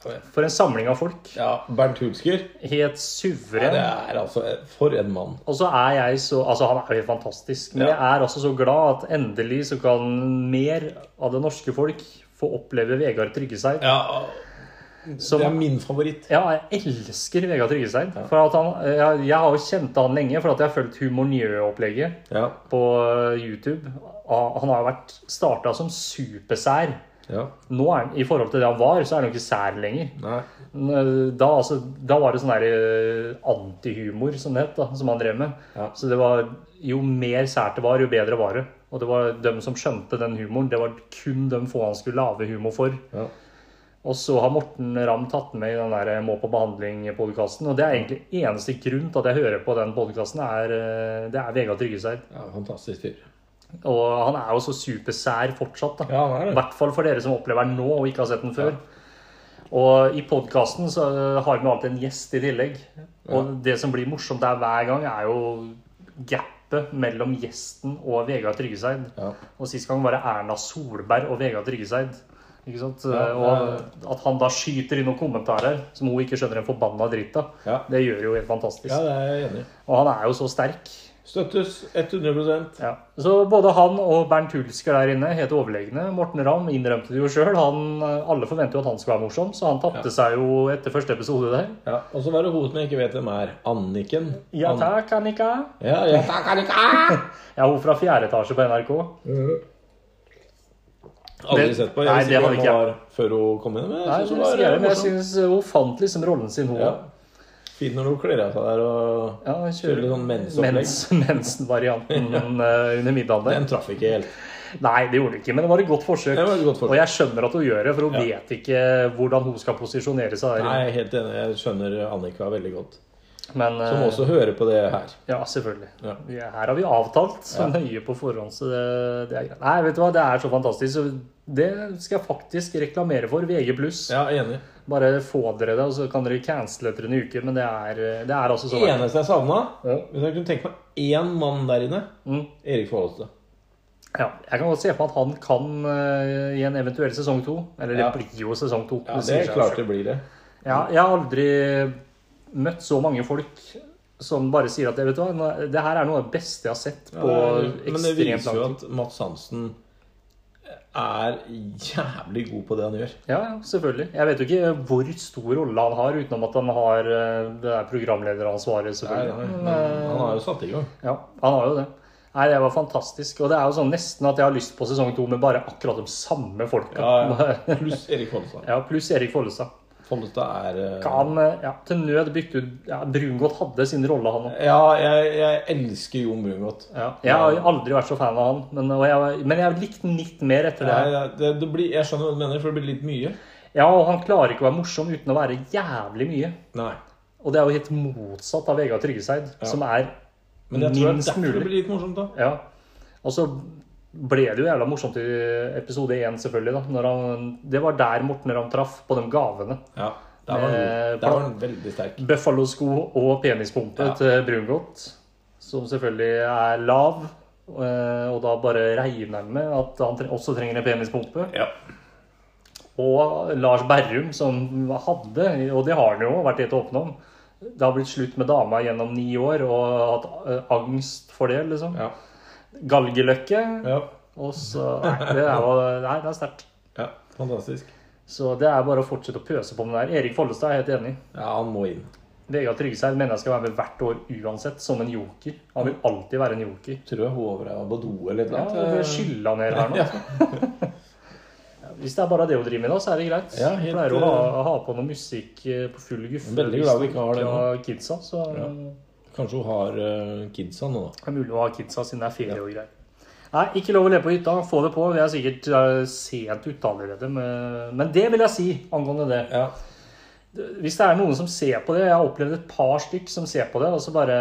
Speaker 1: for en samling av folk.
Speaker 2: Ja, Bernt Hulsker.
Speaker 1: Helt
Speaker 2: Det
Speaker 1: suveren.
Speaker 2: er altså For en mann.
Speaker 1: Og så er jeg så Altså, han er jo helt fantastisk. Men
Speaker 2: Ja.
Speaker 1: jeg er altså så glad at endelig så kan mer av det norske folk få oppleve Vegard Tryggeseid.
Speaker 2: Ja,
Speaker 1: som
Speaker 2: Det er min favoritt.
Speaker 1: Ja, jeg elsker Vegard Tryggeseid. For at han, eh, jeg, jeg har jo kjent han lenge, for at jeg har fulgt Humornjø-opplegget
Speaker 2: Ja,
Speaker 1: på eh, YouTube. Ah, Han han har jo vært starta som supersær.
Speaker 2: ja,
Speaker 1: Nå er han, I forhold til det han var, så er han jo ikke sær lenger.
Speaker 2: nei
Speaker 1: Da, altså, da var det sånn der eh, antihumor, som det het, da, som han drev med.
Speaker 2: Ja.
Speaker 1: Så det var jo mer sært det var, jo bedre var det. Og det var dem som skjønte den humoren. Det var kun de få han skulle lage humor for.
Speaker 2: ja.
Speaker 1: Og så har Morten Ramm tatt den med i den der eh, Må på behandling-podkasten. Og det er egentlig eneste grunn til at jeg hører på den podkasten, er, eh, det er Vegard Tryggeseid.
Speaker 2: ja fantastisk fyr.
Speaker 1: Og han er jo så supersær fortsatt, da.
Speaker 2: Ja, han
Speaker 1: I
Speaker 2: er det.
Speaker 1: hvert fall for dere som opplever den nå og ikke har sett den før. Og i podkasten så eh, har vi alltid en gjest i tillegg. Og det som blir morsomt der hver gang, er jo gapet mellom gjesten og Vegard Tryggeseid.
Speaker 2: Ja.
Speaker 1: Og sist gang var det Erna Solberg og Vegard Tryggeseid. Ikke sant?
Speaker 2: Ja,
Speaker 1: og at han da skyter inn noen kommentarer som hun ikke skjønner en forbanna dritt av,
Speaker 2: Ja.
Speaker 1: det gjør jo helt fantastisk.
Speaker 2: ja, det er jeg enig i.
Speaker 1: Og han er jo så sterk.
Speaker 2: Støttes 100
Speaker 1: Ja. Så både han og Bernt Hulsker der inne helt overlegne. Morten Ramm innrømte det jo sjøl. Alle forventer jo at han skal være morsom, så han tapte seg jo etter første episode der.
Speaker 2: Ja, og så var det hodet som jeg ikke vet hvem er. Anniken.
Speaker 1: Ja
Speaker 2: An-
Speaker 1: takk, Annika.
Speaker 2: Ja, ja, takk, Annika!
Speaker 1: Ja, hun fra fjerde etasje på NRK.
Speaker 2: Aldri
Speaker 1: Det-
Speaker 2: sett
Speaker 1: Nei,
Speaker 2: på.
Speaker 1: det
Speaker 2: Jeg visste
Speaker 1: har
Speaker 2: ikke hvem
Speaker 1: ikke jeg.
Speaker 2: hun var før hun kom inn. Men
Speaker 1: Nei,
Speaker 2: jeg
Speaker 1: men
Speaker 2: synes hun
Speaker 1: jeg sier
Speaker 2: var
Speaker 1: det,
Speaker 2: eh,
Speaker 1: men jeg
Speaker 2: morsom.
Speaker 1: syns hun fant liksom rollen sin, hun
Speaker 2: Ja.
Speaker 1: òg.
Speaker 2: Fint når hun kler av seg der og
Speaker 1: Ja,
Speaker 2: kjører litt sånn mensopplegg.
Speaker 1: Mensen-varianten eh, under middagen der.
Speaker 2: Den traff ikke helt.
Speaker 1: Nei, det gjorde hun ikke, men det var et godt forsøk.
Speaker 2: Det var et godt forsøk.
Speaker 1: Og jeg skjønner at hun gjør det, for hun vet ikke hvordan hun skal posisjonere seg.
Speaker 2: Nei,
Speaker 1: der.
Speaker 2: jeg er helt enig. Jeg skjønner Annika veldig godt.
Speaker 1: Men
Speaker 2: Som
Speaker 1: eh,
Speaker 2: også hører på det her.
Speaker 1: Ja, selvfølgelig.
Speaker 2: Ja.
Speaker 1: Vi er- Her har vi avtalt så nøye på forhånd, så det, det er greit. Nei, vet du hva, det er så fantastisk. Så det skal jeg faktisk reklamere for. VG+.
Speaker 2: Ja, enig.
Speaker 1: Bare få dere det, og så kan dere cancele etter en uke. Men det er, det er altså så verdt
Speaker 2: Eneste jeg savna
Speaker 1: Ja.
Speaker 2: Hvis jeg kunne tenke meg én mann der inne
Speaker 1: Mm.
Speaker 2: Erik Follestad.
Speaker 1: Ja, jeg kan godt se for meg at han kan eh, i en eventuell sesong to. Eller det
Speaker 2: Ja.
Speaker 1: blir jo sesong to.
Speaker 2: Ja, det
Speaker 1: sier
Speaker 2: er
Speaker 1: seg
Speaker 2: klart
Speaker 1: selv.
Speaker 2: det blir det.
Speaker 1: Ja, jeg har aldri møtt så mange folk som bare sier at vet du hva, nå- det her er noe av det beste jeg har sett på
Speaker 2: Men det
Speaker 1: ekstremt
Speaker 2: viser
Speaker 1: lang
Speaker 2: jo
Speaker 1: tid.
Speaker 2: at Mats Hansen er jævlig god på det han gjør.
Speaker 1: Ja, ja, selvfølgelig. Jeg vet jo ikke hvor stor rolle han har, utenom at han har eh, det der programlederansvaret,
Speaker 2: Nei,
Speaker 1: selvfølgelig. eh,
Speaker 2: nei, men han har jo satt i gang.
Speaker 1: Ja, han har jo det. Nei, det var fantastisk. Og det er jo sånn nesten at jeg har lyst på sesong to med bare akkurat de samme folka.
Speaker 2: Ja, ja. Pluss Erik Follestad.
Speaker 1: Ja, pluss Erik Follestad.
Speaker 2: Follestad er eh,
Speaker 1: Kan eh, ja, til nød bytte ut ja, Brungot hadde sin rolle, han òg.
Speaker 2: Ja, jeg, jeg elsker Jon Brungot.
Speaker 1: Ja. Jeg har jo aldri vært så fan av han, men, og jeg, men jeg likte han litt mer etter det.
Speaker 2: Nei, det, det blir, jeg skjønner hva du mener, for det blir litt mye.
Speaker 1: Ja, og han klarer ikke å være morsom uten å være jævlig mye.
Speaker 2: Nei.
Speaker 1: Og det er jo helt motsatt av Vegard Tryggeseid, som er
Speaker 2: Men jeg tror det er
Speaker 1: minst
Speaker 2: derfor
Speaker 1: mulig.
Speaker 2: det blir litt morsomt, da.
Speaker 1: Ja. Og så ble det jo jævla morsomt i episode én, selvfølgelig. da. Når han, det var der Morten Ramm traff på de gavene.
Speaker 2: Ja, Der var
Speaker 1: Eh,
Speaker 2: han, der var han veldig sterk.
Speaker 1: Buffalo-sko og penispumpe
Speaker 2: Ja.
Speaker 1: til Brungot, som selvfølgelig er lav. eh, Og da bare regner han med at han tre- også trenger en penispumpe.
Speaker 2: Ja.
Speaker 1: Og Lars Berrum, som hadde, og det har han jo vært helt åpen om Det har blitt slutt med dama gjennom ni år og hatt eh, angst for det, liksom.
Speaker 2: Ja.
Speaker 1: Galgeløkke.
Speaker 2: ja.
Speaker 1: Og så Nei, det er, jo, nei, det er sterkt.
Speaker 2: ja. Fantastisk.
Speaker 1: Så det er bare å fortsette å pøse på med det her. Erik Follestad er helt enig.
Speaker 2: Ja, han må inn.
Speaker 1: Vegard Tryggeseid mener jeg skal være med hvert år uansett, som en joker. Han vil alltid være en joker.
Speaker 2: Tror jeg hodet var på do eller
Speaker 1: Ja, eh,
Speaker 2: noe.
Speaker 1: det skyller han ned her nå.
Speaker 2: Ja.
Speaker 1: Hvis det er bare det å drive med, da, så er det greit.
Speaker 2: Ja, helt, eh,
Speaker 1: Pleier å ha, ha på noe musikk eh, på full guffe.
Speaker 2: Veldig glad vi ikke har det nå.
Speaker 1: nå. Kidsa, så
Speaker 2: Kanskje hun har eh, kidsa nå, da.
Speaker 1: Det er mulig å ha kidsa siden det er ferie og greier. Nei, ikke lov å le på hytta. Få det på. Vi er sikkert eh, sent ute allerede. Men men det vil jeg si angående det.
Speaker 2: Ja.
Speaker 1: Hvis det er noen som ser på det Jeg har opplevd et par stykk som ser på det, og så bare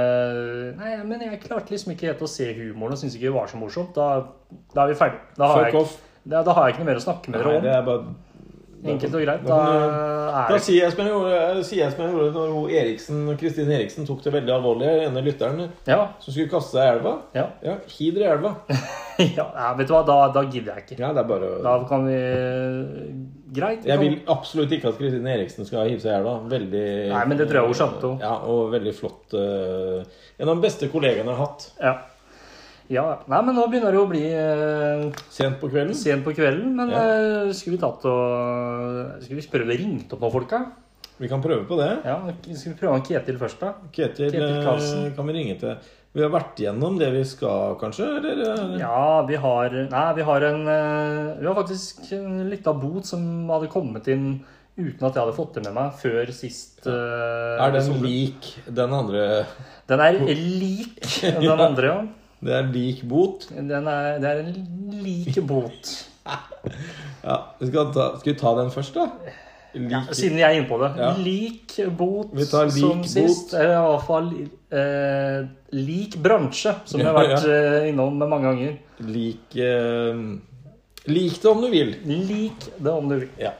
Speaker 1: Nei, men jeg klarte liksom ikke helt å se humoren og syntes ikke det var så morsomt. Da, da er vi ferdige. Da har,
Speaker 2: Fuck
Speaker 1: jeg,
Speaker 2: off.
Speaker 1: da, da har jeg ikke noe mer å snakke med
Speaker 2: Nei, det
Speaker 1: dere om.
Speaker 2: er bare
Speaker 1: Enkelt og greit.
Speaker 2: Da
Speaker 1: Da
Speaker 2: kan du-
Speaker 1: er
Speaker 2: Da
Speaker 1: det
Speaker 2: sier jeg som jeg gjorde, jeg sier som jeg gjorde når hun Eriksen, Kristine Eriksen tok det veldig alvorlig. Den ene lytteren
Speaker 1: Ja.
Speaker 2: som skulle kaste seg i elva.
Speaker 1: ja.
Speaker 2: Ja, hi dere i elva.
Speaker 1: ja nei, vet du hva, da, da gidder jeg ikke.
Speaker 2: Ja, det er bare
Speaker 1: Da kan vi Greit. vi
Speaker 2: Jeg
Speaker 1: kan-
Speaker 2: vil absolutt ikke at Kristine Eriksen skal hive seg i elva. Veldig
Speaker 1: Nei, men det tror jeg hun skjønte også.
Speaker 2: Ja, og veldig flott. eh, En av de beste kollegaene jeg har hatt.
Speaker 1: Ja. ja. Nei, men nå begynner det jo å bli eh,
Speaker 2: Sent på kvelden.
Speaker 1: sent på kvelden. Men
Speaker 2: Ja.
Speaker 1: eh, skulle vi tatt og Skulle vi prøve å ringe opp noen folk, da?
Speaker 2: Vi kan prøve på det.
Speaker 1: Ja, skal vi prøve han Ketil først, da?
Speaker 2: Ketil,
Speaker 1: Ketil
Speaker 2: eh,
Speaker 1: Karlsen.
Speaker 2: kan vi ringe til. Vi har vært gjennom det vi skal, kanskje? Eller? eh,
Speaker 1: Ja, vi har Nei, vi har en eh, Vi har faktisk en lita bot som hadde kommet inn uten at jeg hadde fått det med meg før sist eh,
Speaker 2: Er den
Speaker 1: episode.
Speaker 2: lik den andre?
Speaker 1: Den er lik den andre, ja.
Speaker 2: Det er lik bot.
Speaker 1: Den er, det er en lik bot.
Speaker 2: Ja, vi skal, ta, skal vi ta den først, da? Lik,
Speaker 1: Siden jeg er inne på det.
Speaker 2: Ja.
Speaker 1: Lik bot
Speaker 2: Vi tar lik
Speaker 1: som sist.
Speaker 2: bot.
Speaker 1: Eller i hvert fall eh, lik bransje, som vi har
Speaker 2: Ja,
Speaker 1: vært eh, innom mange ganger.
Speaker 2: lik, eh, lik det om du vil.
Speaker 1: Lik det om du vil.
Speaker 2: Ja.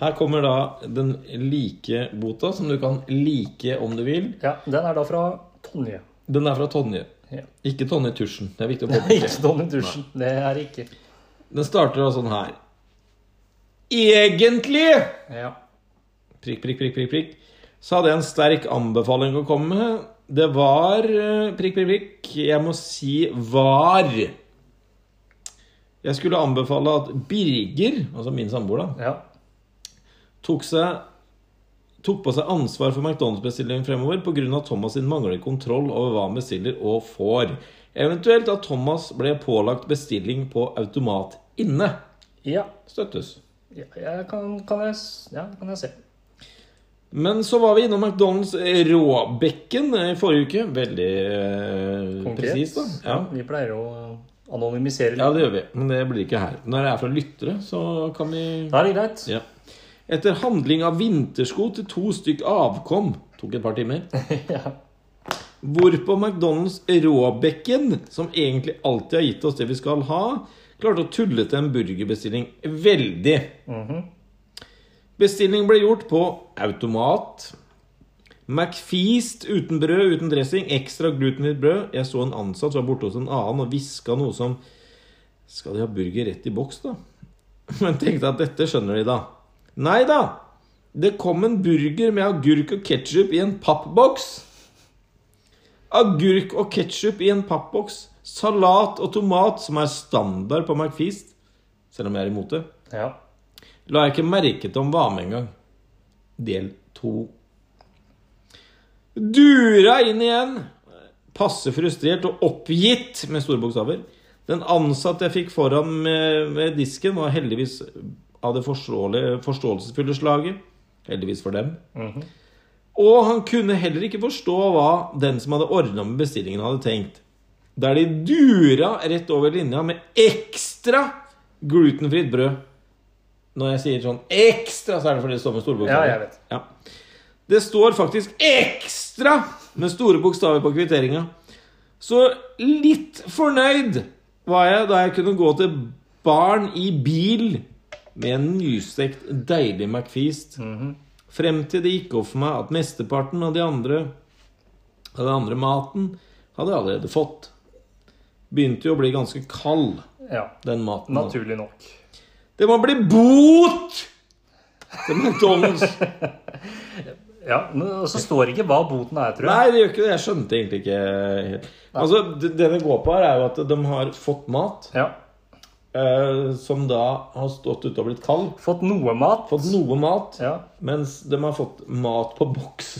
Speaker 2: Her kommer da den like bota, som du kan like om du vil.
Speaker 1: Ja, den er da fra Tonje.
Speaker 2: Den er fra Tonje.
Speaker 1: Ja.
Speaker 2: Ikke Tonje Tusjen. Det er viktig å påpeke.
Speaker 1: Ikke Donny Dusjen. Det er det ikke.
Speaker 2: Den starter da sånn her. Egentlig
Speaker 1: Ja.
Speaker 2: prikk, prikk, prikk, prikk, prikk, så hadde jeg en sterk anbefaling å komme med. Det var eh, prikk, prikk, prikk, jeg må si var. Jeg skulle anbefale at Birger, altså min samboer, da,
Speaker 1: ja.
Speaker 2: tok, seg, tok på seg ansvar for McDonald's-bestillingen fremover pga. Thomas sin manglende kontroll over hva han bestiller og får. Eventuelt at Thomas ble pålagt bestilling på automat inne.
Speaker 1: Ja.
Speaker 2: Støttes.
Speaker 1: ja jeg kan, kan jeg, s- ja, kan jeg se.
Speaker 2: Men så var vi innom McDonald's Råbekken eh, i forrige uke. Veldig eh,
Speaker 1: Konkret.
Speaker 2: presist, da. Ja.
Speaker 1: Vi pleier å anonymisere
Speaker 2: ja,
Speaker 1: litt.
Speaker 2: det gjør vi. Men det blir ikke her. Når det er fra lyttere, så kan vi
Speaker 1: Da er det greit.
Speaker 2: ja. Etter handling av vintersko til to stykk avkom Tok et par timer.
Speaker 1: Ja.
Speaker 2: Hvorpå McDonald's Råbekken, som egentlig alltid har gitt oss det vi skal ha, klarte å tulle til en burgerbestilling veldig.
Speaker 1: Mhm.
Speaker 2: Bestilling ble gjort på automat. McFeast uten brød, uten dressing, ekstra glutenfritt brød. Jeg så en ansatt som var borte hos en annen og hviska noe som Skal de ha burger rett i boks, da? Men tenkte at dette skjønner de, da. Nei da! Det kom en burger med agurk og ketsjup i en pappboks. Agurk og ketsjup i en pappboks. Salat og tomat, som er standard på McFeast. Selv om jeg er imot det.
Speaker 1: ja.
Speaker 2: La jeg ikke merke til om var med engang. Del to. Dura inn igjen. Passe frustrert og oppgitt, med store bokstaver. Den ansatte jeg fikk foran med, med disken, var heldigvis av det forståelige- forståelsesfulle slaget. Heldigvis for dem. Og han kunne heller ikke forstå hva den som hadde ordna med bestillingen, hadde tenkt. Der de dura rett over linja med ekstra glutenfritt brød. Når jeg sier sånn ekstra, så er det fordi det står med store bokstaver.
Speaker 1: Ja, jeg vet.
Speaker 2: Ja. Det står faktisk ekstra med store bokstaver på kvitteringa. Så litt fornøyd var jeg da jeg kunne gå til barn i bil med en nystekt, deilig McFeast. Frem til det gikk opp for meg at mesteparten av de andre av den andre maten hadde jeg allerede fått. Begynte jo å bli ganske kald,
Speaker 1: ja.
Speaker 2: den maten. da.
Speaker 1: Naturlig nok.
Speaker 2: Det må bli bot! Til McDonald's.
Speaker 1: Ja, men Så står ikke hva boten er, tror jeg.
Speaker 2: Nei, det gjør ikke det. Jeg skjønte egentlig ikke helt. Altså, det, det det går på her, er jo at de har fått mat
Speaker 1: Ja.
Speaker 2: eh, som da har stått ute og blitt kald.
Speaker 1: Fått noe mat.
Speaker 2: Fått noe mat,
Speaker 1: Ja.
Speaker 2: mens de har fått mat på boks.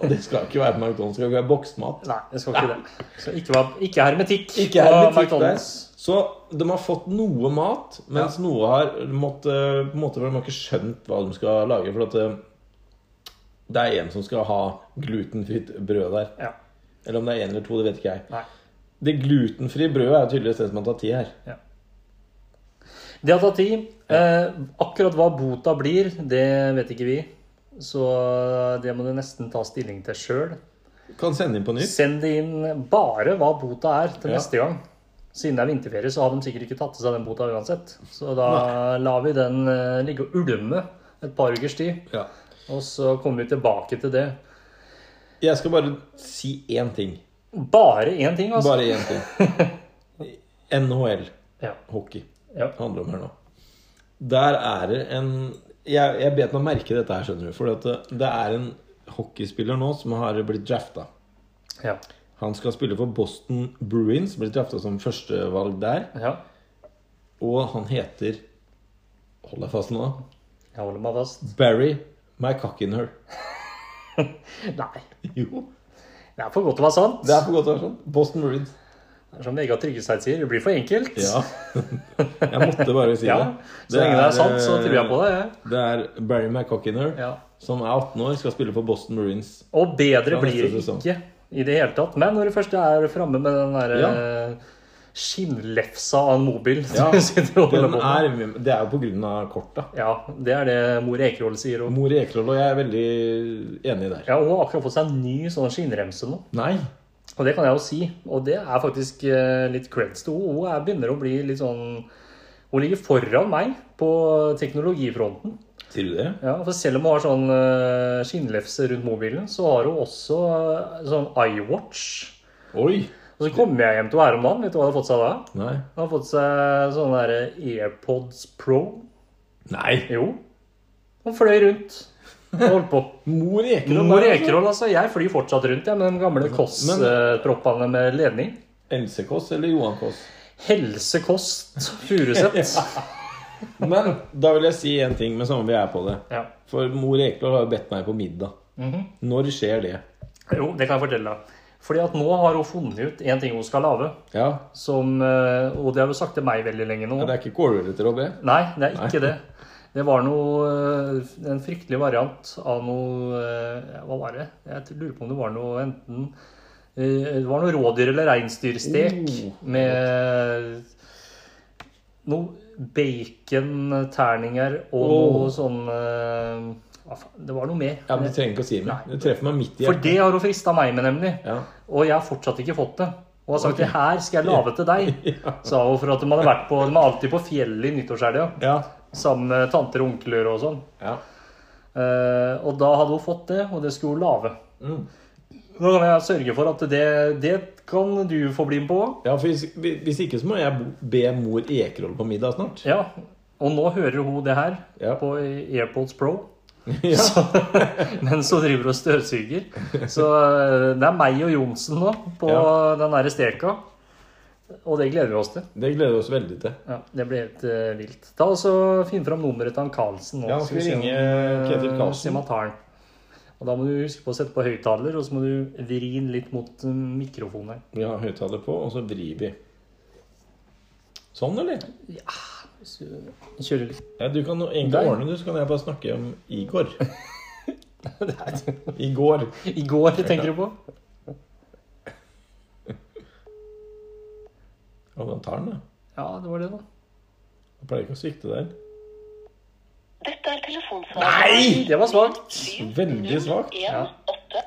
Speaker 2: Og det skal ikke være på McDonald's, det skal ikke være boksmat.
Speaker 1: Nei, det skal ikke det. Så ikke, var, ikke hermetikk
Speaker 2: Ikke her
Speaker 1: på
Speaker 2: butikk der.
Speaker 1: McDonald's.
Speaker 2: Så de har fått noe mat, mens noe har måttet, eh, på en måte, for De har ikke skjønt hva de skal lage. For at eh, det er en som skal ha glutenfritt brød der.
Speaker 1: Ja.
Speaker 2: Eller om det er en eller to, det vet ikke jeg.
Speaker 1: Nei.
Speaker 2: Det glutenfrie brødet er jo tydeligvis det som har tatt tid her.
Speaker 1: Det har tatt tid. Eh, akkurat hva bota blir, det vet ikke vi. Så eh, det må du nesten ta stilling til sjøl.
Speaker 2: Kan sende inn på nytt.
Speaker 1: Send det inn bare hva bota er, til
Speaker 2: Ja.
Speaker 1: neste gang. Siden det er vinterferie, så har de sikkert ikke tatt til seg den bota uansett. Så da lar vi den eh, ligge og ulme et par ukers tid,
Speaker 2: Ja.
Speaker 1: og så kommer vi tilbake til det.
Speaker 2: Jeg skal bare si én ting.
Speaker 1: Bare én ting, altså.
Speaker 2: Bare én ting. NHL,
Speaker 1: Ja.
Speaker 2: hockey,
Speaker 1: ja.
Speaker 2: det handler om her nå. Der er det en Jeg, jeg bet meg merke dette her, skjønner du. For at det, det er en hockeyspiller nå som har blitt drafta.
Speaker 1: ja.
Speaker 2: Han skal spille for Boston Bruins, blitt drafta som førstevalg der.
Speaker 1: ja.
Speaker 2: Og han heter Hold deg fast nå.
Speaker 1: Jeg holder meg fast.
Speaker 2: Barry McCockinher.
Speaker 1: Nei.
Speaker 2: Jo,
Speaker 1: Det er for godt til å være sant.
Speaker 2: det er for godt å være sånn. Boston Bruins.
Speaker 1: Det er Som Vegard Tryggeseid sier, det blir for enkelt.
Speaker 2: Ja. Jeg måtte bare si
Speaker 1: Ja, Så
Speaker 2: det. eh,
Speaker 1: lenge det er eh, sant, så tror jeg på det. jeg.
Speaker 2: Det er Barry McCockiner,
Speaker 1: Ja.
Speaker 2: som er 18 år, skal spille for Boston Marines.
Speaker 1: Og bedre
Speaker 2: Fra
Speaker 1: blir det
Speaker 2: neste sesong.
Speaker 1: ikke i det hele tatt. Men når du først er framme med den der
Speaker 2: Ja.
Speaker 1: eh, skinnlefsa av en mobil
Speaker 2: Ja,
Speaker 1: du sitter og holder
Speaker 2: Den
Speaker 1: på med.
Speaker 2: er, det er jo på grunn av korta.
Speaker 1: Ja, det er det mor Ekerhol sier. Og,
Speaker 2: Mor i Ekerhol og jeg er veldig enig der.
Speaker 1: ja, hun har akkurat fått seg en ny sånn skinnremse nå.
Speaker 2: Nei.
Speaker 1: Og det kan jeg jo si. Og det er faktisk eh, litt creds til henne. Hun er, begynner å bli litt sånn Hun ligger foran meg på teknologifronten.
Speaker 2: Sier du det?
Speaker 1: Ja, for selv om hun har sånn eh, skinnlefse rundt mobilen, så har hun også eh, sånn iWatch.
Speaker 2: Oi.
Speaker 1: Og så kommer jeg hjem til henne her om dagen. Vet du hva hun har fått seg da?
Speaker 2: Nei.
Speaker 1: Hun har fått seg sånne der eh, AirPods Pro.
Speaker 2: Nei.
Speaker 1: Jo. Hun fløy rundt og holdt på.
Speaker 2: Mor i Ekerhol.
Speaker 1: Mor
Speaker 2: der, altså.
Speaker 1: Ekerhol, altså. Jeg flyr fortsatt rundt jeg, med de gamle
Speaker 2: Men-
Speaker 1: Kåss-proppene med ledning.
Speaker 2: Else Kåss eller Johan Kåss?
Speaker 1: Helsekost Furuseth.
Speaker 2: Men da vil jeg si en ting med samme vi er på det.
Speaker 1: Ja.
Speaker 2: For mor i Ekerhol har jo bedt meg på middag.
Speaker 1: Mhm.
Speaker 2: Når skjer det?
Speaker 1: Jo, det kan jeg fortelle deg. Fordi at nå har hun funnet ut en ting hun skal lage.
Speaker 2: Ja,
Speaker 1: Som, eh, og det har hun sagt til meg veldig lenge nå.
Speaker 2: det er ikke kålrøtter å be.
Speaker 1: Nei, det er ikke det. Det var noe eh, En fryktelig variant av noe eh, ja, Hva var det? Jeg lurer på om det var noe enten eh, Det var noe rådyr- eller reinsdyrstek
Speaker 2: Oh,
Speaker 1: med noe bacon-terninger og
Speaker 2: Oh.
Speaker 1: noe sånn eh, Hva faen? Det var noe mer.
Speaker 2: Ja, men Du trenger ikke å si meg.
Speaker 1: Nei.
Speaker 2: Du treffer meg midt i
Speaker 1: For det har hun frista meg med, nemlig.
Speaker 2: Ja.
Speaker 1: Og jeg har fortsatt ikke fått det. Og har sagt 'det her skal jeg lage til deg', sa hun. For at de hadde vært på De er alltid på fjellet i nyttårshelga.
Speaker 2: Ja.
Speaker 1: Sammen med tanter og onkler og sånn.
Speaker 2: ja.
Speaker 1: Eh, og da hadde hun fått det, og det skulle hun lage.
Speaker 2: Mm.
Speaker 1: Nå kan jeg sørge for at det, det kan du få bli med på.
Speaker 2: Ja, for hvis, hvis ikke så må jeg be mor Ekerhol på middag snart.
Speaker 1: Ja. Og nå hører hun det her
Speaker 2: Ja.
Speaker 1: på AirPods Pro.
Speaker 2: Ja.
Speaker 1: Mens hun driver og støvsuger. Så eh, det er meg og Johnsen nå på
Speaker 2: Ja.
Speaker 1: den derre steka. Og det gleder vi oss til.
Speaker 2: Det gleder vi oss veldig til.
Speaker 1: Ja, Det blir helt eh, vilt. Ta og så Finn fram nummeret til han Karlsen nå.
Speaker 2: Ja,
Speaker 1: så
Speaker 2: skal vi
Speaker 1: se om,
Speaker 2: ringe
Speaker 1: eh,
Speaker 2: Ketil Karlsen?
Speaker 1: se om han tar den. Og Da må du huske på å sette på høyttaler, og så må du vri den litt mot eh, mikrofonen. her.
Speaker 2: Vi har høyttaler på, og så vrir vi. Sånn, eller?
Speaker 1: Så Kjører litt.
Speaker 2: Ja, du kan egentlig
Speaker 1: Der.
Speaker 2: ordne det, så kan jeg bare snakke om Igor. I går.
Speaker 1: I går, tenker du på?
Speaker 2: Ja, men tar den, da.
Speaker 1: Ja, det var det, da.
Speaker 2: Jeg pleier ikke å svikte der.
Speaker 3: Dette er telefonsvaret.
Speaker 1: Nei! Det var svakt.
Speaker 2: Veldig svakt.
Speaker 1: Ja.
Speaker 3: 1, 8.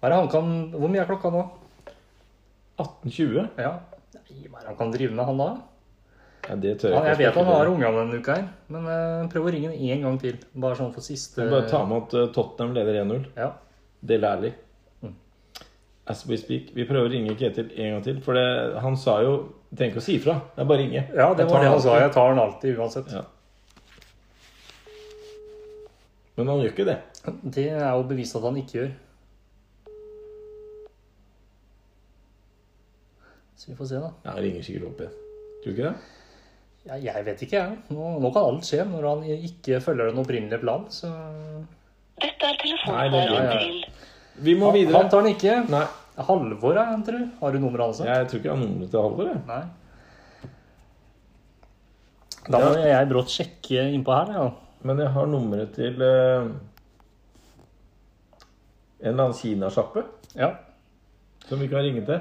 Speaker 1: Hva er det han kan Hvor mye er klokka nå?
Speaker 2: 1820.
Speaker 1: Ja. Nei, hva er det han kan drive med, han da?
Speaker 2: Ja, det tør
Speaker 1: Ja,
Speaker 2: jeg
Speaker 1: jeg
Speaker 2: ikke.
Speaker 1: vet han har ungene denne uka her, men eh, prøv å ringe den én gang til. Bare sånn for siste
Speaker 2: Bare ta med at eh, Tottenham leder 1-0.
Speaker 1: Ja.
Speaker 2: Dele Alli.
Speaker 1: Mm.
Speaker 2: As we speak. Vi prøver å ringe Ketil en gang til. For det, han sa jo Du trenger ikke å si ifra. Det er bare å ringe.
Speaker 1: ja, det
Speaker 2: Jeg tar
Speaker 1: var det han sa.
Speaker 2: alltid.
Speaker 1: Jeg tar den alltid uansett.
Speaker 2: Ja. Men han gjør ikke det.
Speaker 1: Det er jo bevist at han ikke gjør. Så vi får se, da.
Speaker 2: Ja, han ringer sikkert opp igjen. Tror du ikke det?
Speaker 1: Jeg, jeg vet ikke, jeg. Nå, nå kan alt skje når han ikke følger den opprinnelige planen. Så
Speaker 3: Dette er
Speaker 2: Nei, det
Speaker 1: er- ja, ja.
Speaker 3: telefonsvaret til
Speaker 2: Vi må videre.
Speaker 1: han tar den ikke.
Speaker 2: Nei,
Speaker 1: Halvor, er han, tror du? Har du nummeret hans?
Speaker 2: jeg tror ikke han har nummeret til Halvor. jeg.
Speaker 1: Nei. Da må jeg brått sjekke innpå her, ja.
Speaker 2: Men jeg har nummeret til eh, en eller annen kinasjappe
Speaker 1: ja.
Speaker 2: som vi kan ringe til.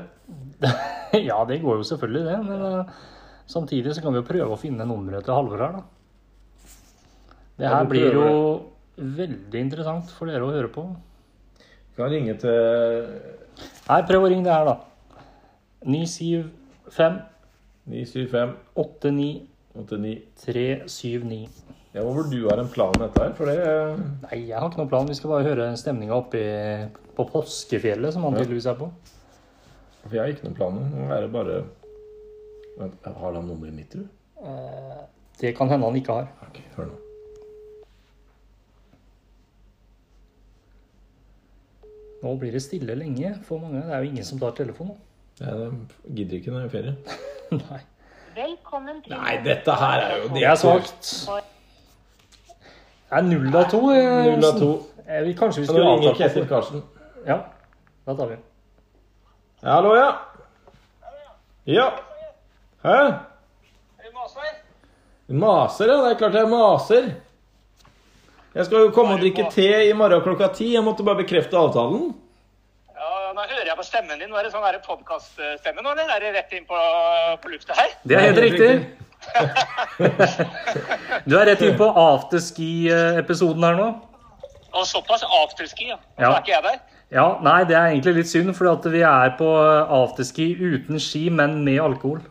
Speaker 1: Ja, det går jo selvfølgelig, det. Men eh, samtidig så kan vi jo prøve å finne nummeret til Halvor her, da. Det
Speaker 2: Ja,
Speaker 1: her
Speaker 2: vi
Speaker 1: blir jo
Speaker 2: prøver
Speaker 1: veldig interessant for dere å høre på.
Speaker 2: Vi kan ringe til
Speaker 1: Nei, prøv å ringe det her, da. 975
Speaker 2: 975
Speaker 1: 89
Speaker 2: 89.
Speaker 1: 379.
Speaker 2: Ja, Hvor burde du har en plan med dette her? For det eh,
Speaker 1: Nei, jeg har ikke noen plan. Vi skal bare høre stemninga oppe i- på påskefjellet, som han tydeligvis er på.
Speaker 2: For jeg har ikke noen planer. Nå er det bare Vent, Har han nummeret mitt, tror du?
Speaker 1: Det kan hende han ikke har.
Speaker 2: Ok, hør nå.
Speaker 1: Nå blir det stille lenge for mange. Det er jo ingen som tar telefonen.
Speaker 2: Jeg eh, gidder ikke når jeg er i ferie.
Speaker 1: Nei.
Speaker 3: Velkommen til
Speaker 2: Nei, dette her er jo
Speaker 1: Det er svakt. Det er null av to. eh,
Speaker 2: Null av to.
Speaker 1: Eh, vi- Kanskje vi
Speaker 2: Nå
Speaker 1: skulle
Speaker 2: ringer
Speaker 1: avtalt
Speaker 2: Ketil Karsten.
Speaker 1: Ja, da tar vi den.
Speaker 2: Hallo, ja. Ja. Hæ? Maser, ja. Det er klart jeg maser. Jeg skal jo komme og drikke te i morgen klokka ti. Jeg måtte bare bekrefte avtalen.
Speaker 4: Ja, Nå hører jeg på stemmen din. Nå er det sånn podkaststemme nå, eller er det rett inn på, på lufta her?
Speaker 1: Det er helt riktig. Du er rett inn på afterski-episoden her nå.
Speaker 4: Og såpass afterski, ja. Og
Speaker 1: Ja.
Speaker 4: så er ikke jeg der.
Speaker 1: Ja, nei, det er egentlig litt synd, for vi er på eh, afterski uten ski, men med alkohol.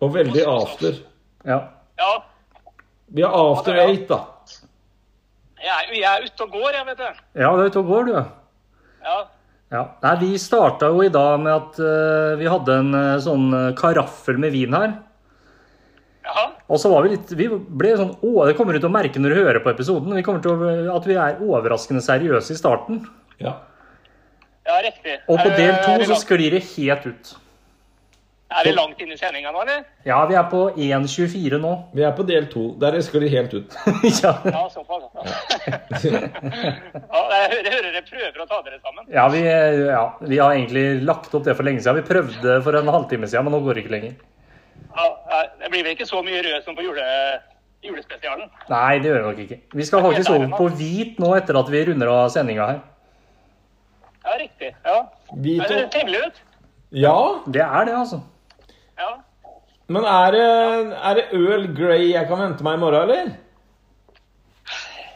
Speaker 2: Og veldig after.
Speaker 1: Ja.
Speaker 4: Ja,
Speaker 2: Vi har after eight, da.
Speaker 4: jeg er, jeg er ute og går, jeg, vet du.
Speaker 1: Ja, du er ute og går, du, ja.
Speaker 4: Ja.
Speaker 1: Ja. Nei, vi starta jo i dag med at eh, vi hadde en eh, sånn eh, karaffel med vin her.
Speaker 4: Jaha.
Speaker 1: Og så var vi litt Vi ble sånn å, Det kommer du til å merke når du hører på episoden. Vi kommer til å, at vi er overraskende seriøse i starten.
Speaker 2: Ja.
Speaker 4: Ja, riktig.
Speaker 1: Og på
Speaker 4: Er-
Speaker 1: del
Speaker 4: er
Speaker 1: to
Speaker 4: vi
Speaker 1: så
Speaker 4: langt-
Speaker 1: sklir det helt ut.
Speaker 4: Er vi langt inn i sendinga nå, eller?
Speaker 1: Ja, vi er på 1,24 nå.
Speaker 2: Vi er på del to. Der sklir de helt ut.
Speaker 1: ja.
Speaker 4: Ja, såpass. Ja. ja, jeg hører, jeg hører dere prøver å ta dere sammen.
Speaker 1: Ja vi, ja, vi har egentlig lagt opp det for lenge siden. Vi prøvde for en halvtime siden, men nå går det ikke lenger.
Speaker 4: Ja, ja, det blir vel ikke så mye rød som på jule, julespesialen.
Speaker 1: Nei, det gjør vi nok ikke. Vi skal faktisk over på hvit nå etter at vi runder av sendinga her.
Speaker 4: Ja, riktig. Ja.
Speaker 2: Vi
Speaker 4: Det
Speaker 2: to.
Speaker 4: høres trivelig ut.
Speaker 2: Ja,
Speaker 1: Det er det, altså.
Speaker 4: Ja.
Speaker 2: men er det, er det Earl Grey jeg kan vente meg i morgen, eller?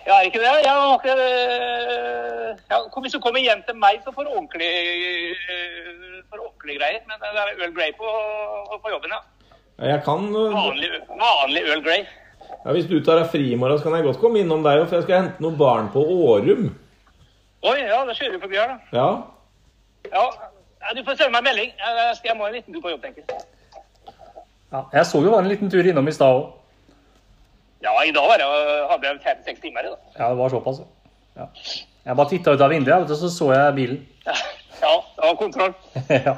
Speaker 4: Ja, er ikke det? Jeg har ikke, øh, ja, kom- hvis du kommer hjem til meg, så får du ordentlig, øh, får du ordentlig greier. Men det er Earl Grey på, på jobben, ja.
Speaker 2: Ja, Jeg kan øh,
Speaker 4: Vanlig, vanlig Earl Grey.
Speaker 2: Ja, Hvis du tar deg fri i morgen, så kan jeg godt komme innom deg, for jeg skal hente noen barn på Årum.
Speaker 4: Oi, ja, da kjører vi forbi her, da.
Speaker 2: Ja.
Speaker 4: Ja, ja, du får sende meg en melding. Jeg, jeg skal- jeg må en liten tur på jobb, tenker jeg.
Speaker 1: Ja, jeg så jo var en liten tur innom i stad òg.
Speaker 4: Ja, i dag var jeg, hadde jeg fem-seks timer i dag.
Speaker 1: Ja, det var såpass. ja. Ja. Jeg bare titta ut av vinduet, vet du, så så jeg bilen.
Speaker 4: Ja, det var kontroll.
Speaker 1: ja.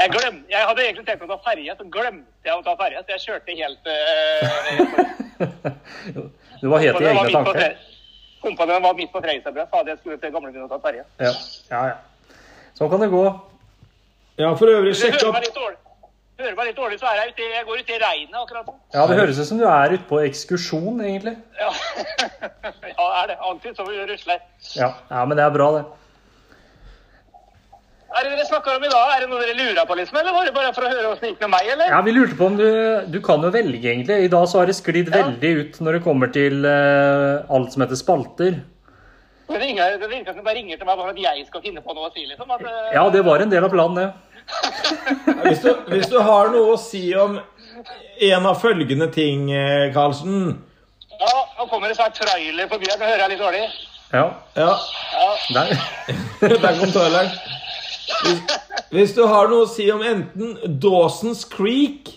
Speaker 4: Jeg, glem, jeg hadde egentlig tenkt å ta ferje, så glemte jeg å ta ferje. Så jeg kjørte helt øh,
Speaker 1: Du var helt i egne
Speaker 4: Kompaniet var midt på
Speaker 1: tanker.
Speaker 4: Fre- Kompaniet var midt på Fredrikstadbrød. Fader, jeg skulle til gamlebyen og ta ferje.
Speaker 1: Ja. ja, ja. Sånn kan det gå.
Speaker 2: Ja, for øvrig,
Speaker 4: Du
Speaker 2: sjekk
Speaker 4: hører
Speaker 2: opp
Speaker 4: meg litt dårlig. Hører meg litt dårlig, så er jeg, ute, jeg går ut i regnet akkurat nå.
Speaker 1: Ja, Det høres ut som du er ute på ekskursjon, egentlig.
Speaker 4: Ja, ja er det. Alltid som vi rusler.
Speaker 1: Ja, ja men det er bra, det.
Speaker 4: Er det dere snakker om i dag? Er det noe dere lurer på, liksom? Eller var det bare for å høre åssen det gikk med meg, eller?
Speaker 1: Ja, Vi lurte på om du Du kan jo velge, egentlig. I dag så har det sklidd veldig ut når det kommer til eh, alt som heter spalter.
Speaker 4: Det ringer- Det virker som de bare ringer til meg bare for at jeg skal finne på noe å si, liksom. At, eh,
Speaker 1: Ja, det var en del av planen, det.
Speaker 2: hvis du, hvis du har noe å si om en av følgende ting, eh, Karlsen.
Speaker 4: ja, nå kommer det snart trailer forbi her. Nå hører jeg litt dårlig.
Speaker 1: Ja.
Speaker 2: Ja,
Speaker 4: Ja.
Speaker 1: Der.
Speaker 2: der kom toaleren. Hvis, hvis du har noe å si om enten Dawson's Creek,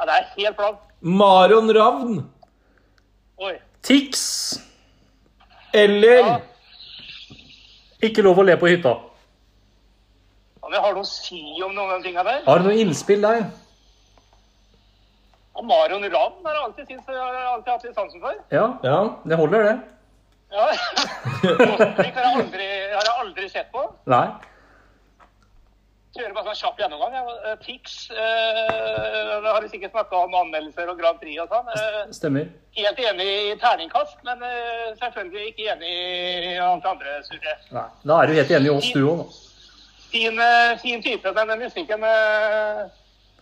Speaker 4: ja, det er helt blankt.
Speaker 2: Marion Ravn
Speaker 4: Oi.
Speaker 1: Tix.
Speaker 2: eller
Speaker 4: Ja.
Speaker 1: Ikke lov å le på hytta.
Speaker 4: Om jeg har noe å si om noen av de tinga der?
Speaker 1: Har du noe innspill der?
Speaker 4: Og Marion Ravn har jeg alltid, syntes- har jeg alltid hatt litt sansen for.
Speaker 1: Ja,
Speaker 2: Ja.
Speaker 1: det holder, det.
Speaker 4: Ja. Dåsvik har, jeg aldri, har jeg aldri sett på.
Speaker 1: Nei.
Speaker 4: Kjører bare sånn kjapp gjennomgang. jeg. Eh, Tix eh, Da har vi sikkert snakka om anmeldelser og Grand Prix og sånn. Eh,
Speaker 1: Stemmer.
Speaker 4: helt enig i terningkast, men eh, selvfølgelig ikke enig i alt det andre surre.
Speaker 1: Nei. Da er du helt enig i oss, du òg, da.
Speaker 4: Fin, eh, fin type, men den musikken eh,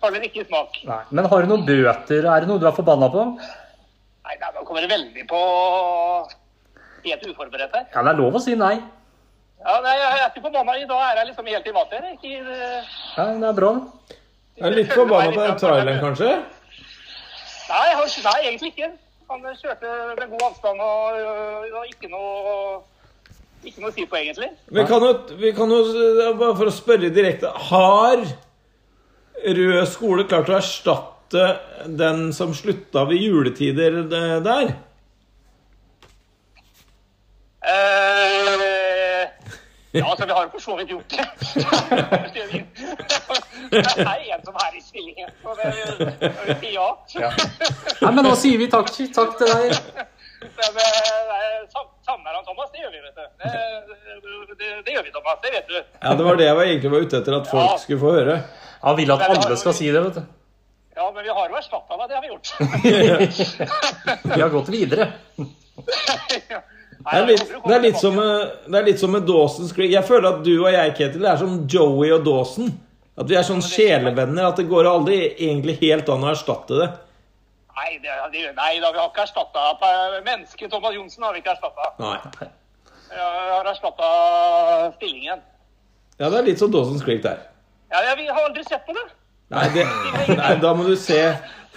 Speaker 4: faller ikke i smak.
Speaker 1: Nei. Men har du noen bøter? Er det noe du er forbanna på?
Speaker 4: Nei, nei, nå kommer det veldig på Helt uforberedt her.
Speaker 1: Ja, det er lov å si nei.
Speaker 4: Ja, nei, Jeg er ikke forbanna. I dag er jeg liksom helt i vater. Ikke i, eh,
Speaker 1: Ja, det er bra. det.
Speaker 2: Jeg er litt forbanna på den traileren, kanskje?
Speaker 4: Nei, han, nei, egentlig ikke. Han eh, kjørte med god avstand og, øh, og ikke noe ikke noe å si på, egentlig.
Speaker 2: Vi kan jo, vi kan jo Bare for å spørre direkte Har Rød skole klart å erstatte den som slutta ved juletider de- der?
Speaker 4: Eh, ja, altså, vi har jo for så vidt gjort det. Det er en som er i stillingen, så det det vil si ja.
Speaker 1: Nei, men da sier vi takk, takk til deg.
Speaker 4: Men, eh, sam- Savner han Thomas? Det gjør vi, vet du. Det, det, det gjør vi, Thomas. Det vet du.
Speaker 2: Ja, Det var det jeg var egentlig var ute etter at folk skulle få høre.
Speaker 1: Han vil at alle skal si det, vet du.
Speaker 4: Ja, men vi har jo erstatta deg. Det har vi gjort.
Speaker 1: Vi har gått videre.
Speaker 4: Nei,
Speaker 2: Det er litt,
Speaker 4: jeg håper du
Speaker 2: det er
Speaker 4: kommer
Speaker 2: litt, som, med- det er litt som med Dawson's Creek. Jeg føler at du og jeg, Ketil, er som Joey og Dawson. At vi er sånn sjelevenner. At det går aldri egentlig helt an å erstatte det.
Speaker 4: Nei, det, det, nei da, vi har ikke erstatta mennesket Thomas Johnsen. har vi ikke erstattet.
Speaker 2: Nei.
Speaker 4: Vi har erstatta stillingen.
Speaker 2: Ja, det er litt som Dawson's Creek der.
Speaker 4: Ja, ja, vi har aldri sett på det.
Speaker 2: Nei, det, nei, da må du se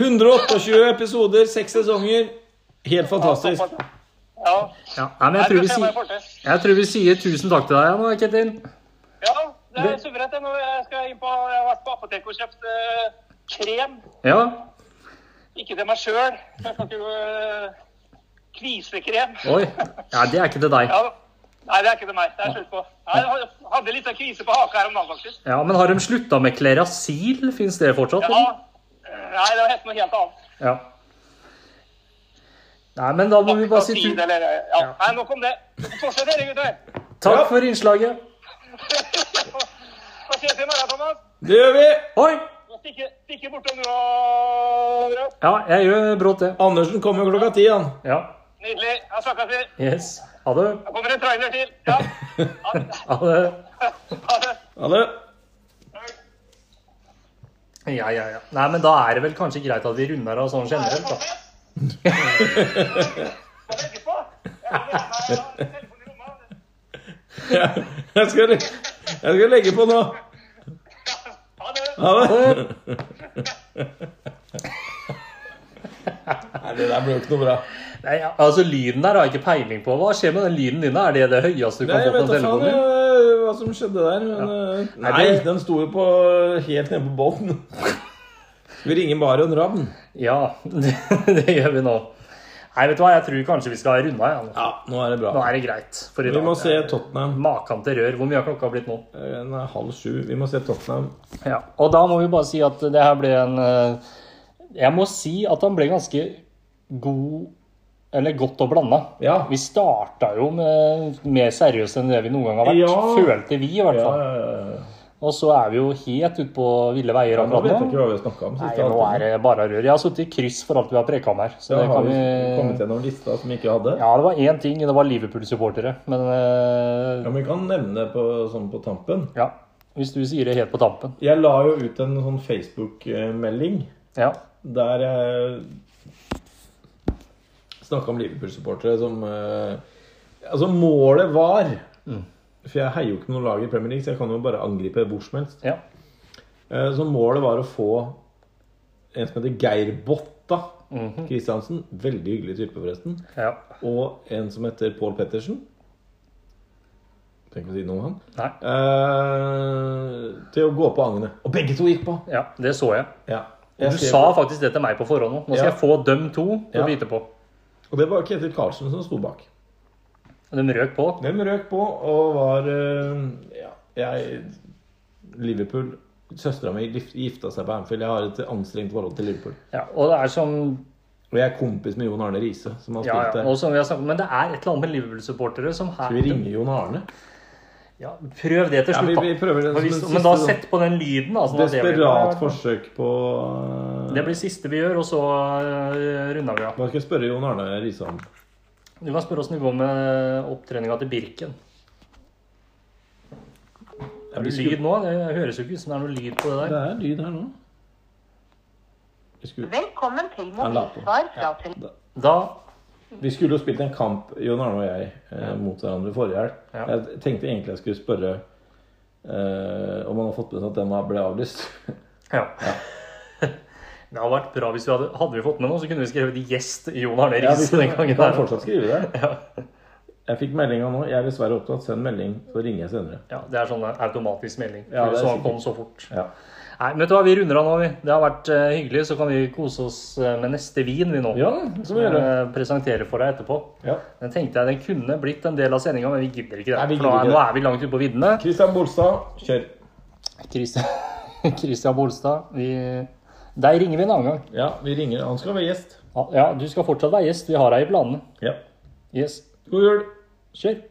Speaker 2: 128 episoder, seks sesonger. Helt fantastisk.
Speaker 4: Ja.
Speaker 1: Ja, nei, men jeg tror, vi sier, jeg tror vi sier tusen takk til deg, nå, Ketil.
Speaker 4: Ja, det er suverent. det. Nå jeg skal inn på, jeg har vært på apoteket og kjøpt eh, krem.
Speaker 1: Ja,
Speaker 4: Ikke til meg sjøl. Jeg kan ikke eh, kvisekrem.
Speaker 1: oi. Ja, det er ikke til deg.
Speaker 4: Ja, nei, det er ikke til meg. Det er slutt på. Nei, Jeg hadde litt av kvise på haka her om dagen, faktisk.
Speaker 1: Ja, men har de slutta med Klerasil? Fins det fortsatt?
Speaker 4: Ja.
Speaker 1: eller?
Speaker 4: Nei, det var helt noe helt annet.
Speaker 1: ja. Nei, men da må vi bare si
Speaker 4: Tid,
Speaker 1: tu
Speaker 4: eller, ja. Nei, nok om det. Fortsett dere, gutter.
Speaker 1: takk for innslaget.
Speaker 4: Da ses vi i morgen, Thomas.
Speaker 2: Det gjør vi!
Speaker 1: Oi!
Speaker 4: Stikke, stikke bortom du og Rød.
Speaker 1: Ja, jeg gjør brått det.
Speaker 2: Andersen kommer klokka ti, han.
Speaker 1: Ja.
Speaker 4: Nydelig. Jeg snakkes vi.
Speaker 1: Yes. Ha det.
Speaker 4: Da kommer en trailer til. Ja. Ha det.
Speaker 1: Ha det.
Speaker 4: Ha det.
Speaker 2: Ha det.
Speaker 1: Ja, ja, ja. Nei, men da er det vel kanskje greit at vi runder av sånn generelt, da.
Speaker 4: Jeg legger på. Jeg har med telefonen i lomma.
Speaker 2: Ja, Jeg skal, le- jeg skal legge på nå.
Speaker 4: Ha det.
Speaker 2: Ha det. Nei, det der ble jo ikke noe bra.
Speaker 1: Nei, ja. altså Lyden der har jeg ikke peiling på. Hva skjer med den lyden din? da? Er det det høyeste du
Speaker 2: Nei,
Speaker 1: kan
Speaker 2: jeg
Speaker 1: få på
Speaker 2: vet da faen
Speaker 1: telefonen din?
Speaker 2: eh, hva som skjedde der. Men, eh,
Speaker 1: Nei,
Speaker 2: nei,
Speaker 1: det-
Speaker 2: den sto jo på helt nede på båten. Vi ringer Marion Ravn.
Speaker 1: Ja, det, det gjør vi nå. Nei, vet du hva, jeg tror kanskje vi skal runde av. Ja.
Speaker 2: Ja, nå er det
Speaker 1: Nå
Speaker 2: bra.
Speaker 1: er det greit for i
Speaker 2: Vi
Speaker 1: dag.
Speaker 2: må se Tottenham.
Speaker 1: Maken til rør. Hvor mye har klokka blitt nå?
Speaker 2: Eh, Nei, halv sju. Vi må se Tottenham.
Speaker 1: Ja. Og da må vi bare si at det her ble en eh, Jeg må si at han ble ganske god Eller godt og blanda.
Speaker 2: Ja.
Speaker 1: Vi starta jo med mer seriøst enn det vi noen gang har vært.
Speaker 2: Ja.
Speaker 1: Følte vi, i hvert
Speaker 2: Ja,
Speaker 1: fall.
Speaker 2: ja, ja, ja.
Speaker 1: Og så er vi jo helt ute på ville veier
Speaker 2: Nå
Speaker 1: akkurat
Speaker 2: vet jeg
Speaker 1: nå.
Speaker 2: ikke hva vi snakka om.
Speaker 1: Nei, nå er det bare rør. Jeg har sittet i kryss for alt vi har preka om her. Så
Speaker 2: Da
Speaker 1: det
Speaker 2: har
Speaker 1: kan
Speaker 2: vi
Speaker 1: vi
Speaker 2: kommet gjennom lista som vi ikke hadde. Ja.
Speaker 1: Ja, det var én ting. Det var Liverpool-supportere. Men eh,
Speaker 2: men Vi kan nevne på, sånn på tampen.
Speaker 1: ja. Hvis du sier det helt på tampen.
Speaker 2: Jeg la jo ut en sånn Facebook-melding
Speaker 1: Ja.
Speaker 2: der jeg snakka om Liverpool-supportere som eh, Altså, målet var Mm. For jeg heier jo ikke noe lag i Premier League, så jeg kan jo bare angripe hvor som helst.
Speaker 1: ja.
Speaker 2: Eh, Så målet var å få en som heter Geir Botta Mhm. Kristiansen. Veldig hyggelig type, forresten.
Speaker 1: Ja.
Speaker 2: Og en som heter Pål Pettersen. Tenk å si noe om han.
Speaker 1: Nei.
Speaker 2: Eh, til å gå på agnet. Og begge to gikk på!
Speaker 1: Ja, det så jeg.
Speaker 2: Ja.
Speaker 1: Du
Speaker 2: Jeg skrev-
Speaker 1: sa faktisk det til meg på forhånd nå. Nå skal
Speaker 2: Ja.
Speaker 1: jeg få dem to til
Speaker 2: Ja.
Speaker 1: å bite på.
Speaker 2: Og det var Ketil Karlsen som sto bak.
Speaker 1: Og De røk på.
Speaker 2: De røk på og var eh, ja, jeg, Liverpool Søstera mi gif- gifta seg på Anfield. Jeg har et anstrengt forhold til Liverpool.
Speaker 1: Ja, og det er som
Speaker 2: Og jeg er kompis med Jon Arne Riise, som har
Speaker 1: ja,
Speaker 2: spilt
Speaker 1: ja,
Speaker 2: der.
Speaker 1: og som vi har snakket om, Men det er et eller annet med Liverpool-supportere som her
Speaker 2: Skal vi ringe Jon Arne?
Speaker 1: ja, Prøv det til
Speaker 2: Ja, vi,
Speaker 1: slutt,
Speaker 2: vi
Speaker 1: da.
Speaker 2: prøver det
Speaker 1: For
Speaker 2: som
Speaker 1: hvis,
Speaker 2: en
Speaker 1: men da
Speaker 2: siste sånn
Speaker 1: sett på den lyden. da, sånn at det blir-
Speaker 2: desperat forsøk på eh,
Speaker 1: Det blir siste vi gjør, og så øh, runder vi av.
Speaker 2: Hva skal jeg spørre Jon Arne Riise om?
Speaker 1: Du kan spørre åssen det går med eh, opptreninga til Birken. Er det lyd nå? Det høres jo ikke ut som det er noe lyd på det
Speaker 2: Det
Speaker 1: der.
Speaker 2: er lyd her nå. Vi skulle,
Speaker 3: Velkommen til
Speaker 2: Han la på.
Speaker 3: mobilsvar fra til...
Speaker 1: Da
Speaker 2: vi skulle jo spilt en kamp, Jon Arne og jeg, eh, mot hverandre forrige helg.
Speaker 1: Ja.
Speaker 2: Jeg tenkte egentlig jeg skulle spørre eh, om han har fått med seg at den ble avlyst.
Speaker 1: Ja. Det hadde vært bra hvis vi hadde, hadde vi fått med noe, så kunne vi skrevet 'gjest Jon Arne Riis' den gangen.
Speaker 2: kan
Speaker 1: Der.
Speaker 2: fortsatt skrive det.
Speaker 1: Ja.
Speaker 2: Jeg fikk meldinga nå. Jeg er dessverre opptatt. Send melding, så ringer jeg senere.
Speaker 1: ja, Det er sånn en automatisk melding.
Speaker 2: Ja, det er
Speaker 1: så han
Speaker 2: sikkert.
Speaker 1: kom så fort.
Speaker 2: Ja.
Speaker 1: Nei, men vet du hva, Vi runder av nå. vi. Det har vært eh, hyggelig. Så kan vi kose oss eh, med neste vin vi nå
Speaker 2: ja, det skal vi gjøre.
Speaker 1: Eh, presentere for deg etterpå.
Speaker 2: Ja.
Speaker 1: Den tenkte jeg den kunne blitt en del av sendinga, men vi gidder ikke det.
Speaker 2: Nei, vi
Speaker 1: for nå
Speaker 2: gidder
Speaker 1: er,
Speaker 2: ikke
Speaker 1: nå
Speaker 2: det.
Speaker 1: er vi langt ute på viddene.
Speaker 2: Christian Bolstad, kjør.
Speaker 1: Christian, Christian Bolstad, vi, deg ringer vi en annen gang.
Speaker 2: Ja, vi ringer. Han skal være gjest.
Speaker 1: Ja, Ja, du skal fortsatt være gjest. Vi har deg i planene.
Speaker 2: Ja.
Speaker 1: Yes,
Speaker 2: God jul.
Speaker 1: kjør.